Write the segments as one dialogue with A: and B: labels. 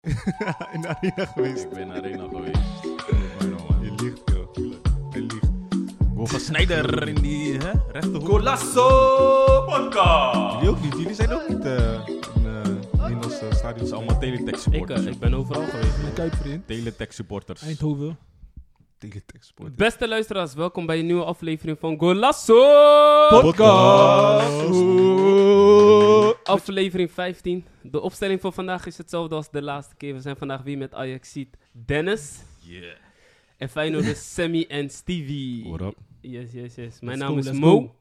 A: in de arena geweest.
B: Ik ben naar Arena geweest. Oh, no, man.
A: Je liegt, joh. Je liegt.
B: Goal van Snyder in die hè, rechterhoek.
C: Golasso podcast.
A: Jullie ook niet. Jullie zijn ook niet eh, in eh, Nederlandse stadion.
B: Het zijn allemaal teletext
C: Ik, eh,
B: supporters.
C: ik ben overal geweest. man.
D: Kuip, vriend.
B: Teletext supporters.
D: Eindhoven.
A: Teletext sport.
C: Beste luisteraars, welkom bij een nieuwe aflevering van Golasso Aflevering 15. De opstelling voor vandaag is hetzelfde als de laatste keer. We zijn vandaag weer met Ajax ziet Dennis
B: Yeah.
C: en Feyenoord Sammy en Stevie.
B: What up?
C: Yes, yes, yes. Mijn naam
D: Let's go,
C: is
D: let's
C: Mo.
D: go.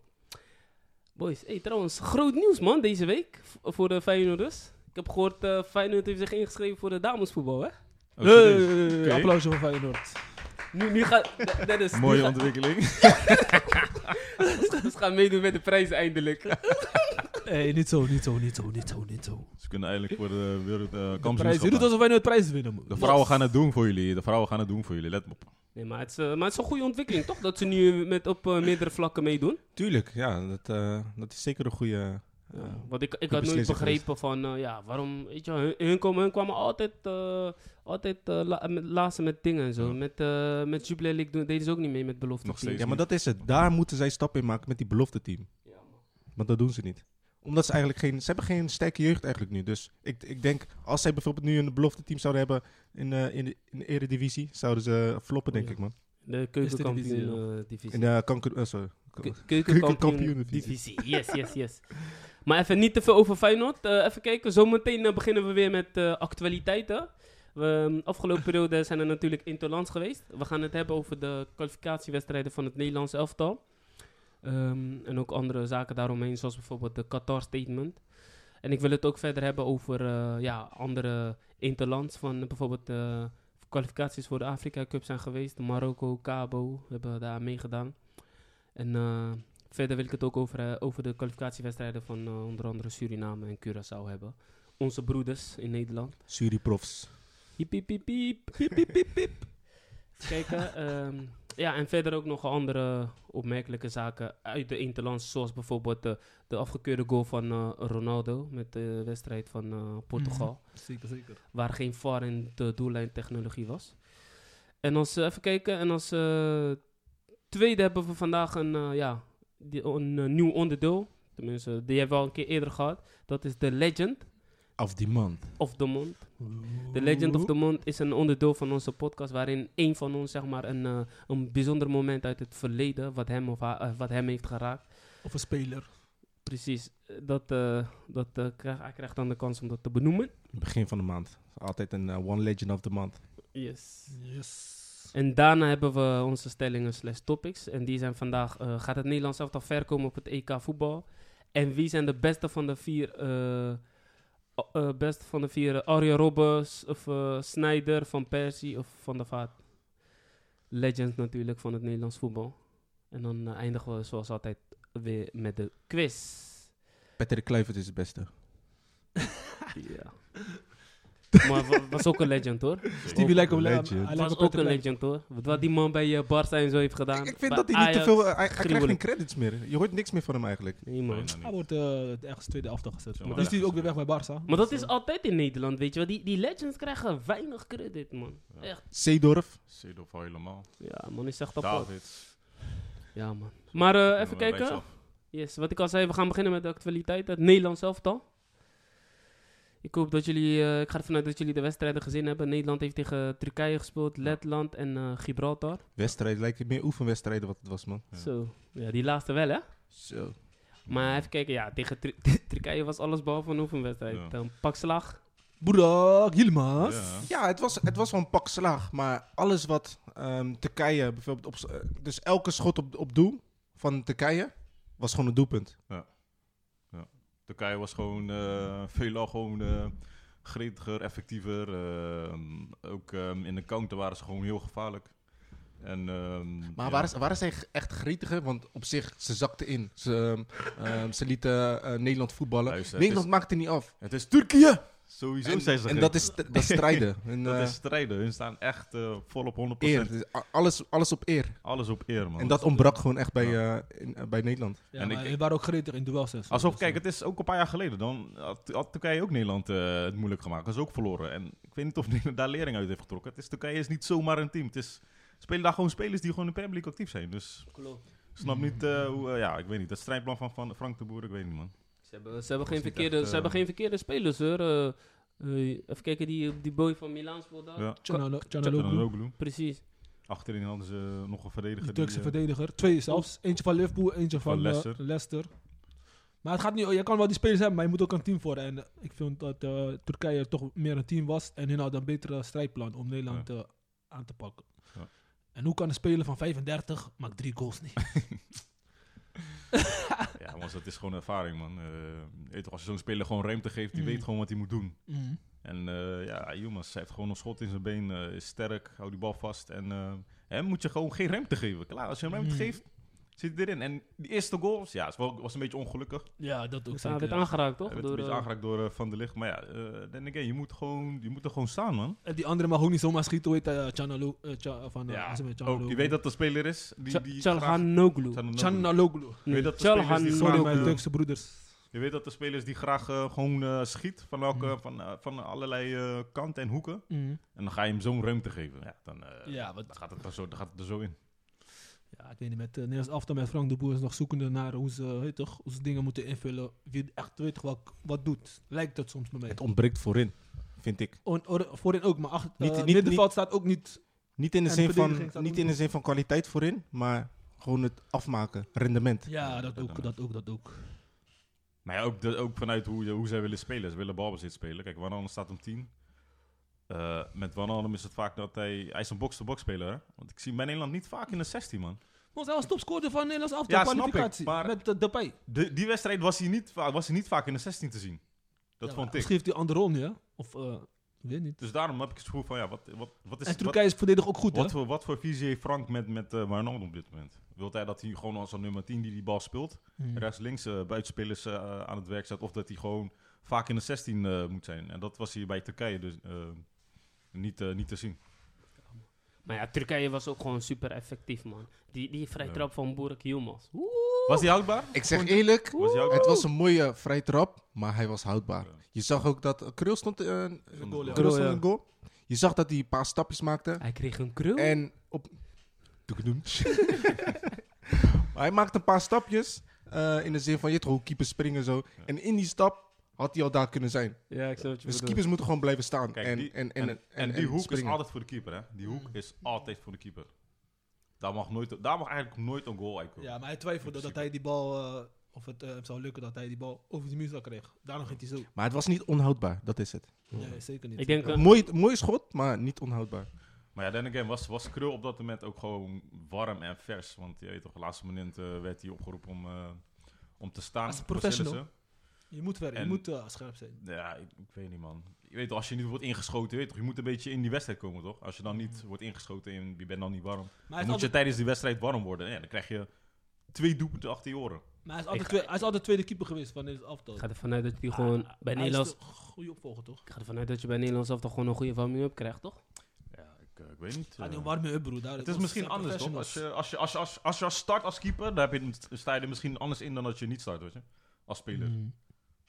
C: Boys, hey, trouwens, groot nieuws man deze week v- voor de Feyenoorders. Ik heb gehoord, eh Feyenoord heeft zich ingeschreven voor de damesvoetbal, hè?
B: Oh, serieus?
D: Hey,
B: Oké.
D: Applaus voor Feyenoord.
C: Nu, nu gaat De- Dennis, nu
B: Mooie
C: gaat-
B: ontwikkeling.
C: ze gaan meedoen met de prijs eindelijk.
D: Hey, niet zo, niet zo, niet zo, niet zo, niet zo.
B: Ze kunnen eigenlijk voor de
D: De prijs. Je
B: wereldkampioenschap.
D: doet alsof Feyenoord prijs winnen. man.
B: de vrouwen gaan het doen voor jullie. De vrouwen gaan het doen voor jullie. Let op.
C: Nee, maar het, is, eh, maar het is een goede ontwikkeling, toch? Dat ze nu met, op eh, meerdere vlakken meedoen.
A: Tuurlijk, ja. Dat, eh, dat is zeker een goede... eh,
C: Want ik, ik had nooit
A: beslissing
C: begrepen van, eh, ja, waarom, weet je, wel, hun, hun, komen, hun kwamen altijd, eh altijd eh, la- met, laatste met dingen en zo.
B: Ja.
C: Met, eh met Jubilee League doen, deden ze ook niet mee met belofte.
B: Nog
C: teams.
B: steeds.
A: Ja, maar dat is het. Daar moeten zij stap in maken met die belofte team. Maar dat doen ze niet. Omdat ze eigenlijk geen... Ze hebben geen sterke jeugd eigenlijk nu. Dus ik, ik denk, als zij bijvoorbeeld nu een belofte team zouden hebben in, eh, in, de, in de eredivisie, zouden ze floppen, denk
D: Ja.
A: ik, man.
C: De keukenkampioen
D: Eerste
C: eh, divisie.
A: In de kanker... eh, sorry.
C: Ke-
A: Keukenkampioen
C: Keukenkampioen divisie. Yes, yes, yes. Maar even niet te veel over Feyenoord. Eh, even kijken, zometeen eh, beginnen we weer met eh, actualiteiten. We, ehm, afgelopen periode zijn er natuurlijk interlands geweest. We gaan het hebben over de kwalificatiewedstrijden van het Nederlands elftal. Ehm, en ook andere zaken daaromheen, zoals bijvoorbeeld de Qatar Statement. En ik wil het ook verder hebben over eh, ja, andere interlands. Van eh, bijvoorbeeld eh, kwalificaties voor de Afrika Cup zijn geweest. Marokko, Cabo hebben daar meegedaan. En eh, verder wil ik het ook over, eh, over de kwalificatiewedstrijden van eh, onder andere Suriname en Curaçao hebben. Onze broeders in Nederland.
A: Suriprofs.
C: Hiep, hiep, hiep, hiep, hiep, hiep, hiep, hiep. Even Kijken. ehm, ja, en verder ook nog andere opmerkelijke zaken uit de Interlands. Zoals bijvoorbeeld eh, de afgekeurde goal van eh, Ronaldo met de wedstrijd van eh, Portugal
D: Zeker, zeker.
C: waar geen VAR in de doellijntechnologie was. En als, eh, even kijken, en als eh, tweede hebben we vandaag een, eh, ja, die, een eh, nieuw onderdeel. Tenminste, die hebben we al een keer eerder gehad. Dat is The Legend
A: Of die man.
C: of the Mond. The Legend of the Mond is een onderdeel van onze podcast waarin een van ons zeg maar, een, eh, een bijzonder moment uit het verleden, wat hem, of haar, eh, wat hem heeft geraakt.
D: Of een speler.
C: Precies, eh, dat, eh, dat eh, krijg, hij krijgt dan de kans om dat te benoemen.
A: Begin van de maand. Altijd een eh, one legend of the month.
C: Yes.
D: Yes.
C: En daarna hebben we onze stellingen slash topics. En die zijn vandaag, eh, gaat het Nederlands elftal ver komen op het EK voetbal? En wie zijn de beste van de vier, eh o- eh, beste van de vier, eh, Arjen Robbers of eh Snyder, Van Persie of Van der Vaart? Legends natuurlijk van het Nederlands voetbal. En dan eh, eindigen we zoals altijd weer met de quiz.
A: Patrick Kluivert is het beste.
C: ja. maar wa- was ook een legend hoor.
D: Stevie lijkt op
A: legend.
D: hij lijkt
C: Was
D: op
C: ook een
D: Patrick.
C: legend hoor. Wat- Wat die man bij eh, Barca en zo heeft gedaan.
A: Ik, ik vind
C: bij
A: dat hij niet te
C: Ajax.
A: veel... eh, hij- hij krijgt geen
C: gruwelijk.
A: credits meer. Je hoort niks meer van hem eigenlijk.
C: Nee, man.
D: Hij wordt eh, ergens tweede afdag gezet.
B: Zo,
D: Nu
B: maar-
D: is hij ook weer weg bij Barca.
C: Maar dat is altijd in Nederland, weet je wel. Die, die legends krijgen weinig credit, man.
B: Ja.
C: Echt.
A: Zeedorf.
B: Sedov helemaal.
C: Ja, man, is echt apart.
B: David.
C: Ja, man. Maar eh, even
B: Ja, lijkt
C: kijken.
B: af.
C: Yes, wat ik al zei, we gaan beginnen met de actualiteit. Het Nederlands elftal. Ik hoop dat jullie... eh, ik ga ervan uit dat jullie de wedstrijden gezien hebben. Nederland heeft tegen Turkije gespeeld, Letland en eh, Gibraltar.
A: Wedstrijden lijken meer oefenwedstrijden wat het was, man.
B: Ja.
C: Zo. Ja, die laatste wel, hè?
A: Zo.
C: Maar even kijken, ja, tegen Tur- Turkije was alles behalve een oefenwedstrijd.
B: Ja.
C: Een pak slag.
D: Boerak Yilmaz.
B: Ja.
A: Ja, het was, het was wel een pak slaag. Maar alles wat ehm, Turkije bijvoorbeeld... Op, z- eh, dus elke schot op, op doel van Turkije was gewoon een doelpunt.
B: Turkije was gewoon eh, veelal gewoon eh, gretiger, effectiever. ehm, ook ehm, in de counter waren ze gewoon heel gevaarlijk. En, ehm,
A: Maar
B: ja,
A: waren, ze- waren zij echt gretiger? Want op zich, ze zakten in. Ze, ehm, ehm, ze lieten eh, Nederland voetballen.
B: Luister, het
A: Nederland maakte niet af.
B: Het is Turkije! Sowieso
A: En,
B: zijn ze
A: en
B: gek.
A: dat is, dat is strijden. En,
B: dat
A: eh,
B: is strijden. Hun staan echt eh, vol op 100%.
A: eer. Het is a- alles, alles op eer.
B: Alles op eer, man.
A: En dat ontbrak gewoon echt bij, eh, in- eh, bij Nederland.
D: Ja,
B: En
D: maar
B: ik-
D: we waren ook gretig in duels. en zo.
B: Alsof,
D: Dus,
B: kijk,
D: eh,
B: het is ook een paar jaar geleden. Dan had, had Turkije ook Nederland eh, het moeilijk gemaakt. Dat is ook verloren. En ik weet niet of Nederland daar lering uit heeft getrokken. Het is, Turkije is niet zomaar een team. Het is, spelen daar gewoon spelers die gewoon in de Premier League actief zijn. Dus
C: Klopt.
B: ik snap niet eh, hoe... eh, ja, ik weet niet. Dat strijdplan van, van Frank de Boer, ik weet niet, man.
C: Ze hebben, ze hebben,
B: is
C: geen,
B: niet
C: verkeerde,
B: echt, eh,
C: ze hebben geen verkeerde spelers hoor. Eh, eh, even kijken, die, die boy van Milaan speelt daar.
B: Ja.
D: Çalhanoğlu- Çalhanoğlu,
B: Çalhanoğlu.
C: Precies.
B: Achterin hadden ze nog een verdediger.
D: die Turkse
B: die, eh,
D: verdediger. Twee zelfs. Eentje van Liverpool, eentje
B: Van
D: van, eh, Leicester.
B: Leicester.
D: Maar het gaat niet, je kan wel die spelers hebben, maar je moet ook een team voor. En eh, ik vind dat eh, Turkije toch meer een team was. En hun hadden een betere strijdplan om Nederland eh, aan te pakken.
B: Ja.
D: En hoe kan een speler van 35 maakt drie goals niet?
B: Ja, want dat is gewoon ervaring, man. Eh, je weet toch, als je zo'n speler gewoon ruimte geeft, die
D: Mm.
B: weet gewoon wat hij moet doen.
D: Mhm.
B: En eh ja, Yilmaz heeft gewoon een schot in zijn been. eh, is sterk, houdt die bal vast. En eh, hem moet je gewoon geen ruimte geven. Klaar, als je hem ruimte
D: Mm.
B: geeft, zit hij erin. En die eerste goal ja, is wel- was een beetje ongelukkig.
D: Ja, dat ook
C: Dus hij
D: zeker.
C: werd
D: ja.
C: aangeraakt toch?
B: Hij werd een beetje
C: eh,
B: aangeraakt door eh, Van der Ligt. Maar ja, eh then again, je moet, gewoon, je moet er gewoon staan, man.
D: En die andere mag ook niet zomaar schieten, hoe heet hij? Chanalo, eh, Cha- van, eh,
B: Ja,
D: Asmir Çalhanoğlu.
B: Ook, je weet dat de speler is. Die,
C: Cha-
B: die
C: Çalhanoğlu.
B: graag- Çalhanoğlu.
D: Çalhanoğlu.
B: Je weet dat de
C: Çalhan
B: spelers die
C: Noglu.
D: Sorry,
B: graag,
D: mijn
B: eh,
D: Turkse broeders.
B: Je weet dat de spelers die graag eh, gewoon eh, schiet van, welke,
D: Mm.
B: van, eh, van allerlei eh, kanten en hoeken.
D: Mhm.
B: En dan ga je hem zo'n ruimte geven. Ja, dan, eh,
D: Ja, wat-
B: dan, gaat het er zo, dan gaat het er zo in.
D: Ja, ik weet niet, met eh, Nederlands aftal met Frank de Boer is nog zoekende naar hoe ze, weet toch, hoe ze dingen moeten invullen. Wie echt weet toch wat, wat doet. Lijkt dat soms bij mij.
A: Het ontbreekt voorin, vind ik.
D: On- or- voorin ook, maar achter,
A: Niet-
D: eh,
A: niet-
D: middenveld staat ook niet.
A: Niet in de,
D: En
A: zin
D: de
A: van,
D: verdediging staat
A: niet
D: ook
A: in de
D: nog.
A: zin van kwaliteit voorin, maar gewoon het afmaken, rendement.
D: Ja, dat
B: dat
D: ook,
B: dan
D: dat ook, dat ook.
B: Maar ja, ook, de- ook vanuit hoe, hoe zij willen spelen. Ze willen balbezit spelen. Kijk, Wijnaldum staat om 10. Eh, met Wijnaldum is het vaak dat hij... Hij is een box-to-box speler, hè? Want ik zie hem bij Nederland niet vaak in de 16, man.
D: Want hij was topscorer van Nederlands aftal
B: Ja, snap ik,
D: kwalificatie.
B: maar-
D: Met de Depay.
B: De, die wedstrijd was hij, niet, va- was hij niet vaak in de 16 te zien. Dat
D: Ja,
B: vond ik.
D: Misschien heeft hij een andere rol nu, hè? Of, eh, ik weet niet.
B: Dus daarom heb ik het gevoel van, ja, wat, wat, Dus wat is...
D: En
B: wat-
D: Turkije is verdedig ook goed, hè?
B: Wat voor, wat voor visie heeft Frank met, met eh, Wijnaldum op dit moment? Wilt hij dat hij gewoon als een nummer 10 die die bal speelt,
D: Hmm.
B: rechts-links eh, buitenspelers eh, aan het werk zet, of dat hij gewoon vaak in de 16 eh, moet zijn? En dat was hier bij Turkije dus eh, niet, eh, niet te zien.
C: Maar ja, Turkije was ook gewoon super effectief, man. Die, die vrije
B: Ja.
C: trap van Burak Yilmaz. Oeh,
B: Was die houdbaar?
A: Ik zeg eerlijk,
B: Was die houdbaar?
A: het was een mooie vrije trap, maar hij was houdbaar. Je zag ook dat eh, Krul stond, eh,
B: Van de
D: goal, ja.
A: Krul stond
C: ja.
A: een goal. Je zag dat hij een paar stapjes maakte.
C: Hij kreeg een krul.
A: En op... Maar hij maakte een paar stapjes. eh, in de zin van, je weet toch, hoe keepers springen zo. En in die stap had hij al daar kunnen zijn.
C: ja, ik snap wat
A: Dus
C: je bedoelt.
A: keepers moeten gewoon blijven staan.
B: Kijk,
A: en,
B: die-
A: en, en,
B: En, en, die hoek
A: springen.
B: is altijd voor de keeper, hè? Die hoek is altijd voor de keeper. Daar mag, nooit, daar mag eigenlijk nooit een goal uitkomen.
D: Ja, maar hij twijfelde
B: In
D: dat
B: principe.
D: hij die bal, eh, of het eh, hem zou lukken dat hij die bal over de muur zou krijgen. Daarom ging hij zo.
A: Maar het was niet onhoudbaar, dat is het.
D: Nee, zeker niet.
C: Ik denk, eh,
A: Mooi, mooi schot, maar niet onhoudbaar.
B: Maar ja, then again, was, was Krul op dat moment ook gewoon warm en vers. Want je weet toch, de laatste minuut eh, werd hij opgeroepen om, eh, om te staan.
D: Als een
B: voor
D: professional.
B: Sillissen.
D: Je moet verder, je
B: En-
D: moet eh, scherp zijn.
B: dus, Ja, ik, ik weet niet, man. Je weet toch, als je niet wordt ingeschoten, je, weet toch, je moet een beetje in die wedstrijd komen, toch? Als je dan niet wordt ingeschoten en je bent dan niet warm,
D: Maar Mm. hij
B: dan moet
D: is
B: je
D: altijd,
B: tijdens die wedstrijd warm worden. Ja, dan krijg je twee doelpunten achter je oren.
D: maar hij is altijd, twee- hij is altijd tweede keeper geweest van dit aftal.
C: Ik ga ervan uit dat je die gewoon bij Nederlands...
D: Goede opvolger toch?
C: Ik ga ervan uit dat je bij Nederlands aftal gewoon een goede warming up krijgt, toch?
B: Ja, ik, eh, ik weet niet.
D: Ga
B: eh.
D: niet om warme up, broer. Daar-
C: Oh,
B: het is
D: ons
B: misschien
D: zijn
B: anders, toch? Als
D: professionals.
B: je, als, je, als, je, als, je- als je als start als keeper, dan heb je, sta je er misschien anders in dan dat je niet start, weet je? Als speler.
C: Hmm.
D: Mm.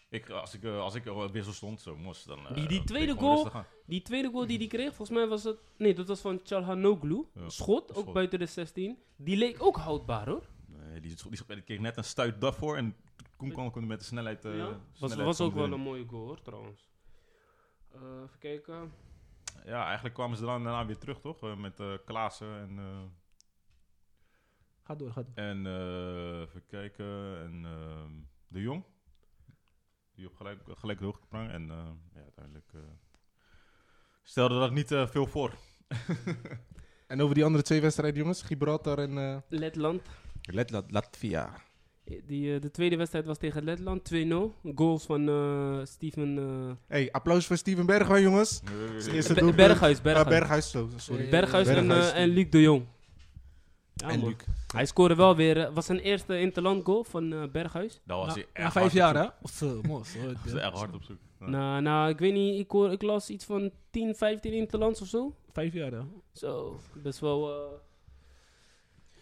B: Ik, als ik, eh, als ik eh, weer zo stond, zo mos, dan... eh,
C: Die- die
B: dan
C: tweede
B: ben ik gewoon
C: goal-
B: rustig aan.
C: Die tweede goal die hij kreeg, volgens mij was dat... Nee, dat was van Çalhanoğlu.
B: Ja,
C: Schot, ook
B: schot.
C: buiten de 16. Die leek ook houdbaar, hoor.
B: Nee, die, die, die kreeg net een stuit daarvoor en Koen kwam kwam met de snelheid... eh,
C: ja. Was,
B: snelheid
C: was
B: kwam
C: ook wel
B: erin.
C: een mooie goal, hoor, trouwens. Eh, even kijken.
B: Ja, eigenlijk kwamen ze dan daarna weer terug, toch? Eh, met eh Klaassen en... eh,
D: Ga door, ga door.
B: en eh, even kijken... En ehm, De Jong. Die op gelijk, gelijk de hoogte sprang. En eh, ja, uiteindelijk... eh, stelde dat niet eh, veel voor.
A: En over die andere twee wedstrijden, jongens. Gibraltar en eh,
C: Letland.
A: Letland, Latvia.
C: Die, eh, de tweede wedstrijd was tegen Letland. 2-0. Goals van eh, Steven... eh,
A: hey, applaus voor Steven Bergwijn, jongens. Eerste
C: Be-
A: doelpunt.
C: Berghuis,
A: Ah,
C: Berghuis.
A: Berghuis, zo, sorry.
D: Eh,
C: Berghuis en,
A: Berghuis.
C: eh, en Luc de Jong. Ja,
A: en
C: man.
A: Luc.
C: Hij scoorde wel weer. eh, was zijn eerste interland goal van eh, Berghuis.
B: Daar was
D: Na,
B: hij
D: na
B: echt hard
D: vijf
B: op
D: jaar,
B: zoek.
D: hè? Of zo, mooi, zo,
B: Dat is
D: ja.
B: echt hard op zoek. Ja.
C: Nou, nou, ik weet niet. Ik, hoor, ik las iets van 10, 15 interlands of zo.
D: Vijf jaar, hè?
C: Zo, best wel.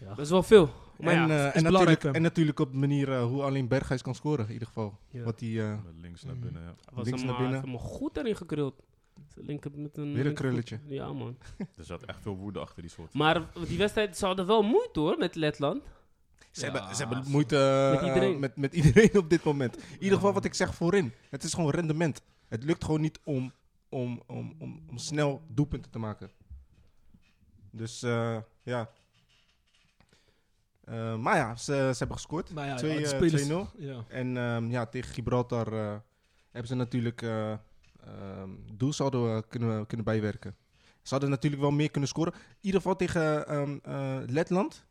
C: eh, Best wel veel. Maar
A: en,
C: ja,
A: eh,
D: is
A: en,
D: belangrijk,
A: natuurlijk,
D: hem.
A: en natuurlijk op de manier eh, hoe alleen Berghuis kan scoren, in ieder geval.
C: Ja.
A: Wat die eh,
B: Met links
D: Mm.
B: naar binnen, ja.
C: was
A: links
C: hem,
A: naar
C: maar-
A: binnen.
C: heeft hem goed erin gekruld. Linker met een
A: Weer een
C: linker-
A: krulletje.
C: Ja, man.
B: Er zat echt veel woede achter die soort.
C: Maar die wedstrijd, ze hadden wel moeite hoor met Letland.
A: Ze,
D: Ja,
A: hebben, ze
D: dat
A: hebben
D: is-
A: moeite eh,
C: Met iedereen.
A: eh, met, met iedereen op dit moment. In ieder geval wat ik zeg voorin. Het is gewoon rendement. Het lukt gewoon niet om, om, om, om, om snel doelpunten te maken. Dus eh, ja. Eh, maar ja, ze, ze hebben gescoord. 2-0.
D: Maar ja, ja, die spelers... Ja.
A: En ehm, ja, tegen Gibraltar eh, hebben ze natuurlijk eh ehm doelsaldo eh, kunnen, kunnen bijwerken. Ze hadden natuurlijk wel meer kunnen scoren. In ieder geval tegen ehm, eh, Letland.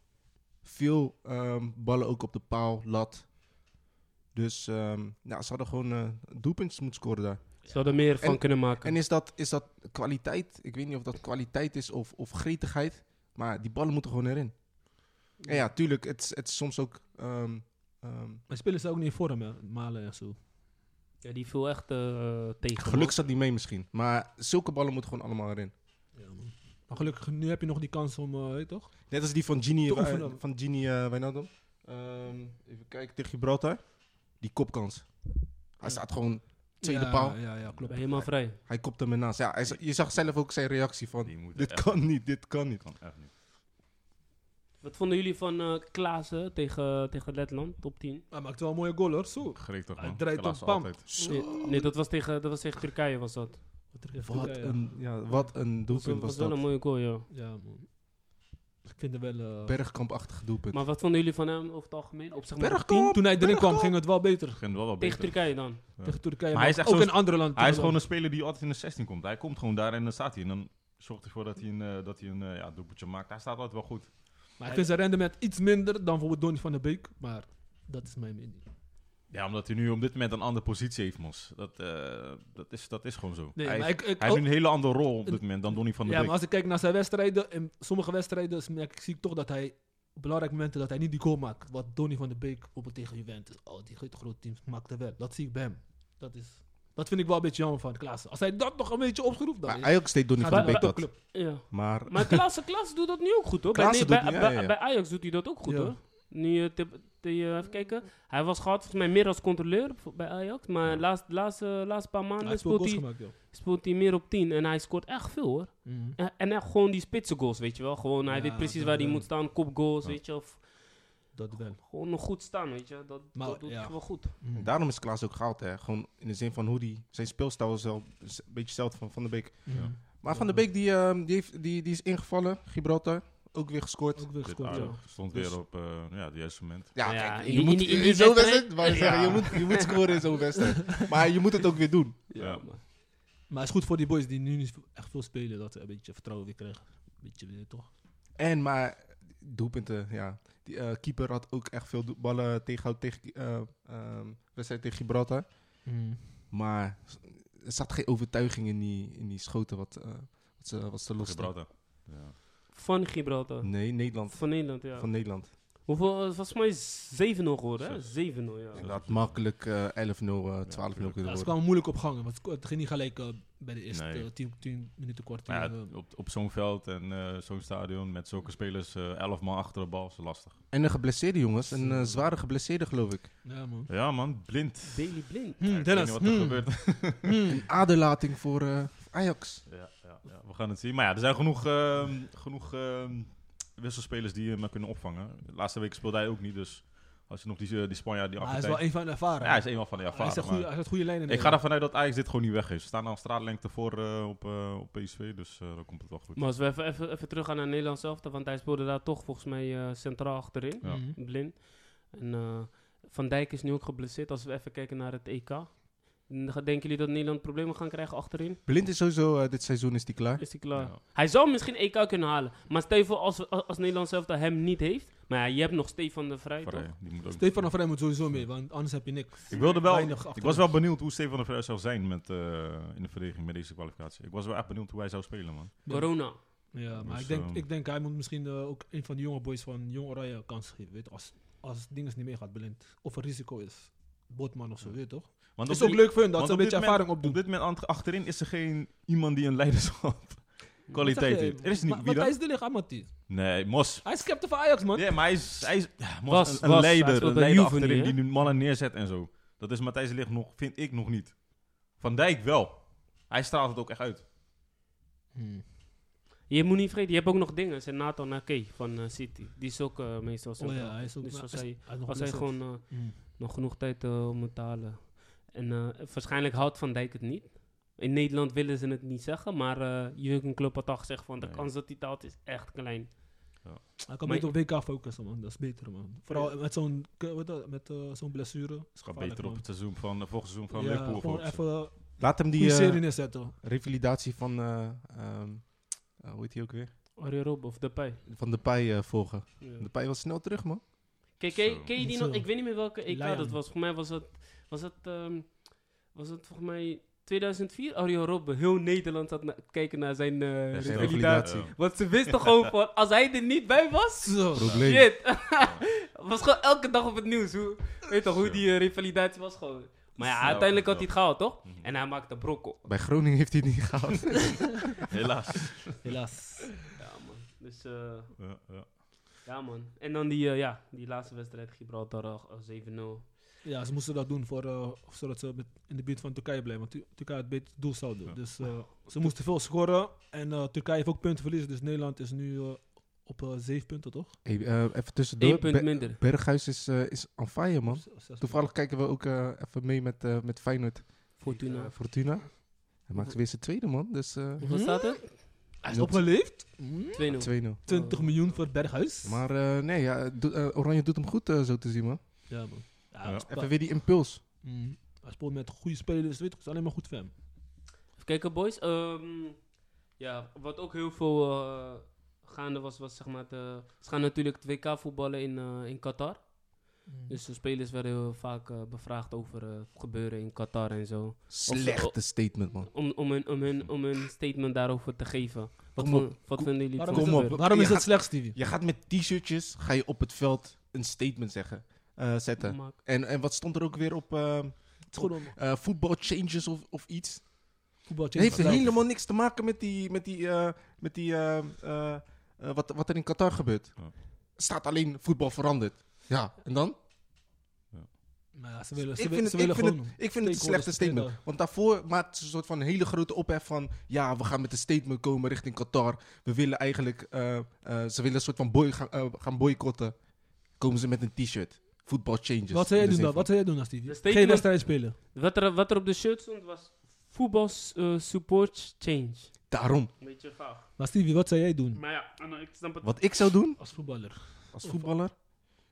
A: Veel ehm, ballen ook op de paal, lat. Dus ehm, nou, ze hadden gewoon eh doelpunten moeten scoren daar.
C: Ze hadden meer van
A: En-
C: kunnen maken.
A: En is dat, is dat kwaliteit? Ik weet niet of dat kwaliteit is of, of gretigheid. Maar die ballen moeten gewoon erin. En ja, tuurlijk, het, is- het is soms ook... ehm, ehm,
D: Maar spelers zijn ook niet in vorm, hè? Malen en zo.
C: ja, die viel echt eh, tegen.
A: Gelukkig zat die mee misschien. Maar zulke ballen moeten gewoon allemaal erin.
D: Ja, man. Maar gelukkig, nu heb je nog die kans om, eh, weet je toch?
A: Net als die van Gini,
D: Te
A: Wa-
D: oefenen.
A: van Gini eh, Wijnaldum. Ehm, even kijken, tegen Gibraltar. Die kopkans. Hij
D: Ja.
A: staat gewoon tweede
D: ja,
A: paal.
D: Ja, ja,
C: man.
D: klopt.
C: Ben helemaal vrij.
A: Hij kopt hem ernaast. Ja, hij z- je zag zelf ook zijn reactie van...
B: Die moeten
A: Dit
B: echt-
A: kan niet, dit kan niet.
B: kan echt niet.
C: Wat vonden jullie van eh Klaassen tegen, tegen Letland, top 10?
D: Hij maakt wel een mooie goal, hoor. Zo.
B: Gretig toch,
D: Hij
B: man.
D: draait op
B: Klaassen
D: bam.
B: altijd.
A: Zo,
C: Nee, nee, dat was tegen, dat was tegen Turkije was dat. Dat
D: Wat er-
A: Wat
D: Ja, ja.
A: een, ja, wat een
C: was,
A: doelpunt
C: was
A: was
C: wel een
A: dat.
C: mooie goal, ja.
D: Ja, man. Ik vind het wel... eh,
A: Bergkampachtig doelpunt.
C: Maar wat vonden jullie van hem over het algemeen? Op zeg maar
A: Bergkamp!
C: tien?
D: Toen hij erin kwam,
A: Bergkamp!
D: ging het wel beter.
B: Ik vind het wel wel
C: Tegen
B: beter.
C: Turkije dan.
D: Tegen Turkije,
B: Maar
D: maar,
B: hij is echt
D: ook
B: zo'n-
D: in andere landen.
B: Hij is gewoon een speler die altijd in de 16 komt. Hij komt gewoon daar en dan staat hij. En dan zorgt hij ervoor dat hij een, eh, dat hij een eh, ja, doelpuntje maakt. Hij staat altijd wel goed.
D: Maar ik vind zijn rendement iets minder dan bijvoorbeeld Donny van der Beek. Maar dat is mijn mening.
B: Ja, omdat hij nu op dit moment een andere positie heeft, Mos. Dat, eh, dat, is, dat is gewoon zo.
D: Nee,
B: hij
D: maar ik, ik,
B: hij
D: ook-
B: heeft nu een hele andere rol op dit moment dan Donny van der
D: ja, maar
B: Beek.
D: als ik kijk naar zijn wedstrijden, in sommige wedstrijden merk ik, zie ik toch dat hij op belangrijke momenten dat hij niet die goal maakt. Wat Donny van der Beek bijvoorbeeld tegen Juventus, oh, die grote grote teams maakte wel. Dat zie ik bij hem. Dat, is, dat vind ik wel een beetje jammer van Klaassen. Als hij dat nog een beetje opschroeft, dan
A: Maar
D: is-
A: Ajax deed Donny
D: gaat
A: van
D: hij
A: de
C: maar-
A: Beek
D: naar de
A: dat.
D: topclub.
C: Ja.
A: Maar
C: Maar Klaassen, Klaassen doet dat nu ook goed, hoor. Bij,
A: Klaassen
C: nee,
A: doet-
C: bij,
A: ja,
C: bij-
A: ja.
C: bij Ajax doet hij dat ook goed,
D: Ja.
C: hoor. Nu, eh, te- te- eh, even kijken. Hij was gehad volgens mij meer als controleur voor- bij Ajax. Maar de laatste, laatste, laatste paar
D: Hij
C: maanden
D: heeft veel
C: speelt
D: goals
C: hij,
D: gemaakt, joh.
C: speelt hij meer op 10. En hij scoort echt veel, hoor.
D: Mhm.
C: En, en echt gewoon die spitsen goals, weet je wel. Gewoon, hij
D: Ja,
C: weet precies
D: dat eh,
C: waar hij
D: wel.
C: moet staan. Kopgoals,
B: Ja.
C: weet je. Of
D: Dat wel.
C: gewoon nog goed staan, weet je. Dat,
D: Maar,
C: dat doet
D: ja.
C: hij wel goed.
D: Mhm.
A: daarom is Klaas ook gehaald. Hè. Gewoon in de zin van hoe die... Zijn speelstijl is wel een beetje hetzelfde van Van de Beek.
D: Mhm.
B: Ja.
A: Maar Van der Beek die, ehm, die, heeft, die, die is ingevallen. Gibraltar, ook weer gescoord.
D: Ook weer
B: Dit
D: gescoord, ja.
B: aardig. Stond
A: Dus-
B: weer op eh ja, het juiste moment.
A: Ja,
C: Ja,
A: kijk,
C: in-
A: je
C: in-
A: moet
C: in- in
A: in
C: die
A: zo'n
C: wedstrijd-
A: wedstrijd... wou je zeggen, Je moet- je moet scoren in zo'n wedstrijd. Maar je moet het ook weer doen.
B: Ja.
C: man.
D: Maar het is goed voor die boys die nu niet echt veel spelen, dat ze een beetje vertrouwen weer krijgen. Een beetje weer, toch?
A: En maar, doelpunten, ja. Die eh, keeper had ook echt veel doel- ballen tegenhouden tegen eh, ehm, wedstrijd tegen Gibraltar. Maar er zat geen overtuiging in die, in die schoten wat, eh, wat ze, wat ze losten.
B: Gibraltar. Ja.
C: Van Gibraltar.
A: Nee, Nederland.
C: Van Nederland, ja.
A: Van Nederland.
C: Hoeveel, eh, volgens mij is 7-0 geworden, hè?
B: Zes.
C: 7-0, ja.
A: En dat had makkelijk eh, 11-0, eh, 12-0 kunnen
D: Ja, ze
A: worden.
D: kwamen moeilijk op gang, want het ging niet gelijk eh, bij de eerste
B: Nee.
D: eh, 10 10 minuten kwartier.
B: Maar
D: eh,
B: ja, op, op zo'n veld en eh, zo'n stadion met zulke spelers, eh, 11 man achter de bal, is lastig.
A: En een geblesseerde jongens. Een eh, zware geblesseerde geloof ik.
D: Ja, man.
B: Ja, man, blind.
C: Daily Blind.
D: Hmm,
B: ik weet
D: Dennis,
B: niet wat er
D: hmm,
B: gebeurt.
A: Hm.
D: hmm.
A: Aderlating voor eh, Ajax.
B: Ja, ja, ja, we gaan het zien. Maar ja, er zijn genoeg, ehm, genoeg ehm, wisselspelers die hem kunnen opvangen. De laatste week speelde hij ook niet, dus als je nog die, eh, die Spanjaard die
D: Maar hij is
B: Argentijn...
D: wel een van de ervaren.
B: ja, hij is een van de
D: Hij is een
B: ervaren.
D: goede,
B: maar
D: hij zet goede lijnen.
B: Ik ga ervan uit dat Ajax dit gewoon niet weggeeft. Ze staan al straatlengte voor eh, op, eh, op PSV, dus eh, dan komt het wel goed.
C: Maar als we even, even, even teruggaan naar Nederland zelf, want hij speelde daar toch volgens mij eh, centraal achterin,
B: Ja.
D: Mhm.
C: blind. En eh, Van Dijk is nu ook geblesseerd, als we even kijken naar het EK. Dan ga- Denken jullie dat Nederland problemen gaan krijgen achterin?
A: Blind is sowieso, eh, dit seizoen is die klaar.
C: Is hij klaar?
B: Ja.
C: Hij zou misschien EK kunnen halen, maar stel je voor als, we- als Nederland zelf dat hem niet heeft. Maar ja, je hebt nog Stefan de Vrij, toch?
B: Vrij, eh, die moet ook-
D: Stefan van Vrij moet sowieso mee, want anders heb je niks.
B: Ik, wilde wel,
D: Weinig
B: ik
D: achterin.
B: was wel benieuwd hoe Stefan de Vrij zou zijn met, eh, in de verdediging met deze kwalificatie. Ik was wel echt benieuwd hoe hij zou spelen, man.
D: Ja.
C: Corona.
D: Ja, maar
B: Dus,
D: ik, denk,
B: ehm,
D: ik denk hij moet misschien eh, ook een van de jonge boys van Jong Oranje een kans geven. Weet, je, als, als dingen niet meegaat, blind. Of een risico is. Botman of zo, weet je toch?
B: Want
D: Het is
B: op
D: ook
B: dit-
D: leuk voor hun dat
B: want
D: ze een
B: op
D: beetje
B: dit moment-
D: ervaring opdoen.
B: Op dit moment ant- achterin is er geen iemand die een leiderschap kwaliteit heeft. Er is niet wie
D: Maar hij
B: dan?
D: is de lichaam, Mattie.
B: Nee, Mos.
D: Hij is captain van Ajax, man.
B: Ja, maar hij is, hij is ja, Mos,
C: Was-
B: een- een,
C: was, hij
B: leider,
C: speelt
B: een
C: bij
B: leider
C: Juve nu,
B: achterin
C: hè?
B: die nu mannen neerzet en zo. Dat is Matthijs de Ligt nog, vind ik nog niet. Van Dijk wel. Hij straalt het ook echt uit.
D: Hmm.
C: Je moet niet vergeten, je hebt ook nog dingen. Zijn Nathan Ake van eh, City. Die is ook eh, meestal zo.
D: Oh ja, hij is ook...
C: Dus
D: maar
C: als
D: is-
C: hij,
D: is nog
C: als hij
D: blessed.
C: gewoon eh,
D: Hmm.
C: nog genoeg tijd eh, om het te halen. En eh, waarschijnlijk houdt Van Dijk het niet. In Nederland willen ze het niet zeggen, maar eh Jurgen Klopp had al gezegd van de
B: Nee.
C: kans dat hij het haalt is echt klein.
D: Hij kan
C: Maar-
D: beter op WK focussen, man. Dat is beter, man. Vooral met zo'n ke- wat dat- met, eh, zo'n blessure. Is
B: Gaat
D: gevaarlijk,
B: beter op
D: man.
B: het seizoen van, eh, volgend seizoen van
D: ja,
B: Liverpool.
D: Gewoon
B: focussen.
D: even een
A: Laat hem die
D: goede serie
A: eh,
D: neerzetten.
A: revalidatie van, eh, ehm, eh, hoe heet hij ook weer?
C: Arjen Rob of Depay.
A: Van de Pai volgen.
C: Ja.
A: De Pai was snel terug, man.
C: Kijk, ken,
B: Zo.
C: ken je die
D: Zo.
C: nog? Ik weet niet meer welke EK
D: Lion.
C: dat was. Voor mij was dat, was dat, ehm, was dat volgens mij 2004. Arjen Robben, heel Nederland zat na- kijken naar zijn eh,
A: Ja, zijn
C: revalidatie. Want ze wisten gewoon van, als hij er niet bij was,
D: Zo.
A: Probleem.
C: Oh, shit. was gewoon elke dag op het nieuws. Hoe, weet je toch, hoe die eh, revalidatie was gewoon. Maar ja,
B: Zo,
C: uiteindelijk had hij
B: zo.
C: het gehaald, toch?
B: Mhm.
C: En hij maakte brokkel.
A: Bij Groningen heeft hij het niet gehaald.
B: Helaas.
D: Helaas.
C: Ja, man. Dus, eh,
B: Ja, ja.
C: ja, man. En dan die, eh, ja, die laatste wedstrijd, Gibraltar, eh, 7-0.
D: Ja, ze moesten dat doen voor, eh, zodat ze met, in de buurt van Turkije blijven. Want Tu- Turkije het beter doel zou doen.
B: Ja.
D: Dus eh, ze moesten veel scoren. En eh, Turkije heeft ook punten verliezen. Dus Nederland is nu eh, op eh, zeven punten, toch?
A: Hey, eh, even tussendoor.
C: Eén punt
A: Be-
C: minder.
A: Berghuis is, eh, is on fire, man.
D: Of zes- zes
A: Toevallig kijken we ook eh, even mee met, eh, met Feyenoord
C: Fortuna.
A: eh, Fortuna. Hij maakte weer zijn tweede, man. Dus eh,
B: Mhm.
C: Hoeveel staat het?
D: Hij is opgeleefd.
C: 2-0.
A: 2-0.
D: 20 miljoen voor Berghuis.
A: Maar eh, nee, ja, do- eh, Oranje doet hem goed eh, zo te zien, man.
D: ja, man. Ja,
B: Ja.
D: hij speelt-
A: Even weer die impuls.
D: Mm. Hij speelt met goede spelers. Weet je, het is alleen maar goed voor hem.
C: Even kijken, boys. Ehm, ja, wat ook heel veel eh, gaande was, was zeg maar... De, ze gaan natuurlijk het WK voetballen in, eh, in Qatar.
B: Mhm.
C: Dus de spelers werden heel vaak eh, bevraagd over eh, gebeuren in Qatar en zo.
A: Slechte statement, man.
C: Om, om, hun, om, hun, om hun statement daarover te geven. Wat,
A: Kom
C: vo- wat
A: Kom-
C: vinden jullie
D: Waarom
C: van
A: kom
D: is
A: op.
D: het,
C: gebeuren?
D: waarom
A: Je
D: is het
A: gaat-
D: slecht, Stevie?
A: Je gaat met t-shirtjes, ga je op het veld een statement zeggen, eh, zetten.
C: Maak-
A: En, en wat stond er ook weer op? eh
D: Het is gewoon om
A: eh, voetbal changes Nou, of, of iets?
D: voetbal
A: Het heeft helemaal niks te maken met die... Met die, eh, met die eh, eh, eh, wat, wat er in Qatar gebeurt.
B: Ja.
A: Het staat alleen voetbal veranderd. Ja, en dan?
D: Maar ja, ze willen, ze
A: Ik
D: willen,
A: vind
D: ze
A: het, ik
D: willen
A: vind het,
D: gewoon...
A: ik vind het een slechte
D: stakeholders
A: statement.
D: vertellen.
A: Want daarvoor maakt ze een soort van hele grote ophef van... Ja, we gaan met een statement komen richting Qatar. We willen eigenlijk... eh, eh, ze willen een soort van boy, gaan, eh, gaan boycotten. Komen ze met een t-shirt. Voetbal changes.
D: Wat zou jij
A: In de zin
D: doen dan?
A: van-
D: Wat zou jij doen dan, Stevie?
C: De
D: Geen
C: statement-
D: wedstrijd spelen.
C: Wat er, wat er op de shirt stond was... Voetbal eh, support change.
A: Daarom.
C: Een beetje gaaf.
D: Maar Stevie, wat zou jij
B: Mm.
D: doen
C: Maar ja, en, eh, ik snap het.
A: Wat ik zou doen
D: als voetballer?
A: als voetballer...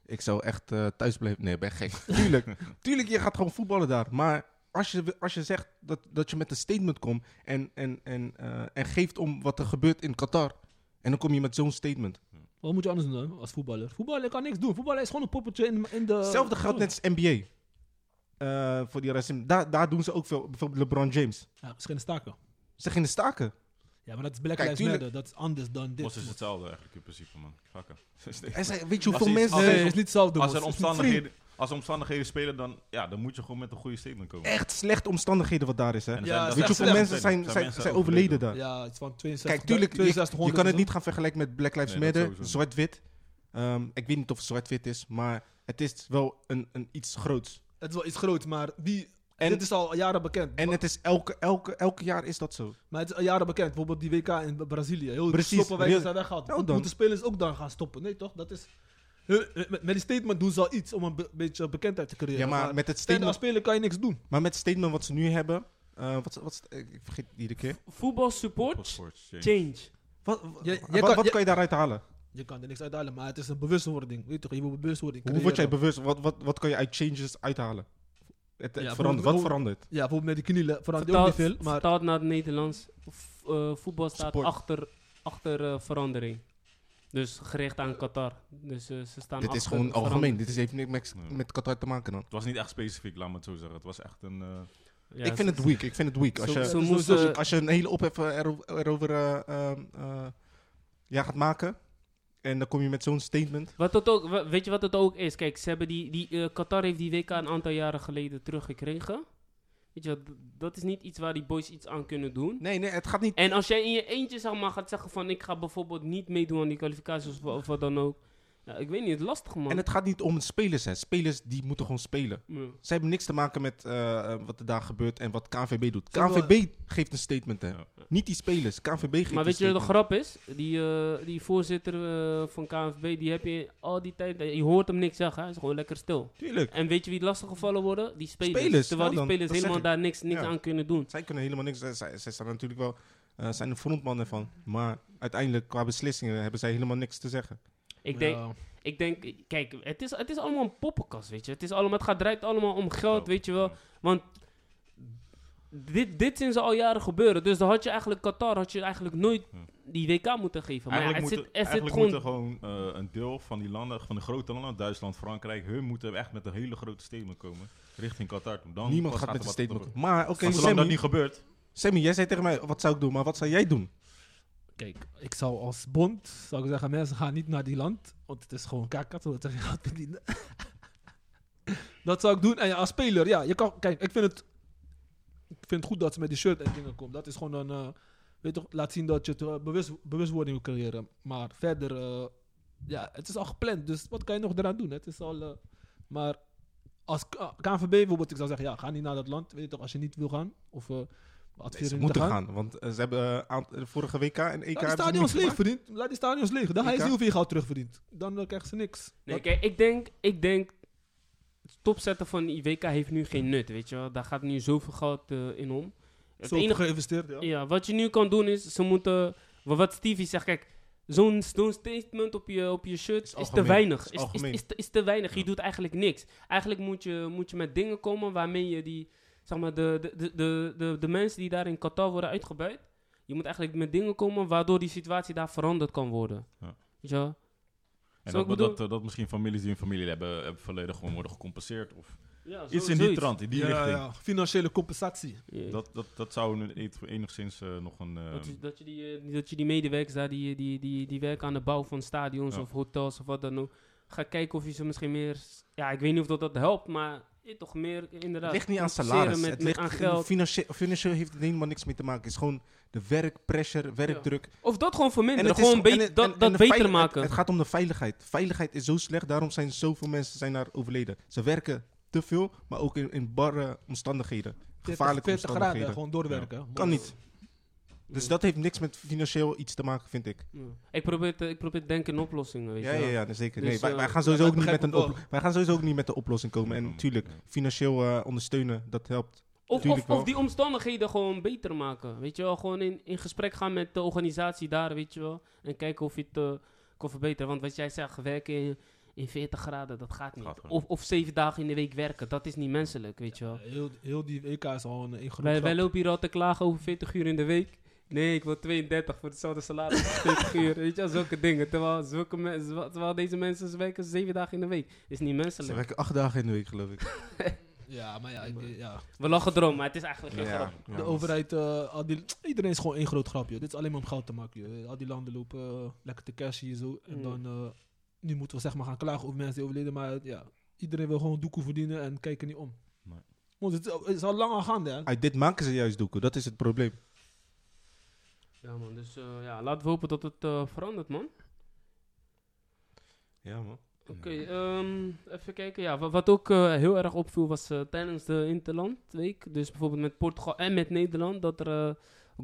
A: Ik zou echt eh, thuis blijven. Nee, ben gek. Tuurlijk. Tuurlijk, je gaat gewoon voetballen daar. Maar als je, als je zegt dat, dat je met een statement komt... En, en, en, eh, en geeft om wat er gebeurt in Qatar... En dan kom je met zo'n statement.
D: Wat moet je anders doen dan als voetballer? Voetballer kan niks doen. Voetballer is gewoon een poppetje in, in de... Oh.
A: Hetzelfde geldt
D: hmm.
A: net als NBA. Eh, voor die racisme. Daar, daar doen ze ook veel. Bijvoorbeeld LeBron James.
D: Ja, misschien staken.
A: Ze gingen staken.
D: Ja, maar dat is Black
A: Kijk,
D: Lives
A: tuurlijk-
D: Matter. Dat is anders dan dit.
B: Mos is hetzelfde eigenlijk in principe, man. Vakken.
A: Hij zei, weet je
B: Als
A: hoeveel
B: hij-
A: mensen...
B: als
D: Nee,
B: hij-
D: is niet hetzelfde.
B: Als er
D: Mos. Is niet
B: omstandigheden, als er omstandigheden spelen, dan, ja, dan moet je gewoon met een goede statement komen.
A: Echt slechte omstandigheden wat daar is, hè.
B: En er
D: Ja,
B: zijn- er
D: weet
A: Eh, weet
B: zijn
A: je hoeveel
B: slecht-
A: mensen zijn, zijn, zijn overleden daar?
D: vriend. Ja, het is van 62...
A: Kijk, tuurlijk, je, je
D: 6200
A: kan het
D: of zo.
A: niet gaan vergelijken met Black Lives
B: Nee, dat
A: Matter,
B: sowieso niet.
A: zwart-wit. Ehm, ik weet niet of het zwart-wit is, maar het is wel een, een iets groots.
D: Het is wel iets groot, maar die...
A: En-
D: dit is al jaren bekend.
A: En het is elke, elke, elke jaar is dat zo.
D: Maar het is al jaren bekend. Bijvoorbeeld die WK in Bra- Brazilië.
A: Precies,
D: Heel Precies. Sloppenwijzen
A: heel-
D: zijn weggehaald.
A: Nou dan.
D: Moeten spelers ook dan gaan stoppen? Nee, toch? Dat is... Heel- Met, met die statement doen ze al iets om een be- beetje bekendheid te creëren.
A: Ja, maar met het
D: verder als
A: statement,
D: speler kan je niks doen.
A: maar met het statement wat ze nu hebben... eh, wat, is- wat, is- ik vergeet het iedere keer.
C: Voetbal support
B: Sports, James.
C: change.
A: Wat, wat,
D: Je- je
A: wat-
D: kan-
A: wat
D: je-
A: kan je daaruit halen?
D: Je kan er niks uithalen, maar het is een bewustwording. Weet je toch, je wil bewustwording
A: Hoe word jij
D: creëren.
A: bewust? Wat, wat, wat kan je uit changes uithalen? Het, het
D: Ja,
A: verandert, wat
D: bijvoorbeeld-
A: verandert?
D: Ja, bijvoorbeeld met die knielen verandert ook
C: Vertaald,
D: niet veel, maar...
C: vertaald naar het Nederlands. v- eh, voetbal staat
A: Sport.
C: achter, achter eh, verandering. Dus gericht aan Qatar. Dus eh, ze staan
A: Dit is
C: achter
A: gewoon
C: verandering.
A: algemeen. Dit is heeft niks met,
B: Ja.
A: met Qatar te maken dan.
B: Het was niet echt specifiek, laat me het zo zeggen. Het was echt een... eh,
C: Ja,
A: ik vind
C: ze-
A: het weak. Ik vind het weak. Als
C: Zo-
A: je,
C: zo
A: als
C: moesten-
A: je- als je een hele ophef eh, ero- erover eh, ehm, eh, jij gaat maken. En dan kom je met zo'n statement.
C: Wat dat ook, wa- weet je wat het ook is? Kijk, ze hebben die, die, eh, Qatar heeft die WK een aantal jaren geleden teruggekregen. Weet je wat, dat is niet iets waar die boys iets aan kunnen doen.
A: Nee, nee, het gaat niet.
C: En als jij in je eentje zeg maar, gaat zeggen van ik ga bijvoorbeeld niet meedoen aan die kwalificaties of, wa- of wat dan ook. Ja, ik weet niet, het is lastig man.
A: En het gaat niet om het spelers, hè. Spelers die moeten gewoon spelen.
C: Ja.
A: Ze hebben niks te maken met eh, eh, wat er daar gebeurt en wat KNVB doet.
D: Ze hebben
A: KNVB geeft een statement, hè.
B: Ja.
A: Niet die spelers. KNVB geeft
C: Maar
A: een
C: weet je wat de
A: statement.
C: grap is? Die, eh, die voorzitter eh, van KNVB, die heb je al die tijd, eh, je hoort hem niks zeggen, hij is gewoon lekker stil.
A: Tuurlijk.
C: En weet je wie lastig gevallen worden? Die spelers.
A: Spelers,
C: terwijl
A: nou dan,
C: die spelers
A: dat zeg
C: helemaal
A: ik.
C: daar niks, niks
A: Ja.
C: aan kunnen doen.
A: Zij kunnen helemaal niks. Zij, zij, zij staan natuurlijk wel, eh, zijn de frontman ervan. Maar uiteindelijk, qua beslissingen, hebben zij helemaal niks te zeggen.
C: Ik denk,
D: Ja.
C: ik denk kijk, het is, het is allemaal een poppenkast, weet je. Het, is allemaal, het gaat, draait allemaal om geld, weet je wel. Want dit, dit zien ze al jaren gebeuren. Dus dan had je eigenlijk Qatar, had je eigenlijk nooit
B: Ja.
C: die WK moeten geven. Maar ja,
B: Eigenlijk,
C: het
B: moeten,
C: zit, er zit
B: eigenlijk
C: gewoon...
B: moeten gewoon eh, een deel van die landen, van de grote landen, Duitsland, Frankrijk, hun moeten echt met een hele grote statement komen richting Qatar. toe. Dan
A: Niemand
B: pas
A: gaat
B: er
A: met een
B: wat
A: statement.
B: gebeuren.
A: Maar oké,
B: Want zolang dat
A: Sammy,
B: niet gebeurt,
A: Sammy, jij zei tegen mij, wat zou ik doen? Maar wat zou jij doen?
D: Kijk, ik zou als bond zou ik zeggen, mensen gaan niet naar die land, want het is gewoon kaka, zodat ze geen geld verdienen. dat zou ik doen. En ja, als speler, ja, je kan, kijk, ik vind het, ik vind het goed dat ze met die shirt en dingen komen. Dat is gewoon een, eh, weet toch, laat zien dat je het, eh, bewust, bewustwording wil creëren. Maar verder, eh, ja, het is al gepland, dus wat kan je nog eraan doen? Het is al, eh, maar als K- KNVB bijvoorbeeld, ik zou zeggen, ja, ga niet naar dat land, weet je toch, als je niet wil gaan, of eh adviseren
A: Ze
D: niet te
A: moeten
D: gaan.
A: gaan, want eh, ze hebben eh, aant- eh, vorige WK en EK...
D: Laat die
A: hebben ze
D: stadions
A: niks
D: leeg
A: gemaakt.
D: verdient. Laat die stadions leeg. Dan ga je
A: Ik, hè?
D: ze heel veel geld terugverdiend. Dan eh, krijgen ze niks.
C: Nee,
D: Dat-
C: kijk, ik denk, ik denk, het stopzetten van die WK heeft nu geen nut, weet je wel. Daar gaat nu zoveel geld eh, in om. Het
D: zo
C: enige
D: geïnvesteerd, ja.
C: Ja, wat je nu kan doen is, ze moeten, wa- wat Stevie zegt, kijk, zo'n zo'n statement op je, op je shirt is, te
A: algemeen.
C: weinig.
A: Is
C: Is, is,
A: algemeen.
C: is te, is te weinig, je doet eigenlijk niks. Eigenlijk moet je, moet je met dingen komen waarmee je die, zeg maar, de, de, de, de, de, de mensen die daar in Qatar worden uitgebuit, je moet eigenlijk met dingen komen waardoor die situatie daar veranderd kan worden.
B: Ja.
C: Weet je wel?
B: en
C: Zo, ik
B: dat, dat,
C: bedoel-
B: dat, dat misschien families die een familie hebben, hebben volledig gewoon worden gecompenseerd. Of
C: Ja, zo-
B: iets in die
C: zoiets.
B: trant, in die
D: Ja,
B: richting.
D: ja, Financiële compensatie.
C: Ja.
B: Dat, dat, dat zou een- een- enigszins eh, nog een... eh,
C: Dat je, dat, je die, eh, dat je die medewerkers daar die, die, die, die werken aan de bouw van stadions
B: Ja.
C: of hotels of wat dan ook. Ga kijken of je ze misschien meer. s- Ja, ik weet niet of dat, dat helpt, maar eh, toch meer inderdaad.
A: Het ligt niet aan
C: compenseren
A: salaris.
C: Met,
A: het
C: met-
A: ligt
C: aan geld.
A: Financieel, financieel heeft het helemaal niks mee te maken. Het is gewoon de werkpressure, werkdruk.
C: Of dat gewoon verminderen.
A: het is-
C: Gewoon
A: en
C: be-
A: het-
C: dat,
A: en- en
C: dat
A: de
C: beter
A: veil-
C: maken.
A: Het, het gaat om de veiligheid. Veiligheid is zo slecht, daarom zijn zoveel mensen zijn daar overleden. Ze werken te veel, maar ook in, in barre omstandigheden.
D: 40,
A: Gevaarlijke
D: 40 graden,
A: omstandigheden.
D: gewoon doorwerken. Mooi.
A: Kan niet. Dus dat heeft niks met financieel iets te maken, vind ik.
C: Ja. Ik probeer, te, ik probeer te denken in oplossingen. Weet
A: Ja,
C: je wel.
A: ja, ja, nee, zeker.
C: Dus,
A: nee, wij,
C: eh,
A: wij gaan sowieso
D: ja,
A: ook niet
D: begrijp
A: met een
D: ik wel.
A: oplo- wij gaan sowieso ook niet met de oplossing komen. En
B: Ja.
A: natuurlijk, financieel eh, ondersteunen, dat helpt.
C: Of,
A: Tuurlijk
C: of, of
A: wel.
C: die omstandigheden gewoon beter maken. Weet je wel, gewoon in, in gesprek gaan met de organisatie daar, weet je wel. En kijken of je het eh, kan verbeteren. Want wat jij zegt, werken in, in 40 graden, dat gaat niet.
B: Gaat gewoon
C: of, of zeven dagen in de week werken, dat is niet menselijk, weet je wel.
D: Heel, heel die EK is al een, een groot
C: Wij, wij
D: grap.
C: lopen hier al te klagen over 40 uur in de week. Nee, ik wil 32 voor hetzelfde salaris als 40 uur. Weet je wel, zulke dingen. Terwijl, zulke men- zwa- terwijl deze mensen werken zeven dagen in de week. Is niet
A: Ze
C: menselijk.
A: werken acht dagen in de week, geloof ik.
D: Ja, maar ja, ik- ja.
C: We lachen erom, maar het is eigenlijk geen grap.
D: de overheid, eh, al die, iedereen is gewoon één groot grapje. Dit is alleen maar om goud te maken. joh. Al die landen lopen eh, lekker te cashen hier zo. En
C: Mm.
D: dan, eh, nu moeten we zeg maar gaan klagen over mensen die overleden. Maar eh, ja, iedereen wil gewoon doekoe verdienen en kijken niet om.
B: Nee.
D: Want het, is al- het is al lang aan gaande, hè.
A: Uit dit maken ze juist doeken, dat is het probleem.
C: Ja, man. Dus eh, ja, laten we hopen dat het eh, verandert, man.
A: Ja, man.
C: Oké, ehm, even kijken. Ja, wa- wat ook eh, heel erg opviel was eh, tijdens de Interlandweek. Dus bijvoorbeeld met Portugal en met Nederland. Dat er eh,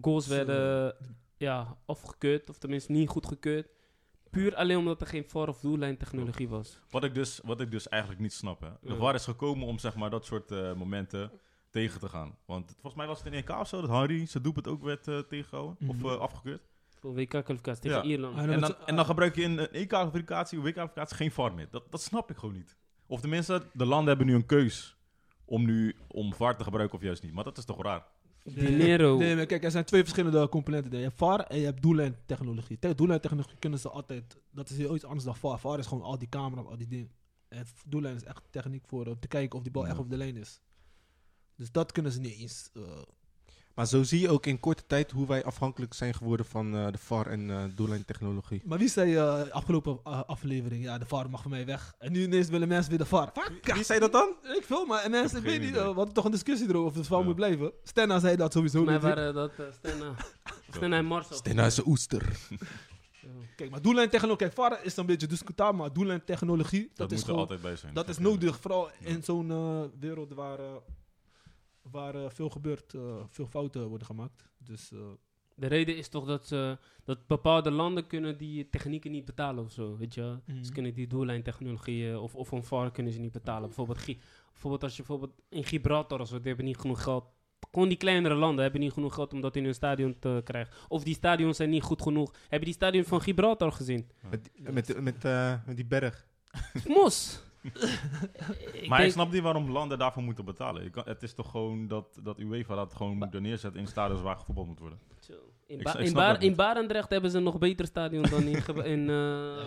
C: goals
D: Zo.
C: werden eh, ja, afgekeurd. Of tenminste niet goed gekeurd. Puur alleen omdat er geen voor- of doellijntechnologie was.
B: Wat ik, dus, wat ik dus eigenlijk niet snap, hè. De
C: Ja.
B: VAR is gekomen om zeg maar dat soort eh, momenten tegen te gaan. Want volgens mij was het in EK of zo dat Harry zijn doelpunt ook werd eh, tegengehouden
D: Mhm.
B: of eh, afgekeerd.
C: Voor WK-kwalificatie tegen
B: Ja.
C: Ierland.
D: Ah,
B: En
D: dat-
B: dan, en dan gebruik je in een EK-applicatie, WK-applicatie geen VAR meer. Dat, dat snap ik gewoon niet. Of tenminste, de landen hebben nu een keus om nu om VAR te gebruiken of juist niet. Maar dat is toch raar?
C: Dinero.
D: Nee, maar kijk, er zijn twee verschillende componenten. Je hebt VAR en je hebt doellijntechnologie. Tegen doellijntechnologie kunnen ze altijd... Dat is heel iets anders dan VAR. VAR is gewoon al die camera's, al die dingen. En doellijn is echt techniek voor eh, te kijken of die bal
B: Ja.
D: echt op de lijn is. Dus dat kunnen ze niet eens. eh,
A: Maar zo zie je ook in korte tijd hoe wij afhankelijk zijn geworden van eh, de VAR en eh doellijntechnologie.
D: Maar wie zei eh afgelopen eh, aflevering, ja, de VAR mag van mij weg. En nu ineens willen mensen weer de VAR. Fuck!
A: Wie zei dat dan?
D: Ik veel, maar mensen, ik
B: geen
D: weet niet,
B: idee.
D: eh, we hadden toch een discussie erover of het VAR
B: Ja.
D: moet blijven. Stenna zei dat sowieso
C: Volgens mij
D: niet.
C: waren dat eh, Stenna. Stenna en Marcel.
A: Stenna is een oester.
D: Kijk, maar doellijntechnologie, kijk, VAR is een beetje discutabel, maar doellijntechnologie, dat,
B: dat
D: is
B: moet er
D: gewoon,
B: altijd bij zijn.
D: dat is
B: Ja.
D: nodig. Vooral in zo'n eh, wereld waar, eh, waar eh, veel gebeurt, eh, veel fouten worden gemaakt. Dus eh,
C: De reden is toch dat, ze, dat bepaalde landen kunnen die technieken niet betalen of zo, weet je wel.
D: Mhm.
C: Ze kunnen die doellijntechnologieën of, of een VAR kunnen ze niet betalen. Bijvoorbeeld, Gi- bijvoorbeeld als je bijvoorbeeld in Gibraltar of zo, die hebben niet genoeg geld. Gewoon die kleinere landen hebben niet genoeg geld om dat in hun stadion te krijgen. Of die stadions zijn niet goed genoeg. Hebben die stadion van Gibraltar gezien?
A: Met, die- met, met, eh, met die berg.
C: Mos!
B: maar
C: denk-
B: ik snap niet waarom landen daarvoor moeten betalen. Je kan- het is toch gewoon dat, dat UEFA dat gewoon moet neerzetten in stadions waar gevoetbald moet worden.
C: Zo. In,
B: Ik
C: Ba-
B: s- ik
C: in,
B: snap
C: Ba-
B: dat
C: in
B: niet.
C: Barendrecht hebben ze een nog beter stadion dan in... Ge- in eh,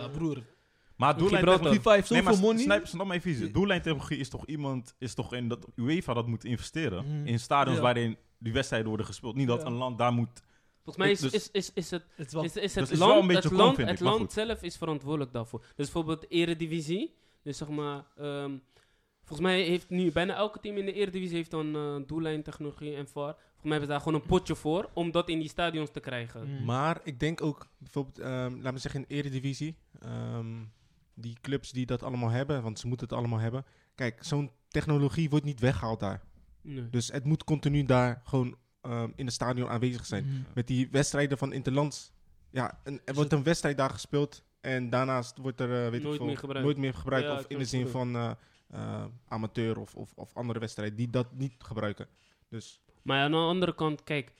D: ja, broer,
B: Maar
C: Gibraltar.
B: doellijntechnologie...
D: FIFA heeft
B: Nee,
D: zoveel
B: maar
D: money.
B: snap, snap mij vies. Doellijntechnologie is toch iemand... Is toch in dat UEFA dat moet investeren
D: Mhm.
B: in stadions
D: Ja.
B: waarin die wedstrijden worden gespeeld. Niet dat
D: Ja.
B: een land daar moet...
C: volgens mij is,
B: Dus-
C: is, is, is het
D: Het is wel-
C: Is, is
B: Dat
C: het
B: is wel
C: land,
B: een beetje
C: het
B: krom,
C: land,
B: vind ik,
C: het
B: maar
C: land
B: goed.
C: zelf is verantwoordelijk daarvoor. Dus bijvoorbeeld de Eredivisie. Dus zeg maar, ehm, volgens mij heeft nu bijna elke team in de Eredivisie heeft dan eh, doellijntechnologie en VAR. Volgens mij hebben ze daar gewoon een potje voor om dat in die stadions te krijgen.
D: Mm.
A: Maar ik denk ook, bijvoorbeeld, ehm laat me zeggen in de eredivisie, ehm, die clubs die dat allemaal hebben, want ze moeten het allemaal hebben. Kijk, zo'n technologie wordt niet weggehaald daar.
B: Mm.
C: Nee.
A: Dus het moet continu daar gewoon ehm, in het stadion aanwezig zijn.
D: Mhm.
A: Met die wedstrijden van Interlands. Ja, en er wordt een wedstrijd daar gespeeld en daarnaast wordt er, eh, weet ik
C: Nooit
A: veel,
C: meer gebruikt.
A: nooit meer gebruikt.
C: Ja, ik
A: of in
C: snap
A: de
C: wat
A: zin
C: je
A: van eh, eh, amateur of, of, of andere wedstrijden die dat niet gebruiken. Dus
C: Maar aan de andere kant, kijk,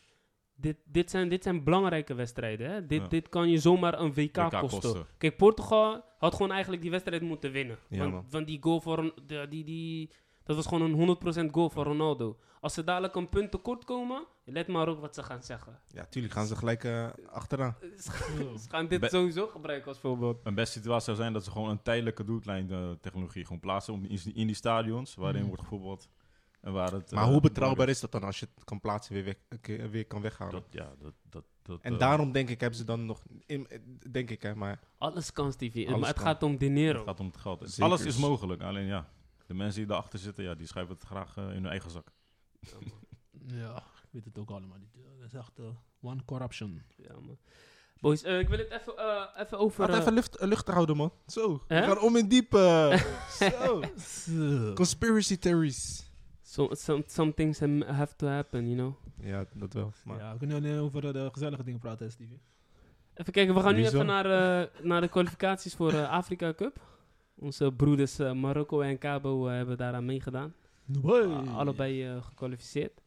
C: dit, dit, zijn, dit zijn belangrijke wedstrijden. Hè? Dit,
B: Ja.
C: dit kan je zomaar een WK,
B: WK
C: kosten.
B: kosten.
C: Kijk, Portugal had gewoon eigenlijk die wedstrijd moeten winnen.
A: Ja, man.
C: want, want die goal voor de, die, die, dat was gewoon een 100% goal voor Ronaldo. Als ze dadelijk een punt tekort komen, let maar op wat ze gaan zeggen.
A: ja, tuurlijk gaan ze gelijk eh, achteraan.
C: Ze gaan- ze gaan dit
B: Be-
C: sowieso gebruiken als voorbeeld.
B: Een beste situatie zou zijn dat ze gewoon een tijdelijke doellijntechnologie gewoon plaatsen om in, in die stadions waarin
D: Mhm.
B: wordt gevoetbald. En waar het,
A: Maar
B: eh,
A: hoe betrouwbaar
B: waar
A: is dat dan als je het kan plaatsen weer, weg, een keer- weer kan
B: het-
A: weghalen?
B: dat? Ja, dat, dat, dat,
A: en
B: eh,
A: daarom denk ik hebben ze dan nog, in- eh, denk ik hè, maar
C: Alles kan, Stevie.
A: Alles
C: maar het
A: kan.
C: gaat om
B: het
C: dinero.
B: gaat om het geld.
A: Zeker.
B: Alles is mogelijk, alleen ja. De mensen die daarachter zitten, ja, die schrijven het graag eh, in hun eigen zak.
D: Ja, ik weet het ook allemaal niet. Ja, Dat is echt eh, one corruption.
C: Ja, man. Boys, eh, ik wil het even, eh, even over...
A: laat
C: eh,
A: even lucht, lucht houden man. Zo,
C: Hè?
A: we gaan om in diep. eh. Zo.
D: Zo.
A: Conspiracy theories.
C: so- some, some things hem- have to happen, you know.
A: Ja, dat wel. Maar
D: Ja, we kunnen alleen over eh, de gezellige dingen praten, hè, Stevie.
C: Even kijken, we gaan nu
A: Wie zo?
C: even naar, eh, naar de kwalificaties voor eh, Afrika Cup. Onze broeders eh, Marokko en Cabo eh, hebben daaraan meegedaan.
D: Hey.
C: Eh, allebei eh, gekwalificeerd.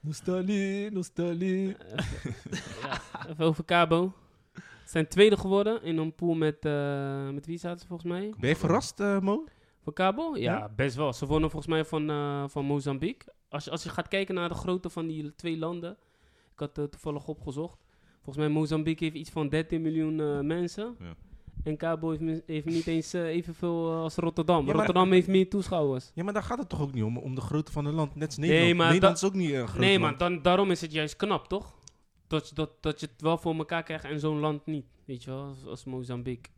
D: Nostalgie, nostalgie.
C: Eh, even, ja, even over Cabo. Ze zijn tweede geworden in een pool met, eh, met wie zaten ze volgens mij?
A: ben je verrast, eh, Mo?
C: Voor Cabo? Ja,
A: Ja.
C: best wel. Ze wonnen volgens mij van, eh, van Mozambique. Als je, als je gaat kijken naar de grootte van die twee landen. Ik had het toevallig opgezocht. Volgens mij Mozambique heeft iets van 13 miljoen eh, mensen.
B: Ja.
C: En Cabo heeft, mis- heeft niet eens eh, evenveel eh, als Rotterdam.
A: maar-
C: Rotterdam heeft meer toeschouwers.
A: Ja, maar daar gaat het toch ook niet om, om de grootte van een land. Net als Nederland.
C: Nee, maar
A: Nederland is ook niet een groot
C: Nee,
A: land.
C: maar dan, daarom is het juist knap, toch? Dat, je- dat, dat je het wel voor elkaar krijgt en zo'n land niet. Weet je wel, als, als Mozambique.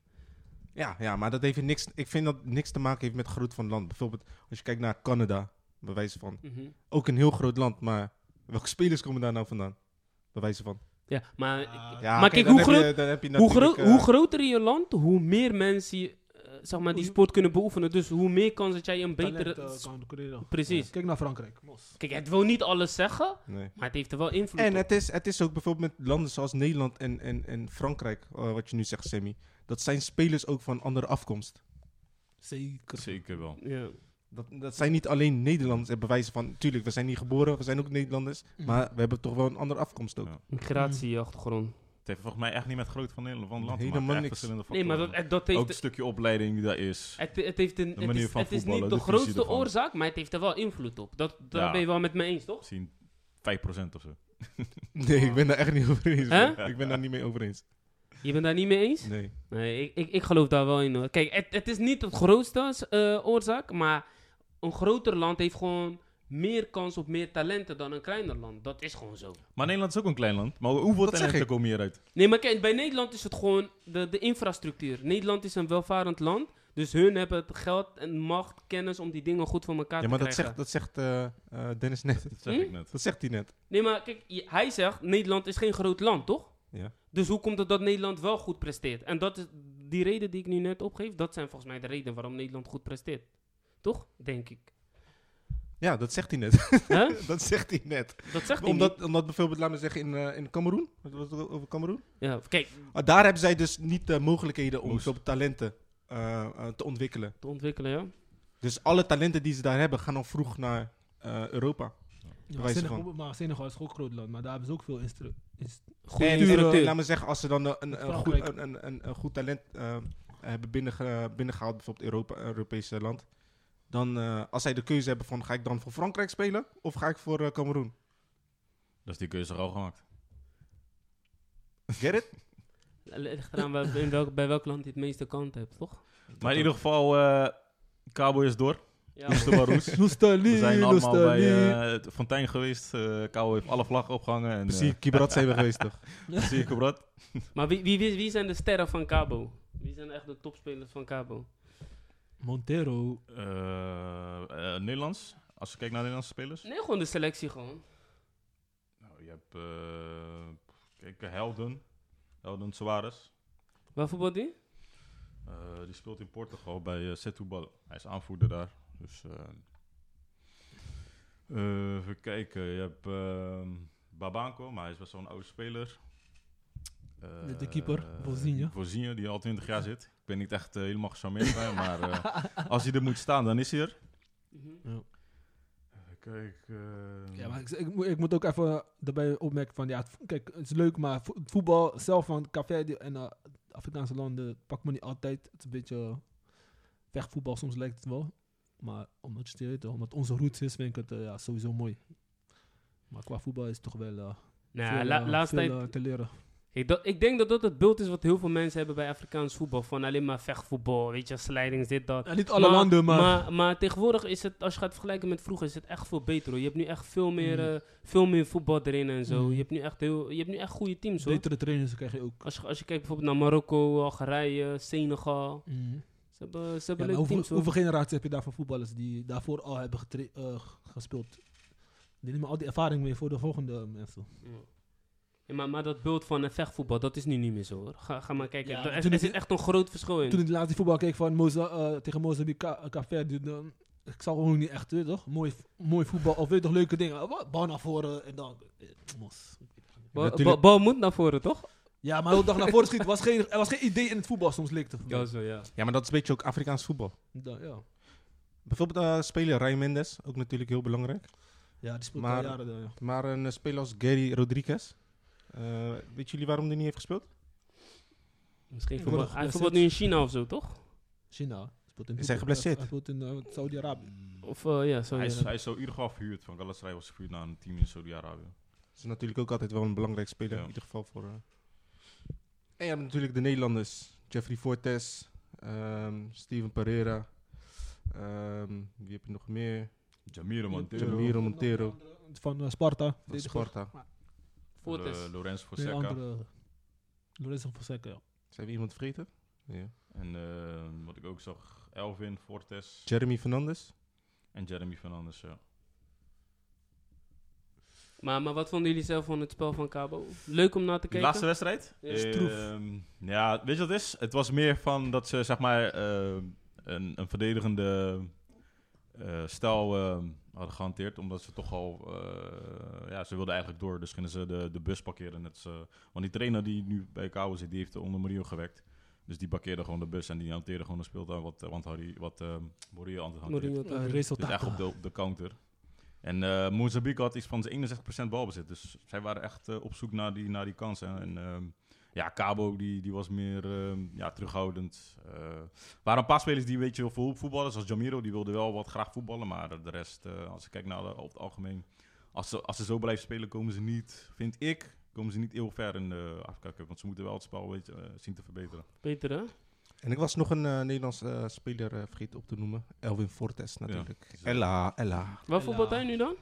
A: Ja, ja, maar dat heeft niks, ik vind dat niks te maken heeft met de grootte van het land. Bijvoorbeeld als je kijkt naar Canada, bij wijze van.
C: Mhm.
A: Ook een heel groot land, maar welke spelers komen daar nou vandaan? Bij wijze van.
C: Ja,
D: Eh,
C: maar
D: Ah,
A: Ja,
C: Maar
A: oké,
C: kijk,
A: dan
C: hoe
A: heb je-
C: groot-
A: dan heb je
C: hoe,
A: natuurlijk,
C: gro-
A: eh,
C: hoe groter je land, hoe meer mensen eh, zeg maar, die
D: Hoe-
C: sport kunnen beoefenen. Dus hoe meer kans dat jij een betere...
D: Talent, eh, kan creëren.
C: Precies.
D: Ja, Kijk naar Frankrijk. Mos.
C: Kijk, het wil niet alles zeggen,
A: eh, nee.
C: maar het heeft er wel invloed
A: En
C: op.
A: het is, het is ook bijvoorbeeld met landen zoals Nederland en, en, en Frankrijk, eh, wat je nu zegt, Sammy. Dat zijn spelers ook van andere afkomst.
D: Zeker.
B: Zeker wel.
C: Ja.
A: Dat, dat zijn niet alleen Nederlanders en bewijzen van... Tuurlijk, we zijn niet geboren, we zijn ook Nederlanders.
C: Mhm.
A: Maar we hebben toch wel een andere afkomst ook.
B: Ja.
C: Migratieachtergrond.
B: Het heeft volgens mij echt niet met groot van Nederland van het land. te
A: Helemaal
B: maken. Echt
A: niks.
B: verschillende
C: Nee, maar dat,
B: factoren.
C: het- dat
B: Ook het
C: heeft...
B: stukje opleiding die daar is.
C: Het, het, heeft een, het,
B: manier
C: is,
B: van
C: het is
B: voetballen,
C: niet de
B: de visie
C: grootste
B: ervan.
C: oorzaak, maar het heeft er wel invloed op. Dat, daar
B: Ja.
C: ben je wel met me eens, toch?
B: Misschien 5% of zo.
A: Nee, ik ben daar echt niet over eens.
C: Hè?
A: man. Ik ben daar niet mee over eens.
C: Je bent daar niet mee eens?
A: Nee.
C: Nee, ik, ik, ik geloof daar wel in. Hoor. Kijk, het, het is niet het grootste eh, oorzaak, maar een groter land heeft gewoon meer kans op meer talenten dan een kleiner land. Dat is gewoon zo.
B: Maar Nederland is ook een klein land. Maar hoeveel
A: Dat zeg
B: talenten
A: ik.
B: komen hieruit?
C: Nee, maar kijk, bij Nederland is het gewoon de, de infrastructuur. Nederland is een welvarend land. Dus hun hebben het geld en macht, kennis om die dingen goed voor elkaar
A: Ja,
C: te
A: maar dat
C: krijgen.
A: zegt, dat zegt eh, eh, Dennis net.
B: Dat zeg
C: Hm?
B: ik net.
A: Dat zegt hij net.
C: Nee, maar kijk, je- hij zegt Nederland is geen groot land, toch?
A: Ja.
C: Dus hoe komt het dat Nederland wel goed presteert? En dat is die reden die ik nu net opgeef, dat zijn volgens mij de redenen waarom Nederland goed presteert. Toch? Denk ik.
A: Ja, dat zegt hij net.
C: Hè?
A: dat zegt hij net.
C: Dat zegt hij niet.
A: Omdat, omdat bijvoorbeeld, laten we zeggen, in, eh, in Cameroen. Wat was het over Cameroen?
C: Ja, kijk,
A: Ah, daar hebben zij dus niet de mogelijkheden om
B: Moes.
A: zo'n talenten eh, eh, te ontwikkelen.
C: te ontwikkelen, ja.
A: Dus alle talenten die ze daar hebben, gaan al vroeg naar eh, Europa.
D: Ja,
A: Wijze
D: Senegal- maar Senegal is ook een groot land, maar daar hebben ze ook veel instru- inst-
C: Goede
A: en
C: directeur.
A: en, laat me zeggen, als ze dan een, een, een goed,
D: Frankrijk.
A: een, een, een, een goed talent eh, hebben binnenge- binnengehaald, bijvoorbeeld Europa, een Europese land. Dan, eh, als zij de keuze hebben van, ga ik dan voor Frankrijk spelen of ga ik voor eh, Cameroen?
B: Dus die keuze is er al gemaakt.
A: Get it?
C: Ligt eraan wel- in welk, bij welk land je het meeste kant hebt, toch?
B: Maar in ieder geval, eh Cabo is door.
C: Ja,
B: Is de Baroes.
D: Nostalgie,
B: We zijn allemaal bij
D: nostalgie.
B: eh, het fontein geweest. eh Cabo heeft alle vlaggen opgehangen. En, eh,
A: Precies, Kibrat zijn we geweest toch?
B: Zie ik op dat.
C: Maar wie, wie, wie, wie zijn de sterren van Cabo? Wie zijn echt de topspelers van Cabo?
D: Montero.
B: Eh, eh, Nederlands. Als je kijkt naar Nederlandse spelers.
C: Nee, gewoon de selectie gewoon.
B: Nou, je hebt... eh, kijk, Helden. Helden Suarez.
C: Waar voetbalt die?
B: Eh, die speelt in Portugal bij eh, Setúbal. Hij is aanvoerder daar. Dus... eh, eh, even kijken. Je hebt ehm, Babanco, maar hij is best wel zo'n oude speler. Eh,
D: De- de keeper,
B: eh,
D: Vozinho.
B: Vozinho, die al 20 jaar zit. Ik ben niet echt eh, helemaal gecharmeerd bij hem, maar eh, als hij er moet staan, dan is hij er.
D: Mhm.
B: Even kijken. eh,
D: Ja, maar ik, ik, moet- ik moet ook even erbij opmerken van, ja, het vo- kijk, het is leuk, maar vo- het voetbal zelf van Café die- en eh, Afrikaanse landen pakt me niet altijd. Het is een beetje eh, wegvoetbal, soms lijkt het wel. Maar omdat, je, het weet, eh, omdat het onze roots is, vind ik het eh, ja, sowieso mooi. Maar qua voetbal is het toch wel eh
C: Nou,
D: veel,
C: la,
D: eh,
C: laatste
D: veel,
C: tijd
D: eh, te leren.
C: Kijk, dat, ik denk dat dat het beeld is wat heel veel mensen hebben bij Afrikaans voetbal. Van alleen maar vechtvoetbal, weet je, slidings, dit, dat.
D: Ja, niet alle
C: Maar-
D: landen, maar,
C: Maar, maar tegenwoordig is het, als je gaat vergelijken met vroeger, is het echt veel beter hoor. Je hebt nu echt veel meer,
D: Mm.
C: eh, veel meer voetbal erin en zo.
D: Mm.
C: Je, hebt nu echt heel, je hebt nu echt goede teams hoor.
D: betere trainers krijg je ook.
C: Als je, als je kijkt bijvoorbeeld naar Marokko, Algerije, Senegal. Ze hebben, ze
D: Ja,
C: hebben
D: maar
C: leuke
D: hoeveel,
C: teams hoor.
D: hoeveel generaties heb je daarvan voetballers die daarvoor al hebben getra- eh, g- gespeeld? Die nemen al die ervaring mee voor de volgende eh, mensen.
C: Ja, maar, maar dat beeld van eh, vechtvoetbal, dat is nu niet meer zo hoor. Ga, ga maar kijken.
D: Ja,
C: Er- er,
D: toen
C: er
D: ik-
C: zit echt een groot verschil in.
D: Toen ik de laatste voetbal keek van Moza, eh, tegen Mozambique Ka- eh, Café, die- dan- ik zag gewoon niet echt, weet je toch? Mooi, mooi voetbal, of weet je toch, leuke dingen. Eh, wat? Bal naar voren en dan... eh, mos.
C: Bal,
A: natuurlijk-
C: bal- bal moet naar voren toch?
D: Ja, maar heel de dag naar voren schieten, was geen, er was geen idee in het voetbal soms leek het. Ja,
C: zo ja.
A: Ja, maar dat is een beetje ook Afrikaans voetbal.
D: ja.
A: Bijvoorbeeld eh speler Ray Mendes, ook natuurlijk heel belangrijk.
D: ja, die speelt
A: Maar-
D: al jaren daar, ja.
A: Maar een eh, speler als Gary Rodriguez. eh weet jullie waarom die niet heeft gespeeld?
C: Misschien
D: Ja,
C: voetbal.
D: maar
C: Hij
D: dat
C: voetbalt
D: zit-
C: nu in China of zo, toch?
D: China. Speelt in
A: Is hij
D: Dubai,
A: geblesseerd?
D: Hij speelt in eh, Saudi-Arabië.
C: Of eh, ja, zo.
B: hij, is,
C: ja.
B: hij is zo in ieder geval verhuurd. Van Galatasaray was verhuurd naar een team in Saudi-Arabië.
A: Dat is natuurlijk ook altijd wel een belangrijk speler.
B: Ja.
A: In ieder geval voor. eh. En je hebt natuurlijk de Nederlanders. Jeffrey Fortes, ehm, Steven Pereira. ehm, wie heb je nog meer?
B: Jamiro Montero.
A: Jamiro Montero
D: Van eh, Sparta.
A: van
D: verdediger.
A: Sparta.
C: Fortes.
B: Lo- eh, Lorenzo
D: Nee,
B: Fonseca.
D: andere. Lorenzo Fonseca, ja.
A: Zijn we iemand vergeten? Ja.
B: En eh, wat ik ook zag, Elvin, Fortes
A: Jeremy Fernandes.
B: en Jeremy Fernandes. Ja.
C: Maar, maar wat vonden jullie zelf van het spel van Cabo? Leuk om naar te
B: Die
C: kijken.
B: laatste wedstrijd?
C: Ja.
D: Stroef.
B: Ehm, ja, weet je wat het is? Het was meer van dat ze zeg maar ehm, een, een verdedigende eh stijl ehm, hadden gehanteerd. Omdat ze toch al, eh, ja, ze wilden eigenlijk door. Dus gingen ze de, de bus parkeren. Net zo- want die trainer die nu bij Kouwen zit, die heeft onder Mourinho gewerkt. Dus die parkeerde gewoon de bus en die hanteerde gewoon de speeltuin. Wat, eh, want Harry, wat ehm Mourinho altijd hanteert.
C: Mourinho
D: Eh,
C: toch?
B: Dus
D: resultaten.
B: echt op de, op de counter. En eh Mozambique had iets van zijn 61% balbezit. Dus zij waren echt eh, op zoek naar die, naar die kansen. En ehm, ja, Cabo die, die was meer ehm, ja, terughoudend. Eh, er waren een paar spelers die een beetje voor voetballen. Zoals Jamiro, die wilde wel wat graag voetballen. Maar de rest, eh, als ik kijk naar de, op het algemeen... Als ze, als ze zo blijven spelen, komen ze niet, vind ik... Komen ze niet heel ver in de Afrika Cup. Want ze moeten wel het spel weet, zien eh, te verbeteren.
C: Beter hè?
A: En ik was nog een eh Nederlands eh, speler eh, vergeten op te noemen. Elwin Fortes natuurlijk. Ella, Ella.
C: Waar
D: Ja.
C: voetbalt hij nu dan?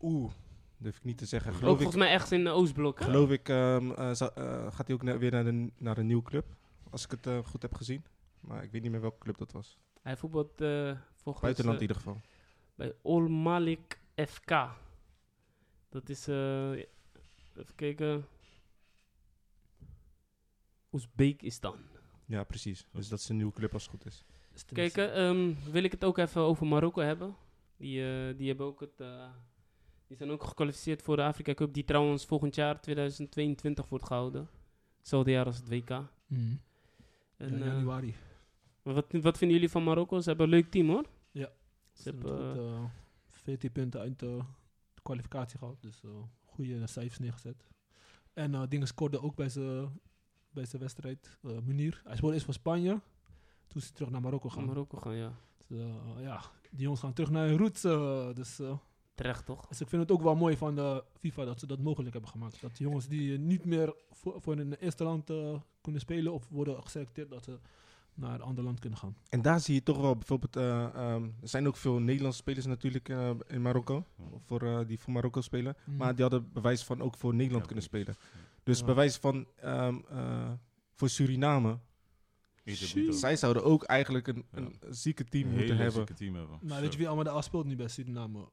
A: Oeh, durf ik niet te zeggen.
C: Ook
A: Geloof ik,
C: volgens mij echt in de Oostblok. hè?
A: geloof ik ehm, eh, za- eh, gaat hij ook na- weer naar een, naar een nieuwe club. Als ik het eh, goed heb gezien. Maar ik weet niet meer welke club dat was.
C: Hij voetbalt eh volgens
A: Buitenland in
C: eh,
A: ieder geval.
C: bij Ol Malik FK. Dat is, eh, even kijken. Oezbekistan.
A: Ja, precies. Dus dat is een nieuwe club als het goed is.
C: Kijken, ehm, wil ik het ook even over Marokko hebben. Die, eh, die hebben ook het. eh, die zijn ook gekwalificeerd voor de Afrika Cup, die trouwens volgend jaar 2022 wordt gehouden. Hetzelfde jaar als het WK. En,
D: Mm. Ja,
C: eh,
D: januari.
C: wat, wat vinden jullie van Marokko? Ze hebben een leuk team hoor.
D: Ja.
C: Ze
D: Ze
C: hebben,
D: hebben
C: eh,
D: goed, eh, 14 punten uit de, de kwalificatie gehad. Dus eh, goede cijfers neergezet. En eh, dingen scoorde ook bij zijn bij zijn wedstrijd. eh Munir. Hij scoorde eerst voor Spanje. Toen is hij terug naar Marokko
C: van
D: gegaan.
C: Marokko gaan, ja.
D: Dus, eh, ja, die jongens gaan terug naar hun roots. eh, dus, eh,
C: Terecht toch?
D: dus ik vind het ook wel mooi van de FIFA dat ze dat mogelijk hebben gemaakt. Dat die jongens die eh, niet meer voor, voor hun eerste land eh, kunnen spelen of worden geselecteerd, dat ze naar een ander land kunnen gaan.
A: En daar zie je toch wel bijvoorbeeld. eh, ehm, er zijn ook veel Nederlandse spelers natuurlijk eh, in Marokko. Voor, eh, die voor Marokko spelen. Maar die hadden bewijs van ook voor Nederland
B: Ja,
A: kunnen spelen.
B: precies.
A: Dus
D: Mm. Ja.
A: bewijs van ehm, eh, voor Suriname.
B: Egypte moet ook
A: Zij zouden ook eigenlijk een,
B: Ja.
A: een zieke
B: een
A: team
B: hele
A: moeten hebben.
B: zieke team hebben.
D: Maar
B: Zo.
D: weet je wie allemaal daar afspeelt nu bij Suriname?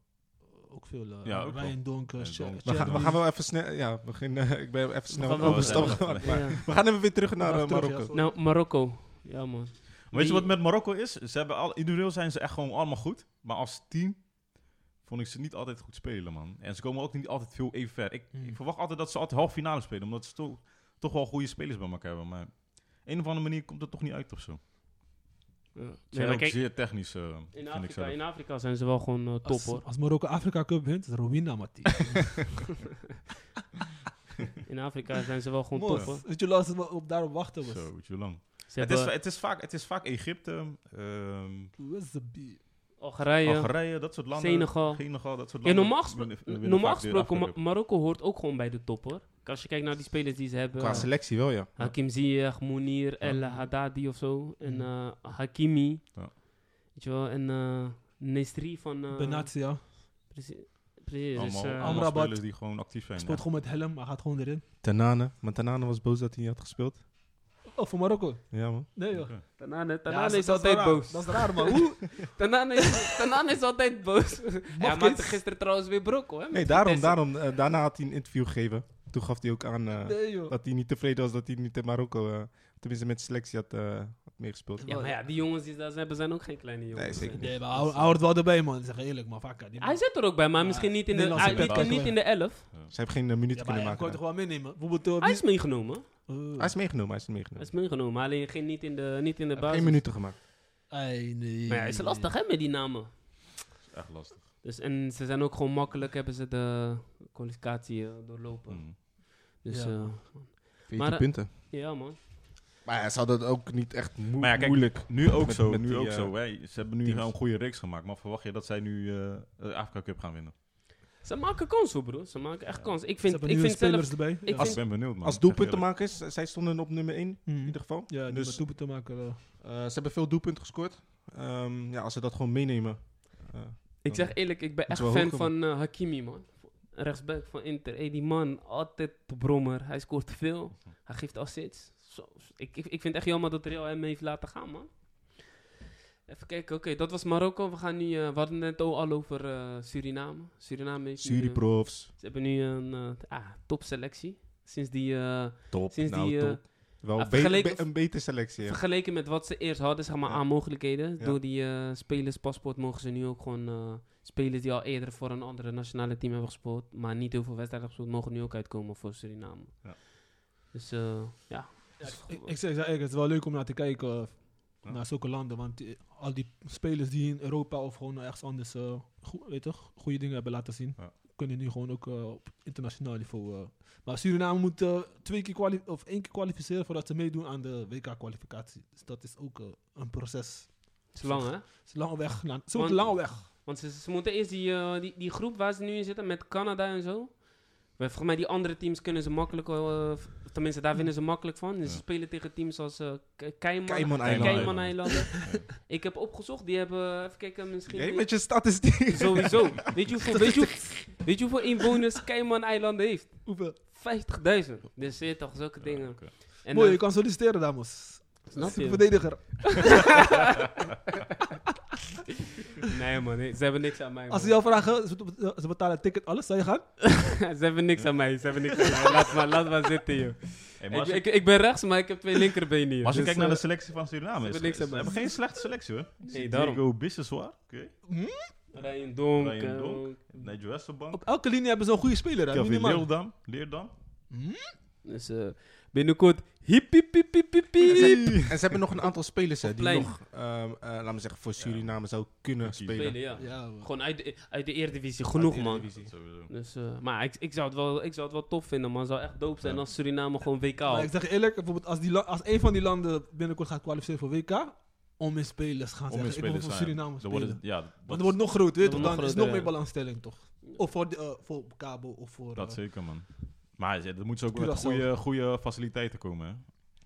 D: Ook veel. eh,
B: Ja, ook wel.
D: Ryan Donker,
B: Ryan Donker.
A: We gaan, we gaan wel even snel. Ja, we gaan, eh, ik ben even snel
C: gaan
A: op
C: wel
A: een
C: weer-
A: stap
B: ja.
A: gemaakt.
C: Ja,
A: Maar
C: ja.
A: We gaan even weer terug naar
D: Dag
A: eh,
D: terug, ja,
A: Marokko.
D: sorry.
C: Nou, Marokko. Ja, man.
B: Maar Weet je
C: Wie-
B: wat met Marokko is? Ze hebben al, individueel zijn ze echt gewoon allemaal goed. Maar als team vond ik ze niet altijd goed spelen, man. En ze komen ook niet altijd veel even ver. Ik,
D: Hmm.
B: ik verwacht altijd dat ze altijd half finale spelen. Omdat ze toch, toch wel goede spelers bij elkaar hebben. Maar op een of andere manier komt het toch niet uit of zo. Ze
C: Ja. Nee,
B: zijn
C: maar
B: ook
C: kijk,
B: zeer technisch, eh,
C: in
B: vind ik
C: Afrika,
B: zelf.
C: in Afrika zijn ze wel gewoon eh, top
D: als,
C: hoor.
D: Als Marokko Afrika Cup wint, is Rowena Mathieu.
C: In Afrika zijn ze wel gewoon
D: Mooi.
C: top hoor.
D: Dat je laatst wel op daarop wachten was.
B: Zo, hoe lang.
C: Ze
B: Het is,
C: hebben
B: het, is vaak, het is vaak Egypte, ehm,
D: Where's the bee?
C: Algerije.
B: Algerije, dat soort landen.
C: Senegal.
B: Senegal, dat soort
C: Ja,
B: landen.
C: normaal gespro-
B: winnen- winnen
C: normaal
B: vaak de
C: gesproken,
B: Afrika
C: Ma- Marokko hoort ook gewoon bij de top hoor. Als je kijkt naar die spelers die ze hebben. eh,
A: Qua selectie wel, ja.
C: Hakim Ziyech, Mounir, El Haddadi of zo. En eh, Hakimi.
B: Ja.
C: Weet je wel, en eh Nestri van... eh,
D: Benatia.
C: Precies. precies,
B: Cup.
C: dus,
B: Allemaal,
C: eh,
B: allemaal
D: Amrabat.
B: spelers die gewoon actief zijn.
D: Speelt gewoon met helm, hij gaat gewoon erin.
A: Tanane. Maar Tanane was boos dat hij niet had gespeeld.
D: Oh, voor Marokko?
A: Ja, man.
D: Nee
B: Ja.
D: joh.
B: Oké.
C: Tanane,
D: Ja,
C: Tanane
D: dat-
C: is
D: dat
C: altijd
D: raar.
C: boos.
D: Dat is raar man. Hoe?
C: Tanane is, Tanane is altijd boos. Hij maakte gisteren trouwens weer brok hoor. met
A: Nee, daarom,
C: Vitesse.
A: daarom. eh, daarna had hij een interview gegeven. Toen gaf hij ook aan eh,
D: Nee joh.
A: dat hij niet tevreden was dat hij niet in Marokko, eh, tenminste met selectie, had, eh, had meegespeeld.
C: Ja, maar ja, die jongens die ze daar zijn, hebben zijn ook geen kleine jongens.
A: Nee, zeker niet.
D: Nee, maar hou- hou het wel erbij man. Zeg eerlijk man, vaak.
C: Hij zit er ook bij, maar
D: Ja,
C: misschien niet in de,
D: Nederlandse
C: hij, hij kan
B: ploeg.
C: niet in de 11.
A: Ze hebben geen eh, minuut
D: Ja, maar
A: kunnen
D: hij
A: maken.
D: kan toch wel meenemen. Bijvoorbeeld, eh,
C: Hij
D: wie-
C: is meegenomen.
D: Eh,
A: Hij is meegenomen, hij is
C: Hij
A: meegenomen.
C: is meegenomen, alleen geen, niet in de, niet in
A: Hij
C: de
A: heeft
C: basis.
A: geen minuten gemaakt.
D: ei, nee.
C: Maar ja, is lastig hè, met die namen.
B: Dat is echt lastig.
C: Dus, en ze zijn ook gewoon makkelijk, hebben ze de kwalificatie eh, doorlopen.
B: Mm.
C: Dus
D: Ja.
C: ja.
A: 14
C: Maar, eh,
A: punten.
C: ja man.
A: Maar ja, ze hadden het ook niet echt moe-
B: Maar ja, kijk,
A: moeilijk.
B: Nu ook
A: Met-
B: zo,
A: met
B: nu
A: die,
B: ook
A: eh,
B: zo. Hè. Ze hebben nu
A: teams.
B: wel een goede reeks gemaakt, maar verwacht je dat zij nu eh, de Afrika Cup gaan winnen?
C: Ze maken kans hoor broer, ze maken echt kans. Ik
D: Ze
C: vind,
D: hebben
C: ik
D: nieuwe
C: vind zelf...
D: spelers erbij.
C: ik
D: Ja.
B: Ik
C: vind-
B: ben benieuwd, man.
A: Als
B: Zeg eerlijk.
A: doelpuntenmakers, eh, zij stonden op nummer 1 in
D: Mm.
A: ieder geval.
D: Ja, dus
A: dus
D: doepen te maken. eh.
A: eh, ze hebben veel doelpunten gescoord. Ehm, ja, als ze dat gewoon meenemen. eh,
C: Ik zeg eerlijk, ik ben
A: Moet
C: echt
A: ze wel
C: fan
A: hoog komen.
C: van eh, Hakimi, man. Rechtsback van Inter. Hey, die man, altijd de brommer. Hij scoort veel. Hij geeft assists. Zo, ik, ik, ik vind het echt jammer dat Real hem heeft laten gaan, man. Even kijken, oké, dat was Marokko. We gaan nu, eh, we hadden het al over eh, Suriname. Suriname heeft nu, eh,
A: Suriprofs,
C: ze hebben nu een eh, ah, topselectie. Sinds die, eh,
A: top.
C: sinds
A: nou,
C: die eh,
A: top. Wel be-
C: ah, vergeleken-
A: be- een betere selectie. ja.
C: vergeleken met wat ze eerst hadden, zeg maar,
A: Ja.
C: aan mogelijkheden.
A: Ja.
C: Door die eh, spelerspaspoort mogen ze nu ook gewoon eh, spelers die al eerder voor een andere nationale team hebben gespeeld, maar niet heel veel wedstrijden hebben gespeeld, mogen nu ook uitkomen voor Suriname.
B: Ja.
C: Dus eh, ja.
D: Ja,
C: Dus
D: ik-
C: goed.
D: ik, ik zeg ik zeg eerlijk, het is wel leuk om naar te kijken eh,
B: Ja.
D: naar zulke landen. Want die- al die spelers die in Europa of gewoon ergens anders eh, goe- weet toch, goede dingen hebben laten zien,
B: Ja.
D: kunnen nu gewoon ook eh, op internationaal niveau. eh. Maar Suriname moet eh, twee keer kwali- of één keer kwalificeren voordat ze meedoen aan de WK-kwalificatie. Dus dat is ook eh, een proces.
C: Het is lang hè?
D: Het is lang weg. nou, Het is ook
C: Want-
D: lang weg.
C: Want ze, ze moeten eerst die, eh, die, die groep waar ze nu in zitten met Canada en zo. Maar Volgens mij die andere teams kunnen ze makkelijk, eh, v- tenminste
A: Hm.
C: daar winnen ze makkelijk van. Dus Ze
B: Ja.
C: spelen tegen teams als eh Ke- Keiman,
A: Cayman-eilanden.
C: Cayman-eilanden. Ik heb opgezocht, die hebben, even kijken, misschien...
A: Jij met je statistiek.
C: Sowieso. Weet je hoeveel, weet je, hoe- weet je hoeveel inwoners Cayman-eilanden heeft?
D: Hoeveel?
C: 50.000. Dus zie je toch, zulke dingen.
B: eh, oké.
C: En
D: Mooi,
C: dan-
D: je kan solliciteren, dames.
C: snap je?
D: Verdediger.
C: Nee man, nee, ze hebben niks aan mij.
D: Als ze
C: man.
D: jou vragen, ze ze betalen het ticket, alles, zou je gaan?
C: ze hebben niks aan mij, ze hebben niks aan mij. Laat maar, laat maar zitten joh.
B: Hey, maar
C: Ik,
B: als je-
C: ik, ik ben rechts, maar ik heb twee linkerbenen hier.
B: maar als je
C: dus,
B: kijkt naar de
C: eh,
B: selectie van Suriname,
C: hebben
B: is,
C: niks
B: ze
C: aan mij.
B: hebben geen slechte selectie hoor. Ik zie
C: daarom.
B: Diego Biseswar, oké.
C: Ryan Donk.
B: Ryan
C: eh,
B: Donk. Nigel Westerbank,
D: Op elke linie hebben ze een goede speler, hè?
B: Kelvin
D: minimaal.
B: Leerdam, Leerdam.
C: Dus eh, binnenkort. Hiep, hiep, hiep, hiep, hiep,
A: En
C: hiep.
A: ze, en ze hebben nog een aantal spelers hè, die
C: Plein.
A: nog, ehm eh laten we zeggen, voor Suriname zou kunnen
B: Kiezen.
A: spelen.
C: Spelen, ja.
D: Ja, man.
C: Gewoon uit de, uit de Eredivisie, genoeg
A: Uit de
C: man.
A: Eredivisie.
B: Sowieso.
C: Dus, eh, maar ik, ik, zou het wel, ik zou het wel tof vinden man. Het zou echt doop zijn als Suriname gewoon WK
D: Maar
C: had.
D: ik zeg je eerlijk, bijvoorbeeld als, die la- als een van die landen binnenkort gaat kwalificeren voor WK, om in spelers gaan ze
B: Om in
D: zeggen, ik wil
B: spelers
D: voor
B: zijn.
D: Suriname
B: Dan
D: spelen.
B: wordt het, ja,
D: Want
B: dat,
D: het wordt nog groot, weet je
C: Dan
D: toch?
C: wordt
D: Dan
C: nog
D: is
C: groter,
D: nog meer
C: ja.
D: belangstelling, toch? Of voor, de, eh, voor Cabo, of voor...
B: dat
D: eh,
B: zeker man. Maar ja, dat moet ze ook met
D: Curaçao.
B: goede, goede faciliteiten komen hè.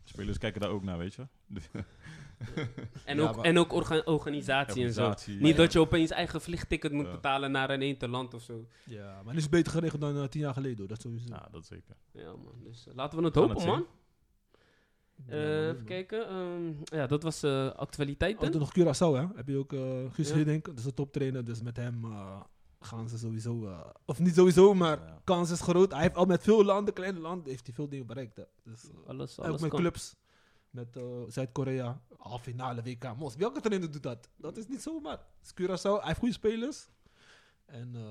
B: Spelers kijken daar ook naar, weet je.
C: En,
A: Ja,
C: ook,
A: maar-
C: en ook orga- organisatie en zo.
B: Organisatie.
C: Niet dat je opeens eigen vliegticket moet
B: Ja.
C: betalen naar een interland of zo.
D: Ja, maar het is beter geregeld dan eh, tien jaar geleden, hoor. Dat sowieso.
C: Nou.
B: Ja, Nou, dat zeker.
C: Ja man, dus eh, laten we het
B: Gaan
C: hopen
B: het zien.
C: man. Eh, even kijken. ehm, ja, dat was eh
D: Oh,
C: actualiteiten.
D: toen nog Curaçao, hè? Heb je ook eh Guus
C: Ja.
D: Hiddink, dat is een toptrainer, dus met hem eh, gaan ze sowieso... eh, of niet sowieso, maar
B: Ja.
D: kans is groot. Hij heeft al met veel landen, kleine landen, heeft hij veel dingen bereikt. Hè. Dus, eh,
C: Alles,
D: ook
C: alles
D: met
C: kan.
D: clubs. Met eh, Zuid-Korea, halve finale WK. Mos, welke trainer doet dat? Dat is niet zomaar. Het is Curaçao, hij heeft goede spelers. En eh,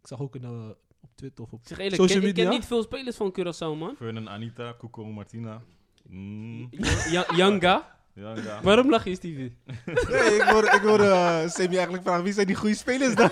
D: ik zag ook in, eh, op Twitter of op
C: Ik zeg eerlijk, ik
D: social
C: ken, ik ken
D: media.
C: niet veel spelers van Curaçao man.
B: Vernon, Anita, Kuko, Martina. Mm,
C: Ja- Ja- Yanga.
B: ja, ja.
C: Waarom lach je Stevie?
A: Nee, ik hoor, ik hoor eh, Sammy eigenlijk vragen, wie zijn die goede spelers dan?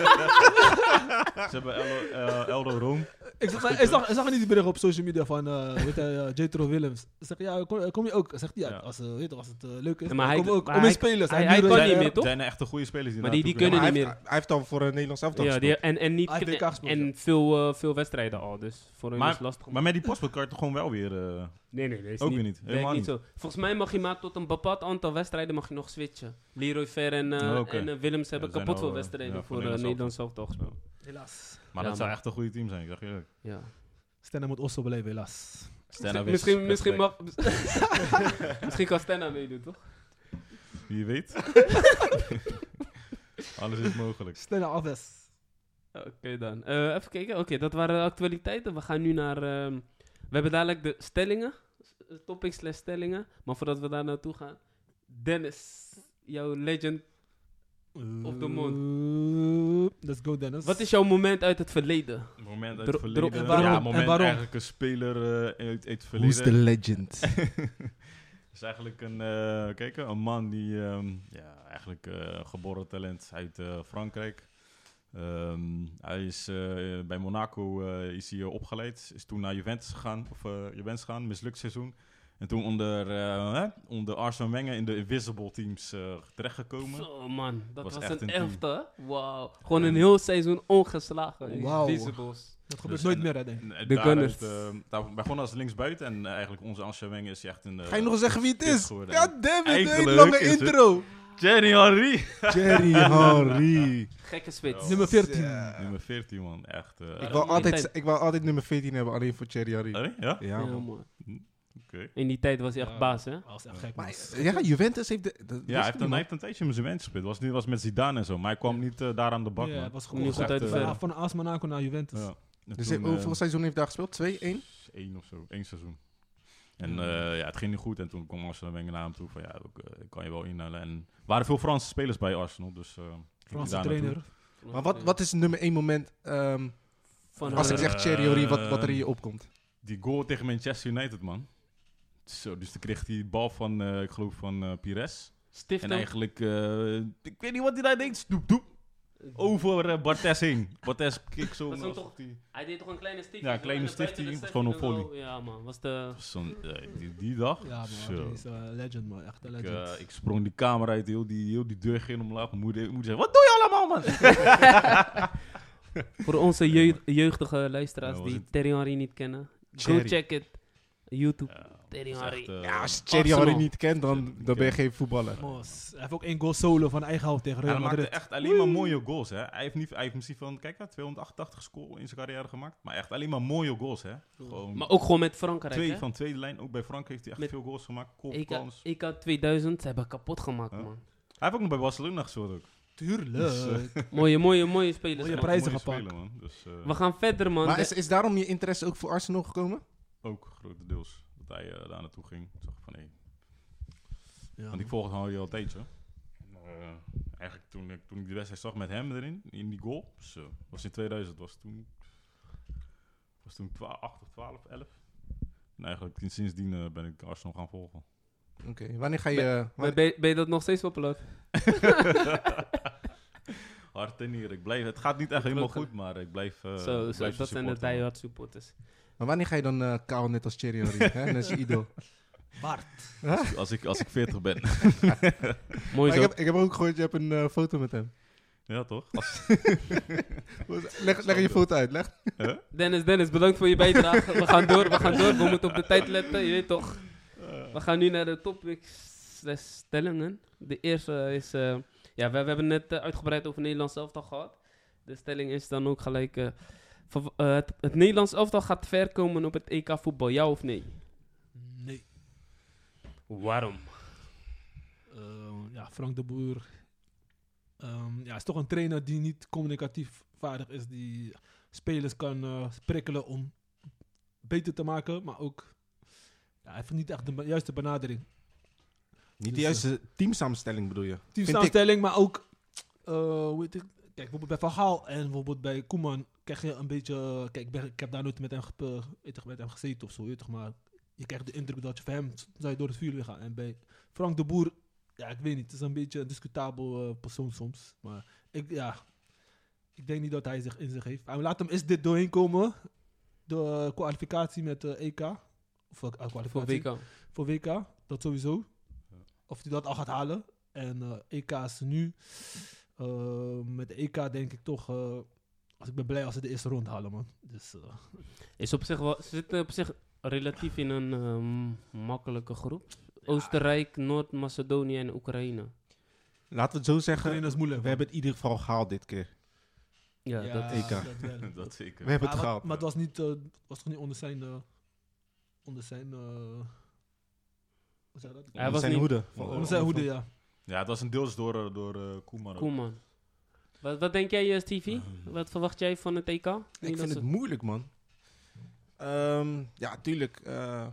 B: Ze hebben Eldo, eh, Eldo Room.
D: Ik zag, maar, ik, zag, ik zag niet die bericht op social media van eh weet hij, eh, Jetro Willems. Ik Zeg ja, kom, kom je ook? Zegt hij, ja,
B: Ja.
D: als, eh, weet je, als het eh, leuk is,
C: Ja,
D: dan
C: maar hij-
D: kom ook.
C: maar
D: om in
C: hij-
D: spelers.
C: hij-
D: heeft nu
C: hij kan
D: een-
C: niet meer, toch?
B: zijn er echt de goede spelers die
C: Maar die-
B: naartoe
C: die
B: komen.
A: hij,
C: niet
A: heeft,
C: meer.
A: hij heeft al voor eh, Nederlands elftal
C: Ja, die,
A: gespeeld.
C: en, en, niet,
D: Hij heeft WK
C: en,
D: gespeeld, ja.
C: veel, eh, veel wedstrijden al, dus voor hem is
B: Maar-
C: het lastig. om-
B: Maar met die paspoort kan je toch gewoon wel weer... eh,
C: nee, nee, nee. is
B: ook
C: niet,
B: weer niet.
C: werkt
B: Helemaal
C: niet
B: niet.
C: zo. Volgens mij mag je maar tot een bepaald aantal wedstrijden mag je nog switchen. Leroy Ver en, eh,
B: Oh, oké.
C: en eh, Willems hebben
B: Ja, er zijn
C: kapot
B: al,
C: veel
B: eh,
C: wedstrijden
B: ja, voor
C: voor eh, Nederland
B: Nederland
C: zelf toch gespeeld.
D: Helaas.
B: Maar
C: Ja,
B: dat zou
C: man.
B: echt een goede team zijn, ik zeg je eerlijk.
C: Ja.
D: Stenna moet Osso blijven, helaas.
B: Stenna wist-
C: misschien,
B: best
C: misschien,
B: gelijk.
C: mag, misschien kan Stenna meedoen, toch?
B: Wie weet. Alles is mogelijk.
D: Stenna Alves.
C: Oké dan. Eh, even kijken. Oké, dat waren de actualiteiten. We gaan nu naar... ehm, we hebben dadelijk de stellingen. S- eh, Topics slash stellingen. Maar voordat we daar naartoe gaan... Dennis, jouw legend. Op de
D: mond. Eh, Let's go, Dennis.
C: Wat is jouw moment uit het verleden?
B: Moment uit
C: Dro-
B: het verleden.
C: dro- en
D: waarom?
B: Ja,
D: En
B: moment
D: waarom?
B: eigenlijk een speler eh, uit, uit het
A: Who's the
B: verleden.
A: legend?
B: is eigenlijk een, eh, kijk, een man die, ehm, ja, eigenlijk eh, geboren talent uit eh, Frankrijk. Ehm, hij is eh, bij Monaco eh, is hij eh, opgeleid, is toen naar Juventus gegaan, of eh, Juventus gegaan, mislukt seizoen. En toen onder, eh, hè, onder Arsene Wenger in de Invisible teams eh, terechtgekomen.
C: Zo man, dat was,
B: Was echt
C: een
B: een team.
C: elfte. hè? Wauw. Gewoon een heel seizoen ongeslagen.
D: Wauw.
C: Invisibles.
D: Dat gebeurt
B: Dus
D: nooit
B: en-
D: meer, hè, denk ik.
B: En
C: De
B: daaruit,
C: Gunners.
B: eh, daar begon als linksbuiten en eh, eigenlijk onze Arsene Wenger is hij echt een... eh,
A: Ga je nog zeggen wie het
B: dit
A: is?
B: geworden.
A: God damn it,
B: Eigenlijk
A: een lange
B: is het-
A: intro.
B: Thierry Henry!
A: Jerry Henry.
C: Gekke spits.
D: Nummer 14.
B: Nummer 14 man, echt. eh,
A: Ik
C: wil
A: wou, altijd,
C: tijd.
A: ik wou altijd nummer 14 hebben, alleen voor Thierry Henry.
B: Henry, ja? Hm,
A: Ja,
C: Ja,
A: man.
C: man.
B: Oké.
C: In die tijd was hij echt
D: Ja.
C: baas, hè?
D: Als Oh, echt gek,
A: Maar eh,
D: man.
A: ja, Juventus heeft... De, dat
B: Ja, hij
A: wist ik
B: heeft, een, hij
A: niet,
B: heeft een tijdje met zijn wens gespeeld. Was, niet, was met Zidane en zo, maar hij kwam niet eh, daar aan de bak.
D: Ja,
B: man.
D: het was
C: Niet
D: gewoon
C: goed uit eh, de
D: Van-
C: verf.
D: Van AS Monaco naar Juventus.
B: Ja. En
A: man. Dus
B: toen,
A: hij- hoeveel
B: eh,
A: seizoenen heeft hij daar gespeeld? Twee, één?
B: één of zo, één seizoen. En eh, ja, het ging niet goed. En toen kwam Arsenal Wenger naar hem toe van ja, ik, eh, ik kan je wel inhalen. En er waren veel Franse spelers bij Arsenal, dus... eh, ging hij
D: Franse
B: daar naartoe.
D: trainer.
B: eh,
A: Maar wat, wat is nummer één moment ehm,
C: Van eh,
A: als ik
C: Harden.
A: zeg Thierry Henry, wat, wat er in je opkomt?
B: Die goal tegen Manchester United, man. Zo, dus toen kreeg hij bal van, eh, ik geloof, van eh, Pires.
C: Stift
B: En
C: hem.
B: eigenlijk, eh, ik weet niet wat hij daar deed. Doep, doep. Over eh, Bartes heen. Bartes keek zo.
C: Was hem
B: alsof
C: toch-
B: die-
C: Hij deed toch een kleine stift?
B: Ja, een kleine stift, die was gewoon een volley.
C: Ja, man. Was de...
B: Zo'n- eh, die, die dag.
D: Ja, man.
B: zo.
D: Hij is een legend, man. Echt een
B: Ik,
D: legend.
B: eh, ik sprong die kamer uit, heel die, heel die deur ging omlaag. Mijn moeder, moeder zei, wat doe je allemaal, man?
C: Voor onze jeugd- jeugdige luisteraars
B: Ja, was
C: die
B: het-
C: Terry Henry niet kennen. Go
A: Thierry.
C: check it. YouTube.
B: Ja,
C: Thierry
B: dat is echt,
C: Henry.
B: eh,
A: Ja, als je Thierry
C: Arsenal.
A: Henry niet kent, dan, dan ben je geen voetballer.
D: Mos, hij heeft ook één goal solo van eigen hoofd tegen
B: hij
D: Real
B: maakte
D: Madrid.
B: echt alleen maar mooie goals, hè. Hij heeft, niet, hij heeft misschien van, kijk, hè, 288 score in zijn carrière gemaakt. Maar echt alleen maar mooie goals, hè. Gewoon
C: Maar ook gewoon met Frankrijk.
B: twee
C: hè? E
B: van tweede lijn. Ook bij Frank heeft hij echt
C: Met- eh,
B: veel goals gemaakt. Kop,
C: EK,
B: kans.
C: EK 2000, ze hebben kapot gemaakt,
B: Ja.
C: man.
B: Hij heeft ook nog bij Barcelona gespeeld ook. Dus,
D: Tuurlijk.
B: eh,
C: Mooie, mooie, mooie spelers.
D: Mooie
C: man.
D: prijzen
B: Mooie
D: gepakt.
B: speler, man. Dus eh,
C: We gaan verder, man.
A: Maar is, is daarom je interesse ook voor Arsenal gekomen?
B: ook grotendeels dat hij eh, daar naartoe ging. Ik zag van, hé,
D: Ja,
B: Want ik volgde Harry al een tijdje. Maar, eh, eigenlijk toen ik, toen ik de wedstrijd zag met hem erin, in die goal. Zo, was in 2000, was toen, was toen 12, 8 of 12, 11. En eigenlijk sindsdien eh, ben ik Arsenal gaan volgen.
A: Oké, wanneer ga je... eh,
C: Maar
A: wanneer-
C: ben, ben je dat nog steeds wel plat?
B: Eh, Hart en nieren. Ik blijf, het gaat niet echt helemaal
C: Vertrokken.
B: goed, maar ik blijf. eh,
C: zo,
B: ik blijf
C: zo, dat zijn de
B: supporter, man.
C: diehard supporters.
A: maar wanneer ga je dan eh kaal net als Thierry Henry, hè? Net als je idool?
D: Bart.
B: Als ik, als ik 40 ben.
C: Mooi
A: Maar
C: zo.
A: ik, heb, ik heb ook gehoord, je hebt een eh, foto met hem.
B: ja, toch? Als,
A: Leg, leg je foto uit, leg.
C: Dennis, Dennis, bedankt voor je bijdrage. we gaan door, we gaan door. We moeten op de tijd letten, je weet toch.
B: Eh.
C: We gaan nu naar de topics slash stellingen. De eerste is... eh, ja, we, we hebben net eh, uitgebreid over Nederlands elftal gehad. De stelling is dan ook gelijk... eh, ver- eh, het, het Nederlands elftal gaat ver komen op het EK voetbal, ja of nee?
D: Nee.
C: Waarom?
D: Ehm, ja, Frank de Boer. Ehm, ja, is toch een trainer die niet communicatief vaardig is. Die spelers kan eh, prikkelen om beter te maken. Maar ook, ja, hij heeft niet echt de be- juiste benadering.
A: Niet de
D: Dus,
A: juiste teamsamenstelling bedoel je?
D: Teamsamenstelling, maar ook... eh, hoe heet het? Kijk, bijvoorbeeld bij Van Gaal en bijvoorbeeld bij Koeman krijg je een beetje... eh, Kijk, ik, ben- ik heb daar nooit met hem, gep- eh, weet je, met hem gezeten of zo, weet je, maar je krijgt de indruk dat je van hem zou je door het vuur willen gaan. En bij Frank de Boer, ja, ik weet niet, het is een beetje een discutabel eh, persoon soms. Maar ik, ja, ik denk niet dat hij zich in zich heeft. Maar laat hem eens dit doorheen komen, de eh, kwalificatie met eh, EK. Of eh, kwalificatie
C: Voor WK.
D: voor WK, dat sowieso.
B: Ja.
D: Of hij dat al gaat halen. En eh, EK is nu. eh, met de EK denk ik toch. eh, als ik ben blij als ze de eerste rond halen, man. Dus, eh,
C: Is op zich wel, ze zitten op zich relatief in een ehm, makkelijke groep. Oostenrijk, Noord-Macedonië en Oekraïne.
A: Laten we het zo zeggen,
D: Oekraïne is moeilijk.
A: we hebben het in ieder geval gehaald dit keer.
C: Ja,
D: Ja,
C: dat is...
A: EK.
D: wel.
B: dat zeker.
A: We hebben
D: maar,
A: het
D: wat-
A: gehaald.
D: maar het was, niet, eh, was toch niet onder zijn. eh, onder zijn. eh, hoe zei dat?
C: Hij was
A: zijn
C: niet- Oh,
A: hoede.
B: Onder
D: onder zijn hoede, ja.
B: Ja, het was een deels door, eh, door eh, Koeman. ook.
C: Koeman. Wat, wat denk jij, eh, Stevie? Wat verwacht jij van het EK?
A: Ik vind het moeilijk, man. Ehm, ja, tuurlijk. eh,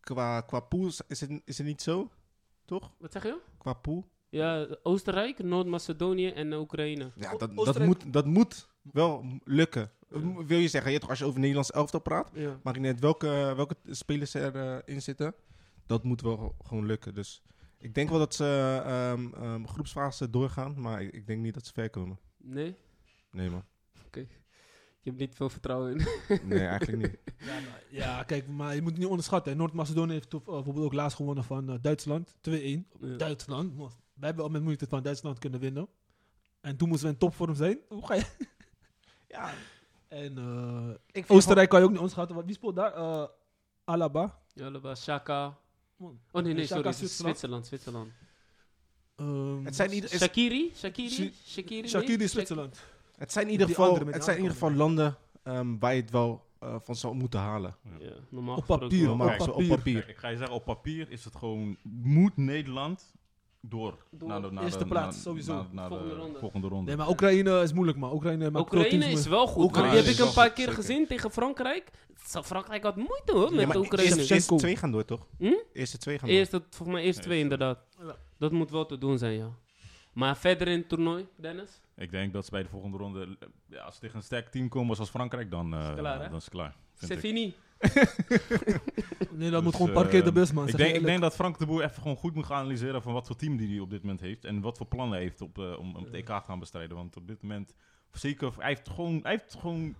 A: qua, qua pool is het, is het niet zo, toch?
C: Wat zeg je?
A: Qua pool.
C: Ja, Oostenrijk, Noord-Macedonië en eh, Oekraïne.
A: Ja,
D: O-
A: dat, dat,
D: Oostenrijk-
A: moet, dat moet wel m- lukken. M- Wil je zeggen, je hebt toch, als je over Nederlands elftal praat,
C: Ja.
A: maar ik net welke, welke t- spelers erin in zitten, dat moet wel ge- gewoon lukken. Dus ik denk wel dat ze ehm, ehm, groepsfase doorgaan, maar ik, ik denk niet dat ze ver komen.
C: Nee?
A: Nee, man.
C: Je hebt niet veel vertrouwen in.
A: Nee, eigenlijk niet.
D: Ja, maar- ja, kijk, maar je moet het niet onderschatten. hè. Noord-Macedonië heeft tof- eh, bijvoorbeeld ook laatst gewonnen van eh, Duitsland. 2-1.
C: Ja.
D: Duitsland. want Wij hebben al met moeite van Duitsland kunnen winnen. En toen moesten we in topvorm zijn. Hoe ga je?
A: Ja,
D: En eh,
A: ik vind
D: Oostenrijk kan je ook niet onderschatten. want Wie speelt daar? Eh, Alaba.
C: Ja, Alaba, Shaka. Oh
D: Man.
C: nee, nee,
D: Shaka,
C: sorry. Zwitserland,
D: Zwitserland.
C: Zwitserland.
D: Ehm,
A: gewoon- het, zijn in ieder, is-
C: Shakiri? Shakiri?
D: Shi-
C: Shakiri?
D: Shakiri
C: nee?
D: Zwitserland.
A: het zijn in ieder
D: Die
A: geval,
D: andere met
A: het
D: de
A: zijn in ieder geval landen ehm, waar je het wel eh, van zou moeten halen.
C: Ja, normaal
D: Op
C: gesproken
D: papier,
C: wel.
A: Normaal
B: Kijk,
A: zo op
D: papier.
B: Kijk,
A: papier.
B: ik ga je zeggen, op papier is het gewoon... Moet Nederland door?
C: Door.
D: Eerste plaats, sowieso.
B: Naar, naar
C: Volgende
B: de
C: ronde.
B: volgende ronde.
D: Nee, maar Oekraïne is moeilijk, man. Oekraïne maakt
C: Oekraïne
D: veel teams
C: is
D: mee.
C: wel goed.
A: Oekraïne
C: man. Die heb
B: is
C: ik een
B: wel
C: paar
B: goed,
C: keer
B: zeker.
C: gezien tegen Frankrijk. Zo, Frankrijk had moeite hoor met
A: Ja, maar
C: Oekraïne.
A: eerst- Eerste twee gaan door, toch?
C: Hm?
A: Eerste twee gaan door.
C: Eerst, dat- volgens mij eerst twee inderdaad.
D: Ja.
C: Dat moet wel te doen zijn, ja. Maar verder in het toernooi, Dennis?
B: Ik denk dat ze bij de volgende ronde... eh, Ja, als ze tegen een sterk team komen als Frankrijk, dan eh,
C: het klaar, hè?
B: dan is het klaar. vind ik.
C: Sefini.
D: Nee, dat moet
B: Dus,
D: gewoon parkeer de
B: eh,
D: bus, man.
B: Ik
D: Zeg
B: denk,
D: je
B: ik
D: eerlijk.
B: denk dat Frank de Boer even gewoon goed moet gaan analyseren van wat voor team die hij op dit moment heeft. En wat voor plannen hij heeft op, eh, om, om het EK te gaan bestrijden. Want op dit moment, zeker, hij heeft gewoon... Hij heeft gewoon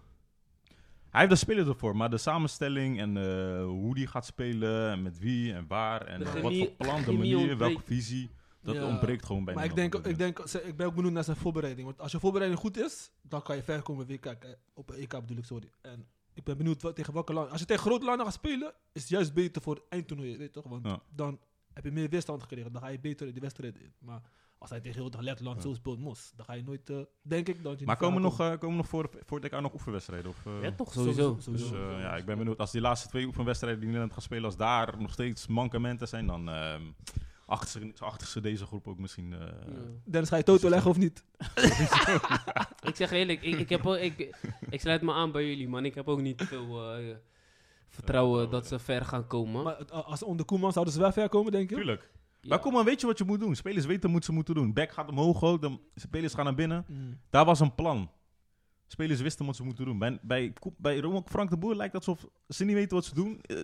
B: hij heeft de spelers ervoor, maar de samenstelling en eh, hoe die gaat spelen, en met wie en waar, en
C: De
B: eh, wat
C: chemie-
B: voor plan, de
C: chemie
B: manier, welke
C: ontbreekt.
B: visie. Dat
D: Ja.
B: ontbreekt gewoon bij
D: Maar ik denk,
B: Nederland op
D: ik,
B: dit
D: denk, ze- ik ben ook benieuwd naar zijn voorbereiding. Want als je voorbereiding goed is, dan kan je ver komen bij WK. eh, Op EK bedoel ik, sorry. En ik ben benieuwd wat, tegen welke landen. Als je tegen grote landen gaat spelen, is het juist beter voor het eindtoernooi, weet je toch? Want
B: Ja.
D: dan heb je meer weerstand gekregen. Dan ga je beter in de wedstrijd in. Maar als hij tegen heel de Letland
B: Ja.
D: zo speelt, mos, dan ga je nooit, eh, denk ik, dat je
B: moment. Maar
D: niet ver
B: komen
D: gaat
B: nog, eh, komen nog voor, voor het EK nog oefenwedstrijden? Of, eh,
C: Ja, toch
D: komen.
C: sowieso.
B: Dus eh, ja, ik ben benieuwd. Als die laatste twee oefenwedstrijden die Nederland gaat spelen, als daar nog steeds mankementen zijn, dan ehm achter, ze, achter ze deze groep ook misschien. eh,
C: Ja.
D: Dennis, ga je
B: Dus-
D: Toto leggen of niet?
C: Ik zeg eerlijk, ik, ik, heb ook, ik, ik sluit me aan bij jullie, man. Ik heb ook niet veel eh, vertrouwen dat ze ver gaan komen.
D: Maar het- eh, als onder Koeman zouden ze wel ver komen, denk je?
B: Tuurlijk.
C: Ja.
B: Maar kom maar, weet je wat je moet doen? Spelers weten wat ze moeten doen. Back gaat omhoog ook, dan, spelers gaan naar binnen.
D: Mm.
B: Daar was een plan. Spelers wisten wat ze moeten doen. Bij, bij, Koep- bij Roman Frank de Boer lijkt dat alsof ze niet weten wat ze doen. Eh,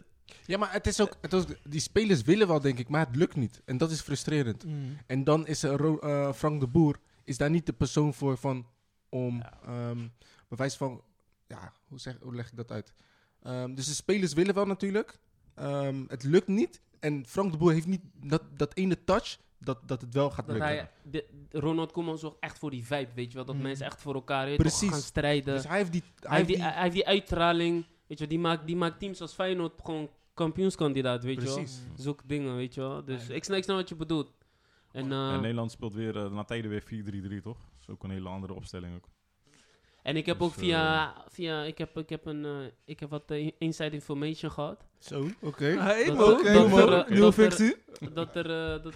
A: Ja, maar het is ook, het is- die spelers willen wel, denk ik, maar het lukt niet. En dat is frustrerend.
D: Mm.
A: En dan is er Ro- eh, Frank de Boer is daar niet de persoon voor van om ehm, bewijs van. Ja, hoe, zeg, hoe leg ik dat uit? Ehm, dus de spelers willen wel natuurlijk. Ehm, het lukt niet. En Frank de Boer heeft niet dat, dat ene touch dat, dat het wel gaat
C: dat
A: lukken.
C: hij, de, Ronald Koeman zorgt echt voor die vibe, weet je wel. Dat
D: Mm.
C: mensen echt voor elkaar weet je toch,
A: Precies.
C: gaan strijden.
A: dus hij heeft die. Hij
C: hij, heeft die,
A: heeft die-
C: hij heeft die uitstraling, weet je wel. Die maakt, die maakt teams als Feyenoord gewoon kampioenskandidaat, weet je wel.
A: precies.
C: Zulke dingen, weet je wel. Dus
D: Ja.
C: ik snap, ik snap wat je bedoelt. En, eh,
B: en Nederland speelt weer eh, na tijden weer 4-3-3, toch? Dat is ook een hele andere opstelling. Ook.
C: en ik heb
B: Dus,
C: ook via, via ik, heb, ik, heb een, eh, ik heb wat eh, inside information gehad.
A: Zo, oké.
D: Hey,
C: Dat-
D: man,
C: dat-
D: oké,
B: dat-
D: man.
B: dat-
D: Nieuwe
C: dat-
D: fictie.
C: Dat er, eh, dat,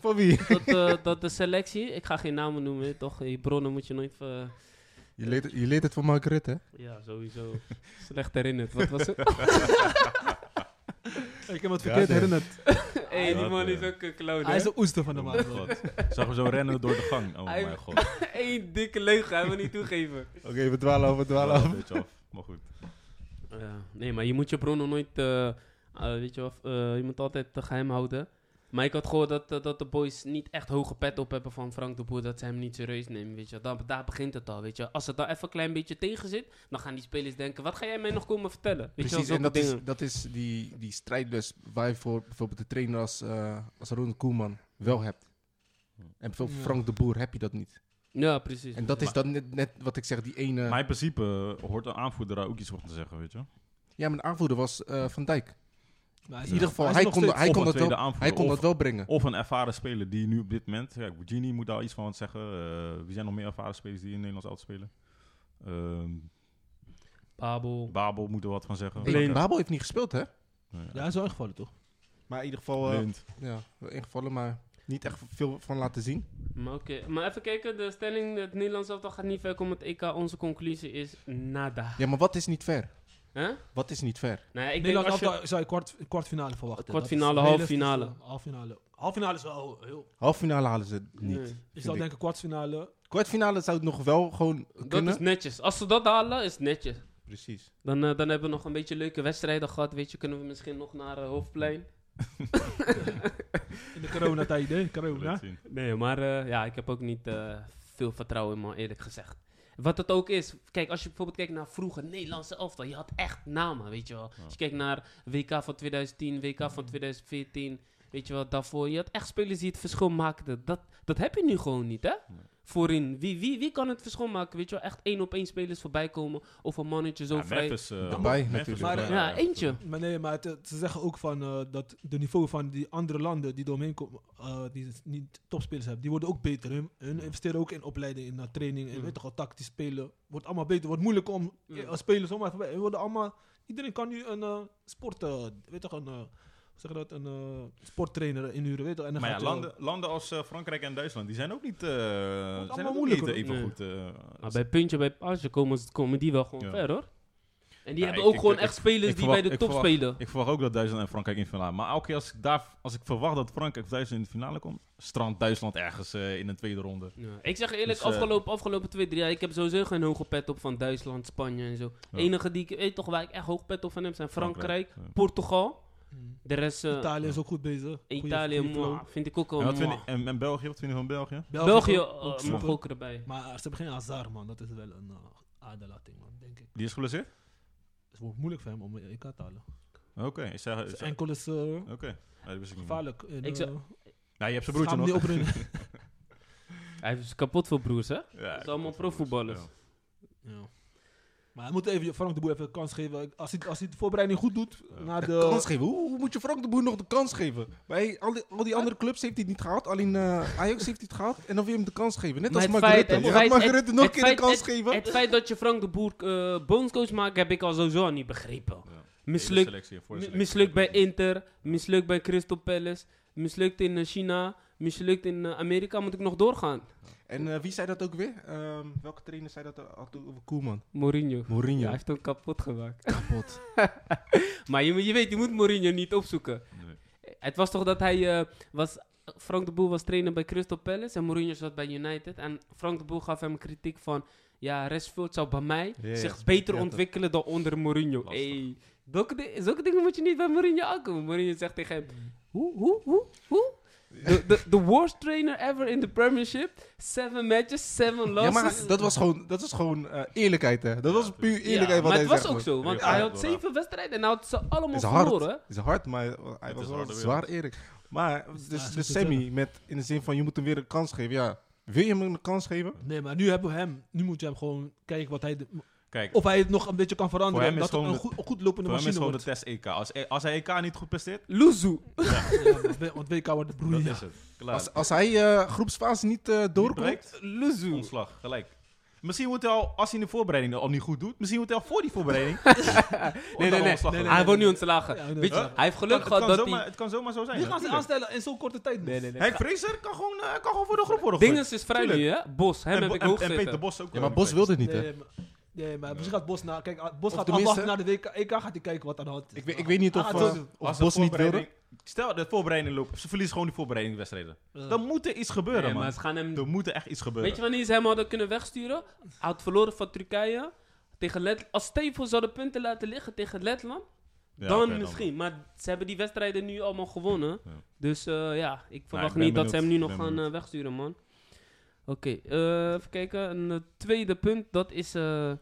A: Voor wie?
C: dat, eh, dat de selectie, ik ga geen namen noemen, toch? Je bronnen moet je nooit, ver-
A: Je leert, je leert het van Mark Rutte, hè?
C: ja, sowieso slecht herinnerd. Wat was het?
D: Ik heb het verkeerd
A: nee.
D: herinnerd.
C: hey, die
B: dat,
C: man
B: eh,
C: is ook een clown,
D: Hij is
C: hè?
D: de oester van de
B: Oh
D: maand.
B: mijn god. Zag we zo rennen door de gang. Oh
C: Hij-
B: mijn god.
C: Eén dikke leugen, hij wil niet toegeven.
A: Oké, we dwalen af, we dwalen
B: Wel
A: af.
B: een beetje af. Maar goed.
C: Ja, nee, maar je moet je bronnen nooit, eh, eh, weet je wel, eh, je moet altijd eh, geheim houden. Maar ik had gehoord dat, eh, dat de boys niet echt hoge pet op hebben van Frank de Boer, dat ze hem niet serieus nemen, weet je wel. Daar, daar begint het al, weet je wel. Als het daar even een klein beetje tegen zit, dan gaan die spelers denken, wat ga jij mij nog komen vertellen? Weet je wel,
A: Precies, en
C: zulke
A: dat is,
C: dingen.
A: dat is die, die strijdlust waar je voor bijvoorbeeld de trainer als, eh als Ronald Koeman wel hebt. En bijvoorbeeld
D: Ja.
A: Frank de Boer heb je dat niet.
C: Ja, precies.
A: En dat is dan net, net wat ik zeg, die ene...
B: Maar in principe eh, hoort een aanvoerder daar ook iets van te zeggen, weet je?
A: ja, mijn aanvoerder was eh, Van Dijk.
D: Maar hij is
A: In ieder
D: nog-
A: geval,
D: is
A: hij
D: nog
A: kon,
D: steeds-
A: hij
B: Of
A: kon,
B: een
A: dat,
B: tweede
A: wel, hij
B: aanvoerder,
A: kon
B: of-
A: dat wel brengen.
B: Of een ervaren speler die nu op dit moment... Kijk, Genie moet daar iets van zeggen. eh, wie zijn nog meer ervaren spelers die in Nederlands oud spelen? Ehm,
C: Babel.
B: Babel moet er wat van zeggen.
A: Hey, Babel heeft niet gespeeld, hè?
B: Ja.
D: Ja, hij is wel ingevallen, toch?
A: Maar in ieder geval... eh,
B: Blind.
A: ja, wel ingevallen, maar niet echt veel van laten zien.
C: Maar oké, maar even kijken, de stelling, het Nederlands elftal gaat niet ver komen met EK. Onze conclusie is nada.
A: Ja, maar wat is niet fair?
C: Hè?
A: Wat is niet fair?
C: Nou, ja, ik denk
D: Nederland
C: als je...
D: elftal zou je kwart, kwartfinale verwachten.
C: Kwartfinale,
D: Dat is
C: halffinale.
D: realistisch, Halffinale. Halffinale is wel heel...
A: Halffinale halen ze niet.
C: Nee.
D: Ik
A: ik.
D: zou denken kwartfinale.
A: Kwartfinale zou het nog wel gewoon
C: Dat
A: kunnen.
C: is netjes. Als ze dat halen, is het netjes.
A: Precies.
C: Dan, eh, dan hebben we nog een beetje leuke wedstrijden gehad. Weet je, kunnen we misschien nog naar eh, Hoofdplein?
D: In de coronatijden.
B: Wil het
D: Corona.
B: zien.
C: Nee, maar eh, ja, ik heb ook niet eh, veel vertrouwen in man, eerlijk gezegd. Wat het ook is, kijk, als je bijvoorbeeld kijkt naar vroeger Nederlandse elftal, je had echt namen, weet je wel. Als je kijkt naar WK van 2010, WK van 2014, weet je wel, daarvoor. Je had echt spelers die het verschil maakten. Dat, dat heb je nu gewoon niet, hè?
B: Nee.
C: Voorin, wie, wie, wie kan het verschil maken? Weet je wel, echt één op één spelers voorbij komen of een mannetje zo
B: Ja,
C: vrij.
B: Memphis, eh,
A: Daarbij
B: Memphis
A: natuurlijk,
B: was
D: ja.
B: daar,
C: Ja,
B: eh,
C: eentje.
D: Maar nee, maar het- het- ze zeggen ook van eh, dat de niveau van die andere landen die doorheen komen, eh, die s- niet topspelers hebben, die worden ook beter. Hun, hun investeren ook in opleiding, in eh, training, in
C: Mm.
D: weet toch wel, tactisch spelen. Wordt allemaal beter. Wordt moeilijk om
C: Mm.
D: eh, als spelers zomaar voorbij. We worden allemaal, iedereen kan nu een eh, sport, eh, weet toch, een, eh, hoe zeg je dat, een eh, sporttrainer inhuren, weet toch. En dan
B: Maar ja,
D: gaat je-
B: landen, landen als eh, Frankrijk en Duitsland, die zijn ook niet, eh zijn
D: allemaal
B: ook
D: moeilijk,
B: niet
D: hoor.
B: even
C: Nee.
B: goed. eh,
C: Maar bij puntje bij paaltje komen, ze- komen die wel gewoon
B: Ja.
C: ver hoor. En
B: Ja,
C: die hebben
B: ik-
C: ook
B: ik-
C: gewoon
B: ik-
C: echt spelers
B: ik
C: die
B: verwacht-
C: bij de
B: ik
C: top
B: verwacht-
C: spelen.
B: ik verwacht ook dat Duitsland en Frankrijk in de finale. Maar elke keer als ik, daar, als ik verwacht dat Frankrijk of Duitsland in de finale komt, strandt Duitsland ergens eh, in een tweede ronde.
C: Ja, ik zeg eerlijk,
B: Dus, eh,
C: afgelopen, afgelopen twee, drie jaar, ik heb sowieso geen hoge pet op van Duitsland, Spanje en zo.
B: Ja.
C: enige die ik weet toch waar ik echt hoog pet op van heb zijn Frankrijk,
B: Frankrijk, ja.
C: Portugal.
D: Mm.
C: De rest, eh,
D: Italië is ook goed bezig. Goeie-
C: Italië,
D: goeie flow.
C: mwah, vind ik ook al.
B: En, wat vind
C: mwah.
B: je- en, en België, wat vind je van België?
C: België
D: ook-
C: eh,
D: ook
C: mag
D: super.
C: ook erbij.
D: Maar eh, ze hebben geen Azar, man. Dat is wel een eh, aderlating, man, denk ik.
B: Die is geblesseerd?
D: Het wordt moeilijk voor hem om eh, EK te halen.
B: Oké, is hij- is
D: Zijn
B: hij-
D: enkel is eh,
B: Oké, Ja, dat wist ik niet.
D: gevaarlijk. En,
C: Ik
D: eh,
C: zou-
B: Nou, je hebt zijn
D: Ze
B: broertje
D: gaan hem
B: nog.
D: niet oprun.
C: Hij heeft dus kapot veel broers, hè?
B: Ja,
C: is allemaal
B: kapot,
C: profvoetballers.
B: ja.
D: Ja. Maar we moeten even Frank de Boer even een kans geven. Als hij, als hij de voorbereiding goed doet,
B: Ja.
D: naar de...
A: Kans geven. Hoe, hoe moet je Frank de Boer nog de kans geven? Bij al die, al die andere clubs heeft hij het niet gehad. Alleen eh, Ajax heeft hij het gehad. En dan wil je hem de kans geven. Net
C: Maar
A: als
C: het
A: Mark
C: feit-
A: Rutte.
C: het
A: Je gaat
C: feit-
A: Mark
C: het-
A: Rutte nog een
C: het
A: keer de
C: feit-
A: kans geven.
C: Het feit dat je Frank de Boer eh bondscoach maakt, heb ik al sowieso al niet begrepen.
B: Ja. Hele
C: Mislukt,
B: selectie en voor de
C: mi-
B: selectie.
C: mislukt bij Inter, mislukt bij Crystal Palace, mislukt in eh, China, mislukt in eh, Amerika. Moet ik nog doorgaan?
A: en eh, wie zei dat ook weer? Ehm, welke trainer zei dat? eh, Over Koeman.
C: Mourinho. Ja,
A: Mourinho.
C: hij heeft hem kapot gemaakt.
A: Kapot.
C: maar je, je weet, je moet Mourinho niet opzoeken.
B: Nee.
C: Het was toch dat hij eh, was. Frank de Boer was trainer bij Crystal Palace en Mourinho zat bij United. En Frank de Boer gaf hem kritiek van. Ja, Rashford zou bij mij
A: Ja, ja,
C: zich
A: ja,
C: beter
A: ja, dat-
C: ontwikkelen dan onder Mourinho.
B: Lastig.
C: Hey, zulke, di- zulke dingen moet je niet bij Mourinho aankomen. Mourinho zegt tegen hem: Hoe, hoe, hoe, hoe? The, the, the worst trainer ever in the Premiership. Seven matches, seven
A: Ja,
C: losses.
A: maar dat was gewoon, dat was gewoon eh, eerlijkheid, hè? Dat
B: Ja,
A: was puur
C: Ja,
A: eerlijkheid wat
C: maar
A: hij
C: het was
A: zegt,
C: ook
A: man.
C: zo, want
B: Ja,
C: hij
B: ja,
C: had
B: door.
C: zeven wedstrijden en hij had ze allemaal
A: Het is hard.
C: verloren.
A: Het is hard, maar eh, hij
B: Het
A: was
B: is
A: wel
B: harde wereld.
A: zwaar eerlijk. Maar
D: ze
A: dus,
D: moeten
A: dus Sammy, met, in de zin van je moet hem weer een kans geven. Ja, wil je hem een kans geven?
D: Nee, maar nu hebben we hem. Nu moet je hem gewoon kijken wat hij... de-
B: Kijk,
D: of hij het nog een beetje kan veranderen.
B: Voor hem
D: Dat
B: is
D: het een
B: gewoon
D: goed, goed lopende
B: voor hem is
D: machine
B: gewoon de
D: wordt.
B: test EK. Als, E- als hij EK niet goed presteert,
C: Luzu.
D: Ja, want W- want WK wordt de broer.
B: dat
D: ja.
B: is het. Klaar.
A: Als, als hij eh, groepsfase niet eh, doorkomt,
B: bereikt,
C: Luzu.
B: Ontslag, gelijk. Misschien moet hij al, als hij in de voorbereiding al niet goed doet, misschien moet hij al voor die voorbereiding.
C: Nee, nee, nee.
D: nee, nee.
C: hij wordt nu ontslagen.
D: Ja, hij wordt
C: Weet je,
D: ontslagen.
C: hij heeft geluk
B: het, kan
C: gehad dat
B: zomaar,
C: hij...
B: het kan zomaar zo zijn.
D: Die gaan ze
B: natuurlijk.
D: aanstellen in zo'n korte tijd. nog.
C: Nee, nee, nee.
B: Henk Vrezer kan gewoon, eh, kan gewoon voor de groep worden gegooid.
C: Dinges is vrij nu, hè? Bos, hem
B: En,
C: heb
B: Bo-
C: ik
B: en-
C: hoog
B: en Peter
C: zitten.
B: Bos ook.
A: ja,
B: wel
A: maar
B: een
A: Bos wilde het niet, hè?
D: Nee, maar, nee, maar misschien gaat Bos na... Kijk, ah, Bos gaat
A: tenminste-
D: afwachten naar de WK. EK gaat hij kijken wat aan de hand is.
A: Ik, weet- ik weet niet
D: Ah,
A: of,
D: het was-
A: eh,
B: Als
A: of
B: de
A: Bos niet wilde.
B: voorbereiding- Stel dat de voorbereiding loopt, ze verliezen gewoon die voorbereidingswedstrijden.
D: Ja.
B: Dan moet er iets gebeuren,
C: Nee, maar
B: man.
C: ze gaan hem...
B: Er moet er echt iets gebeuren.
C: Weet je wanneer ze hem hadden kunnen wegsturen? Hij had verloren van Turkije. Tegen Let... Als Steven zou de punten laten liggen tegen Letland,
B: Ja,
C: dan
B: oké,
C: misschien. Maar ze hebben die wedstrijden nu allemaal gewonnen.
B: Ja.
C: Dus eh, ja, ik verwacht
B: ik ben
C: niet dat ze hem nu
B: benieuwd.
C: nog
B: Ik ben
C: gaan eh,
B: benieuwd.
C: wegsturen, man. Oké, eh, even kijken. Een eh, tweede punt, dat is... eh, eh,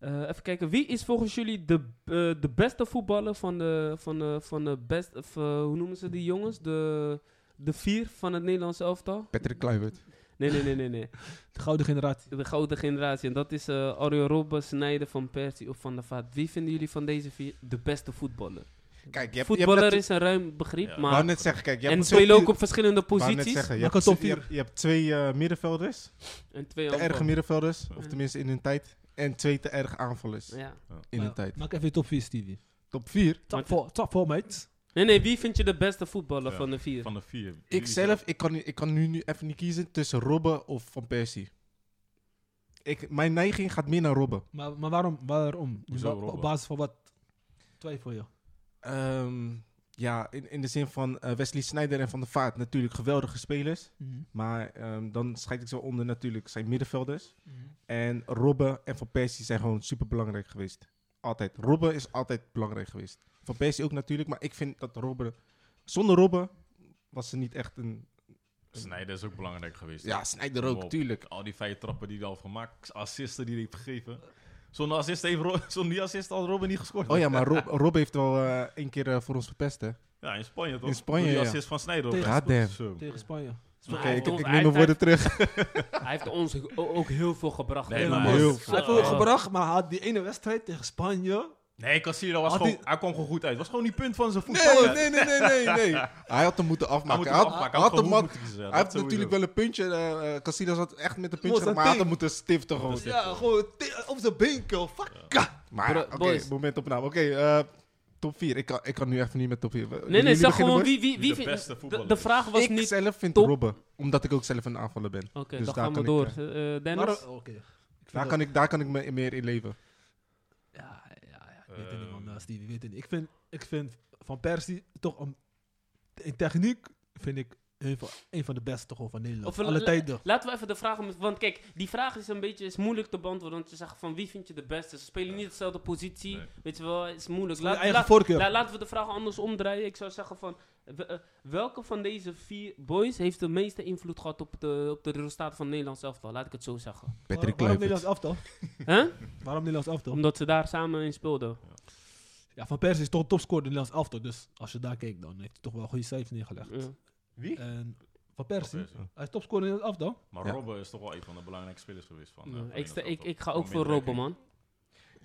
C: even kijken, wie is volgens jullie de, eh, de beste voetballer van de, van de, van de best... Of, eh, hoe noemen ze die jongens? De, de vier van het Nederlandse elftal?
A: Patrick Kluivert.
C: Nee, nee, nee, nee, nee.
D: De gouden generatie.
C: De gouden generatie. En dat is eh Arjen Robben, Snijder, Van Persie of Van der Vaart. Wie vinden jullie van deze vier de beste voetballer?
A: Kijk, je hebt, je hebt
C: Voetballer
A: net-
C: is een ruim begrip,
B: Ja.
A: Ik wou
C: maar...
A: net zeggen, kijk, je
C: En
A: hebt
C: spelen
A: zoveel-
C: ook op verschillende
A: ik wou net
C: posities.
A: zeggen, je
D: Maar
A: hebt,
D: kan top
A: je
D: vier.
A: hebt- je hebt twee eh, middenvelders,
C: En twee
A: te erge
C: aanvallen.
A: middenvelders, of
C: Ja.
A: tenminste in hun tijd. En twee te erg aanvallers
C: Ja.
A: in hun
D: Ja,
A: tijd.
D: Maak even je top 4, Stevie.
A: Top 4.
C: Maar-
D: Top 4, top 4, mate.
C: Nee, nee, wie vind je de beste voetballer
B: Ja.
C: van de vier?
B: Van de vier.
A: Ik zelf, ik kan, nu- ik kan nu, nu even niet kiezen tussen Robben of Van Persie. Ik, mijn neiging gaat meer naar Robben.
D: Maar, maar waarom? waarom?
B: Hoezo,
D: Op-
B: Robben?
D: op basis van wat? Twijfel je.
A: Ehm, ja, in, in de zin van eh, Wesley Sneijder en Van der Vaart. Natuurlijk geweldige spelers.
D: Mhm.
A: Maar ehm, dan scheid ik zo onder natuurlijk zijn middenvelders. En Robben en Van Persie zijn gewoon super belangrijk geweest. Altijd. Robben is altijd belangrijk geweest. Van Persie ook natuurlijk. Maar ik vind dat Robben... Zonder Robben was ze niet echt een...
B: Snijder is ook belangrijk geweest.
A: Ja, Sneijder ook,
B: Wow.
A: tuurlijk.
B: Al die vijf trappen die hij al heeft gemaakt, assisten die hij heeft gegeven. Zonder, assist heeft Ro- zonder die assist had Robin niet gescoord.
A: Oh ja, maar Rob, Rob heeft wel eh, één keer eh, voor ons gepest, hè?
B: Ja, in Spanje toch?
A: In Spanje,
B: Door die
A: ja.
B: assist van Snijder.
D: Tegen-
A: God damn.
B: Zo.
D: Tegen Spanje.
C: Maar
A: Oké,
C: hij,
A: ik,
C: heeft ons-
A: ik
C: hij
A: neem mijn woorden
C: heeft-
A: terug.
C: hij heeft ons ook- ook heel veel gebracht.
B: Nee,
C: hè,
B: maar
C: man.
A: heel
D: Hij heeft
C: veel.
D: veel gebracht, maar hij had die ene wedstrijd tegen Spanje.
B: Nee, Casillo was
D: Had
B: gewoon,
D: die-
B: hij kwam gewoon goed uit. was gewoon die punt van zijn voet.
A: Nee, nee, nee, nee, nee, nee. Hij had hem moeten
B: Hij
A: afmaken.
B: moet
A: Hij
B: hem
A: had, hij
B: afmaken. Hij
A: had
B: had
A: hem
B: gewoon
A: mat-
B: moeten kiezen. Ja,
A: hij had
B: dat
A: natuurlijk
B: sowieso.
A: wel een puntje. eh eh, Casillas had echt met een
D: Moest
A: puntje gemaakt, maar hij
D: dat
A: had hem moeten stiften gewoon.
D: Ja, gewoon te- op zijn benkel. Fuck. Ja.
A: Maar
C: Bro-
A: ja, oké,
C: boys.
A: momentopname. Oké, eh, top 4. Ik kan, ik kan nu even niet met top 4.
C: Nee, nee, zeg gewoon wie, wie, wie
B: de
C: vindt-
B: beste
C: de-
B: voetballer
C: De,
B: is.
C: vraag was
A: Ik
C: niet... Oké,
A: zelf vind
C: top.
A: Robben, omdat ik ook zelf een aanvaller ben. Dus
C: dan
A: daar
C: gaan we
A: kan
C: door.
A: ik,
C: Eh, eh,
D: Maar,
C: Dennis?
D: eh, oké. Ik vind
A: Daar
D: dat-
A: kan ik, daar kan ik me meer in leven.
D: Ja, ja, ja. Ik weet het niet, man.
B: Ehm.
D: Nou, Stevie, weet het niet. Ik vind, ik vind Van Persie toch een, in techniek vind ik een van, een van de beste toch wel van Nederland.
C: Of een-
D: Alle tijden.
C: Laten we even de vraag... om- Want kijk, die vraag is een beetje is moeilijk te beantwoorden. Want je zegt van wie vind je de beste? Ze spelen niet dezelfde positie.
B: Nee.
C: Weet je wel, het is moeilijk.
D: Je
C: Laat-
D: eigen
C: laat-
D: voorkeur.
C: La- Nou, laten we de vraag anders omdraaien. Ik zou zeggen van... w- eh, welke van deze vier boys heeft de meeste invloed gehad op de, op de resultaten van Nederlands elftal? Laat ik het zo zeggen.
A: Patrick
D: waarom
A: Kluivert.
D: Nederlands aftal?
C: Huh?
D: Waarom Nederlands aftal?
C: Omdat ze daar samen in speelden.
A: Mm.
D: Ja, Van Persie is toch een topscorer in Nederlands aftal. Dus als je daar kijkt, dan heeft hij toch wel goede cijfers neergelegd.
C: Ja.
B: Wie?
D: En Van Persie.
B: Van Persie.
D: Hij is topscorer in het afdal.
B: Maar
A: Ja.
B: Robben is toch wel een van de belangrijke spelers geweest van... eh,
C: Ja,
B: van
C: ik, sta, ik,
B: Nederland.
C: ik ga
B: Van
C: ook voor
B: minder-
C: Robben, man.